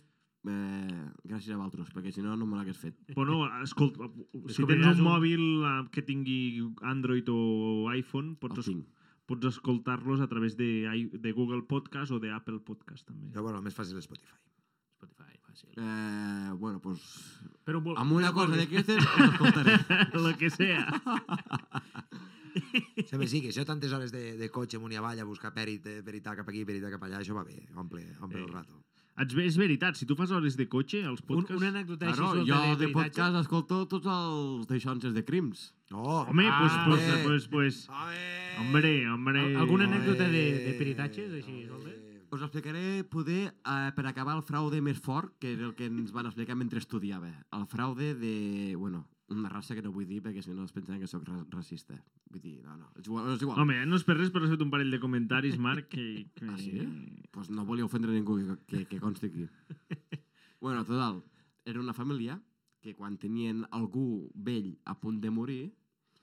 [SPEAKER 6] eh, gràcies a vosaltres, perquè si no, no me l'hagués fet.
[SPEAKER 1] Bueno, escolta, si tens
[SPEAKER 4] Descobriràs
[SPEAKER 1] un
[SPEAKER 4] un-
[SPEAKER 1] mòbil eh, que tingui Android o iPhone, pots,
[SPEAKER 6] El
[SPEAKER 1] es
[SPEAKER 6] tinc.
[SPEAKER 1] pots escoltar-los a través de, i- de Google Podcast o de Apple Podcast, també.
[SPEAKER 3] Però bueno, el més fàcil és Spotify.
[SPEAKER 4] Spotify, fàcil.
[SPEAKER 6] Eh, bueno, doncs...
[SPEAKER 4] Però un vol-
[SPEAKER 6] Amb una cosa eh, d'aquestes, us escoltaré.
[SPEAKER 1] Lo que sea.
[SPEAKER 3] Sempre sí, que això tantes hores de, de cotxe amunt i avall a buscar perit, eh, peritar cap aquí, peritar cap allà, això va bé, omple, omple
[SPEAKER 1] Ei.
[SPEAKER 3] el rato.
[SPEAKER 1] Ets, ve- és veritat, si tu fas hores de cotxe, els
[SPEAKER 4] Un,
[SPEAKER 1] podcasts...
[SPEAKER 4] una anècdota així
[SPEAKER 6] Claro,
[SPEAKER 4] solta
[SPEAKER 6] jo de
[SPEAKER 4] peritatge.
[SPEAKER 6] podcast escolto tots els deixances de crims.
[SPEAKER 3] No,
[SPEAKER 1] Home,
[SPEAKER 4] Ah, Eh.
[SPEAKER 1] doncs... pues,
[SPEAKER 3] bé.
[SPEAKER 1] pues, pues,
[SPEAKER 3] Home!
[SPEAKER 1] Hombre, hombre...
[SPEAKER 4] Al- alguna
[SPEAKER 1] home.
[SPEAKER 4] anècdota de, de peritatges, així,
[SPEAKER 3] Home.
[SPEAKER 4] solta?
[SPEAKER 6] Us explicaré poder, eh, per acabar, el fraude més fort, que és el que ens van explicar mentre estudiava. El fraude de... Bueno, una raça que no vull dir perquè si no es pensaran que sóc ra- racista. Vull dir, no, no, és igual, no és igual.
[SPEAKER 1] Home, no és per res, però has fet un parell de comentaris, Marc, que... que...
[SPEAKER 6] Ah, sí? pues no volia ofendre ningú que, que, que consti aquí. bueno, total, era una família que quan tenien algú vell a punt de morir,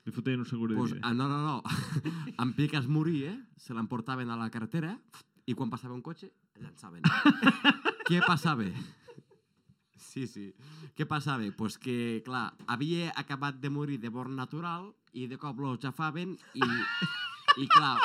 [SPEAKER 1] Li fotrien un seguro
[SPEAKER 6] pues,
[SPEAKER 1] de vida.
[SPEAKER 6] ah, no, no, no, en piques moria, eh, se l'emportaven a la carretera i quan passava un cotxe, el llançaven. Què passava? Sí, sí. Què passava? Doncs pues que, clar, havia acabat de morir de mort natural i de cop los jafaven i, i clar,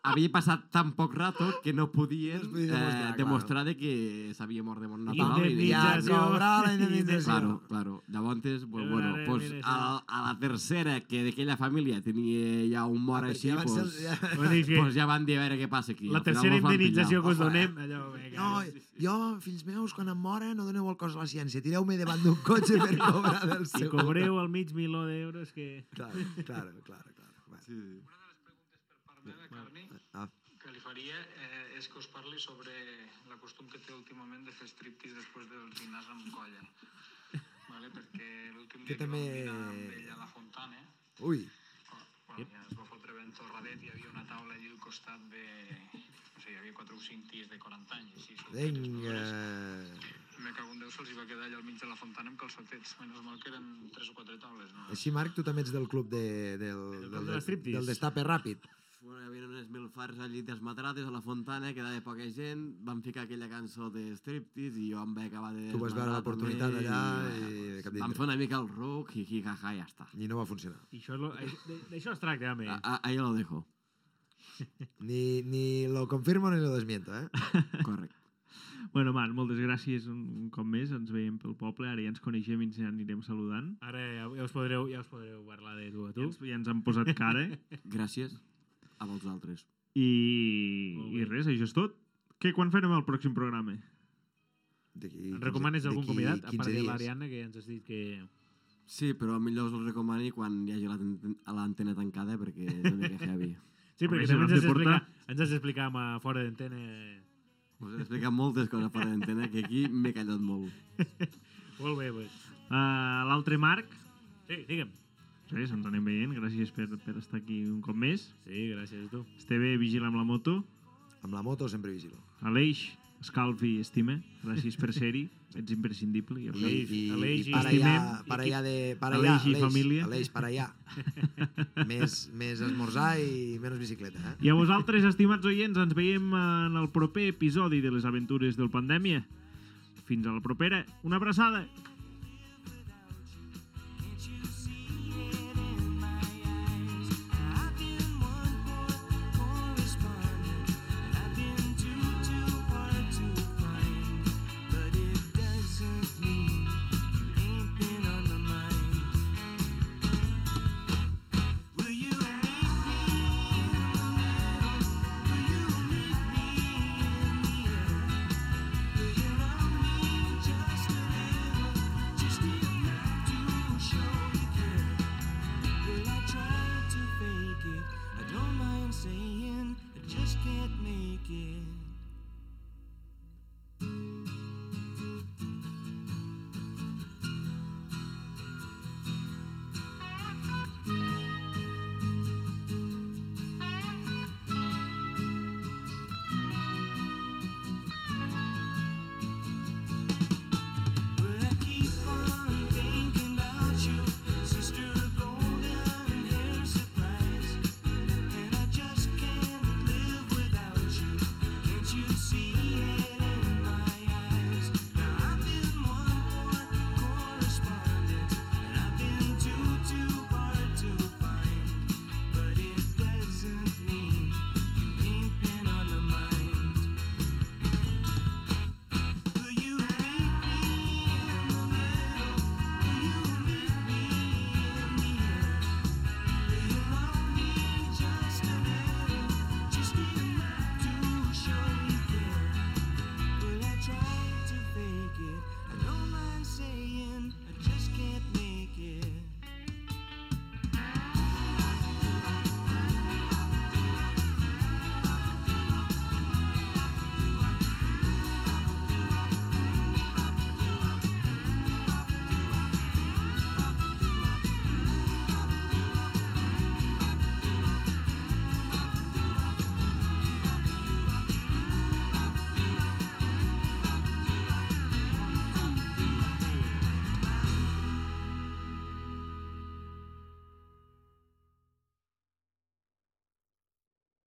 [SPEAKER 6] havia passat tan poc rato que no podien
[SPEAKER 3] No es
[SPEAKER 6] eh,
[SPEAKER 3] podia demostrar,
[SPEAKER 6] demostrar,
[SPEAKER 3] claro.
[SPEAKER 6] de que s'havia mort de mort natural. i-
[SPEAKER 3] Ja
[SPEAKER 4] Indemnització.
[SPEAKER 3] cobrar la indemnització.
[SPEAKER 6] Claro, claro. Llavors, pues,
[SPEAKER 4] Era
[SPEAKER 6] bueno,
[SPEAKER 4] una
[SPEAKER 6] pues,
[SPEAKER 4] reminiscència.
[SPEAKER 6] a, a la tercera, que d'aquella família tenia Ah, ja un mort
[SPEAKER 3] Perquè
[SPEAKER 6] així,
[SPEAKER 3] ja van ser
[SPEAKER 6] pues,
[SPEAKER 3] els- ja-
[SPEAKER 4] Vull dir que
[SPEAKER 6] pues ja van dir a veure què passa aquí.
[SPEAKER 4] la
[SPEAKER 6] Al final
[SPEAKER 4] tercera
[SPEAKER 6] mos van
[SPEAKER 4] indemnització
[SPEAKER 6] pillar.
[SPEAKER 4] que us donem... Allò, vinga,
[SPEAKER 3] No, jo, fills meus, quan em mora, no doneu el cos a la ciència. Tireu-me davant d'un cotxe per cobrar del
[SPEAKER 4] si
[SPEAKER 3] seu...
[SPEAKER 4] cobreu el mig miló d'euros que...
[SPEAKER 3] Claro, claro, claro. claro. Va.
[SPEAKER 6] Sí, sí.
[SPEAKER 9] Parlar de carni,
[SPEAKER 3] Ah,
[SPEAKER 9] que li faria eh, és que us parli sobre la costum que té últimament de fer striptease després dels dinars amb colla. Vale? Perquè l'últim dia que
[SPEAKER 3] també-
[SPEAKER 9] vam dinar amb ell a la Fontana, eh,
[SPEAKER 3] Ui,
[SPEAKER 9] bueno, ja es va fotre ben torradet, hi havia una taula allí al costat de... No sé, hi havia 4 o 5 ties de 40 anys. Així, solteres,
[SPEAKER 3] vinga...
[SPEAKER 9] madures.
[SPEAKER 3] eh,
[SPEAKER 9] Me cago en Déu, se'ls hi va quedar allà al mig de la Fontana amb calçotets. Menys mal que eren 3 o 4 taules, no?
[SPEAKER 3] Així, Marc, tu també ets del club de, del, del,
[SPEAKER 4] club de
[SPEAKER 3] del,
[SPEAKER 4] l'estriptease.
[SPEAKER 3] del destape ràpid.
[SPEAKER 6] Bueno, hi havia unes milfars allí desmatrades a la fontana, quedava poca gent, vam ficar aquella cançó de striptease i jo em vaig acabar de...
[SPEAKER 3] Tu vas veure
[SPEAKER 6] desmadrar
[SPEAKER 3] l'oportunitat
[SPEAKER 6] també,
[SPEAKER 3] allà i
[SPEAKER 6] bueno,
[SPEAKER 3] de cap
[SPEAKER 6] Vam
[SPEAKER 3] dintre.
[SPEAKER 6] fer una mica el ruc, hi, hi, ha, ha, ja està.
[SPEAKER 3] I no va funcionar.
[SPEAKER 4] I això és lo... ai- D'això es tracta, home.
[SPEAKER 6] A- a- Ahí lo dejo,
[SPEAKER 3] Ni, ni lo confirmo ni lo desmiento, eh?
[SPEAKER 6] correcte. ah.
[SPEAKER 1] Bueno, Marc, moltes gràcies un, un cop més. Ens veiem pel poble. Ara ja ens coneixem i ens anirem saludant.
[SPEAKER 4] Ara ja, ja, us podreu, ja us podreu parlar de tu a
[SPEAKER 1] Ja
[SPEAKER 4] tu.
[SPEAKER 1] ens, ja ens han posat cara.
[SPEAKER 6] Gràcies a vosaltres.
[SPEAKER 1] I,
[SPEAKER 4] Molt
[SPEAKER 1] i
[SPEAKER 4] bé.
[SPEAKER 1] res, això és tot. Què, quan farem el pròxim programa?
[SPEAKER 3] D'aquí
[SPEAKER 4] Ens
[SPEAKER 3] 15
[SPEAKER 4] recomanes algun
[SPEAKER 3] d'aquí
[SPEAKER 4] convidat? A
[SPEAKER 3] 15
[SPEAKER 4] part de
[SPEAKER 3] dies.
[SPEAKER 4] l'Ariadna, que ja ens has dit que...
[SPEAKER 6] Sí, però millor us el recomani quan hi hagi l'anten- l'antena tancada perquè és una mica heavy.
[SPEAKER 4] Sí,
[SPEAKER 1] Home,
[SPEAKER 4] perquè
[SPEAKER 1] si no
[SPEAKER 4] també
[SPEAKER 1] hem
[SPEAKER 4] ens has
[SPEAKER 1] de portar-
[SPEAKER 4] d'explicar ens has d'explicar amb, eh, fora d'antena
[SPEAKER 6] Us Pues he explicat moltes coses per l'antena que aquí m'he callat molt.
[SPEAKER 4] molt bé, pues.
[SPEAKER 1] Uh, L'altre Marc,
[SPEAKER 4] Sí, digue'm.
[SPEAKER 1] res, ens anem veient. Gràcies per, per estar aquí un cop més.
[SPEAKER 4] Sí, gràcies a tu.
[SPEAKER 1] Esteve, vigila amb la moto.
[SPEAKER 3] Amb la moto sempre vigilo.
[SPEAKER 1] Aleix, escalfi i estima. Gràcies per ser-hi. Ets imprescindible. Ja ho
[SPEAKER 3] I,
[SPEAKER 1] sabeu.
[SPEAKER 3] i,
[SPEAKER 4] Aleix
[SPEAKER 3] i
[SPEAKER 4] i-
[SPEAKER 3] para allà,
[SPEAKER 1] Estimem. I
[SPEAKER 3] para
[SPEAKER 1] qui-
[SPEAKER 3] allà de... Para allà,
[SPEAKER 1] Aleix i família.
[SPEAKER 3] Aleix, para allà. més, més esmorzar i menys bicicleta, eh?
[SPEAKER 1] I a vosaltres, estimats oients, ens veiem en el proper episodi de les aventures del Pandèmia. Fins a la propera. Una abraçada.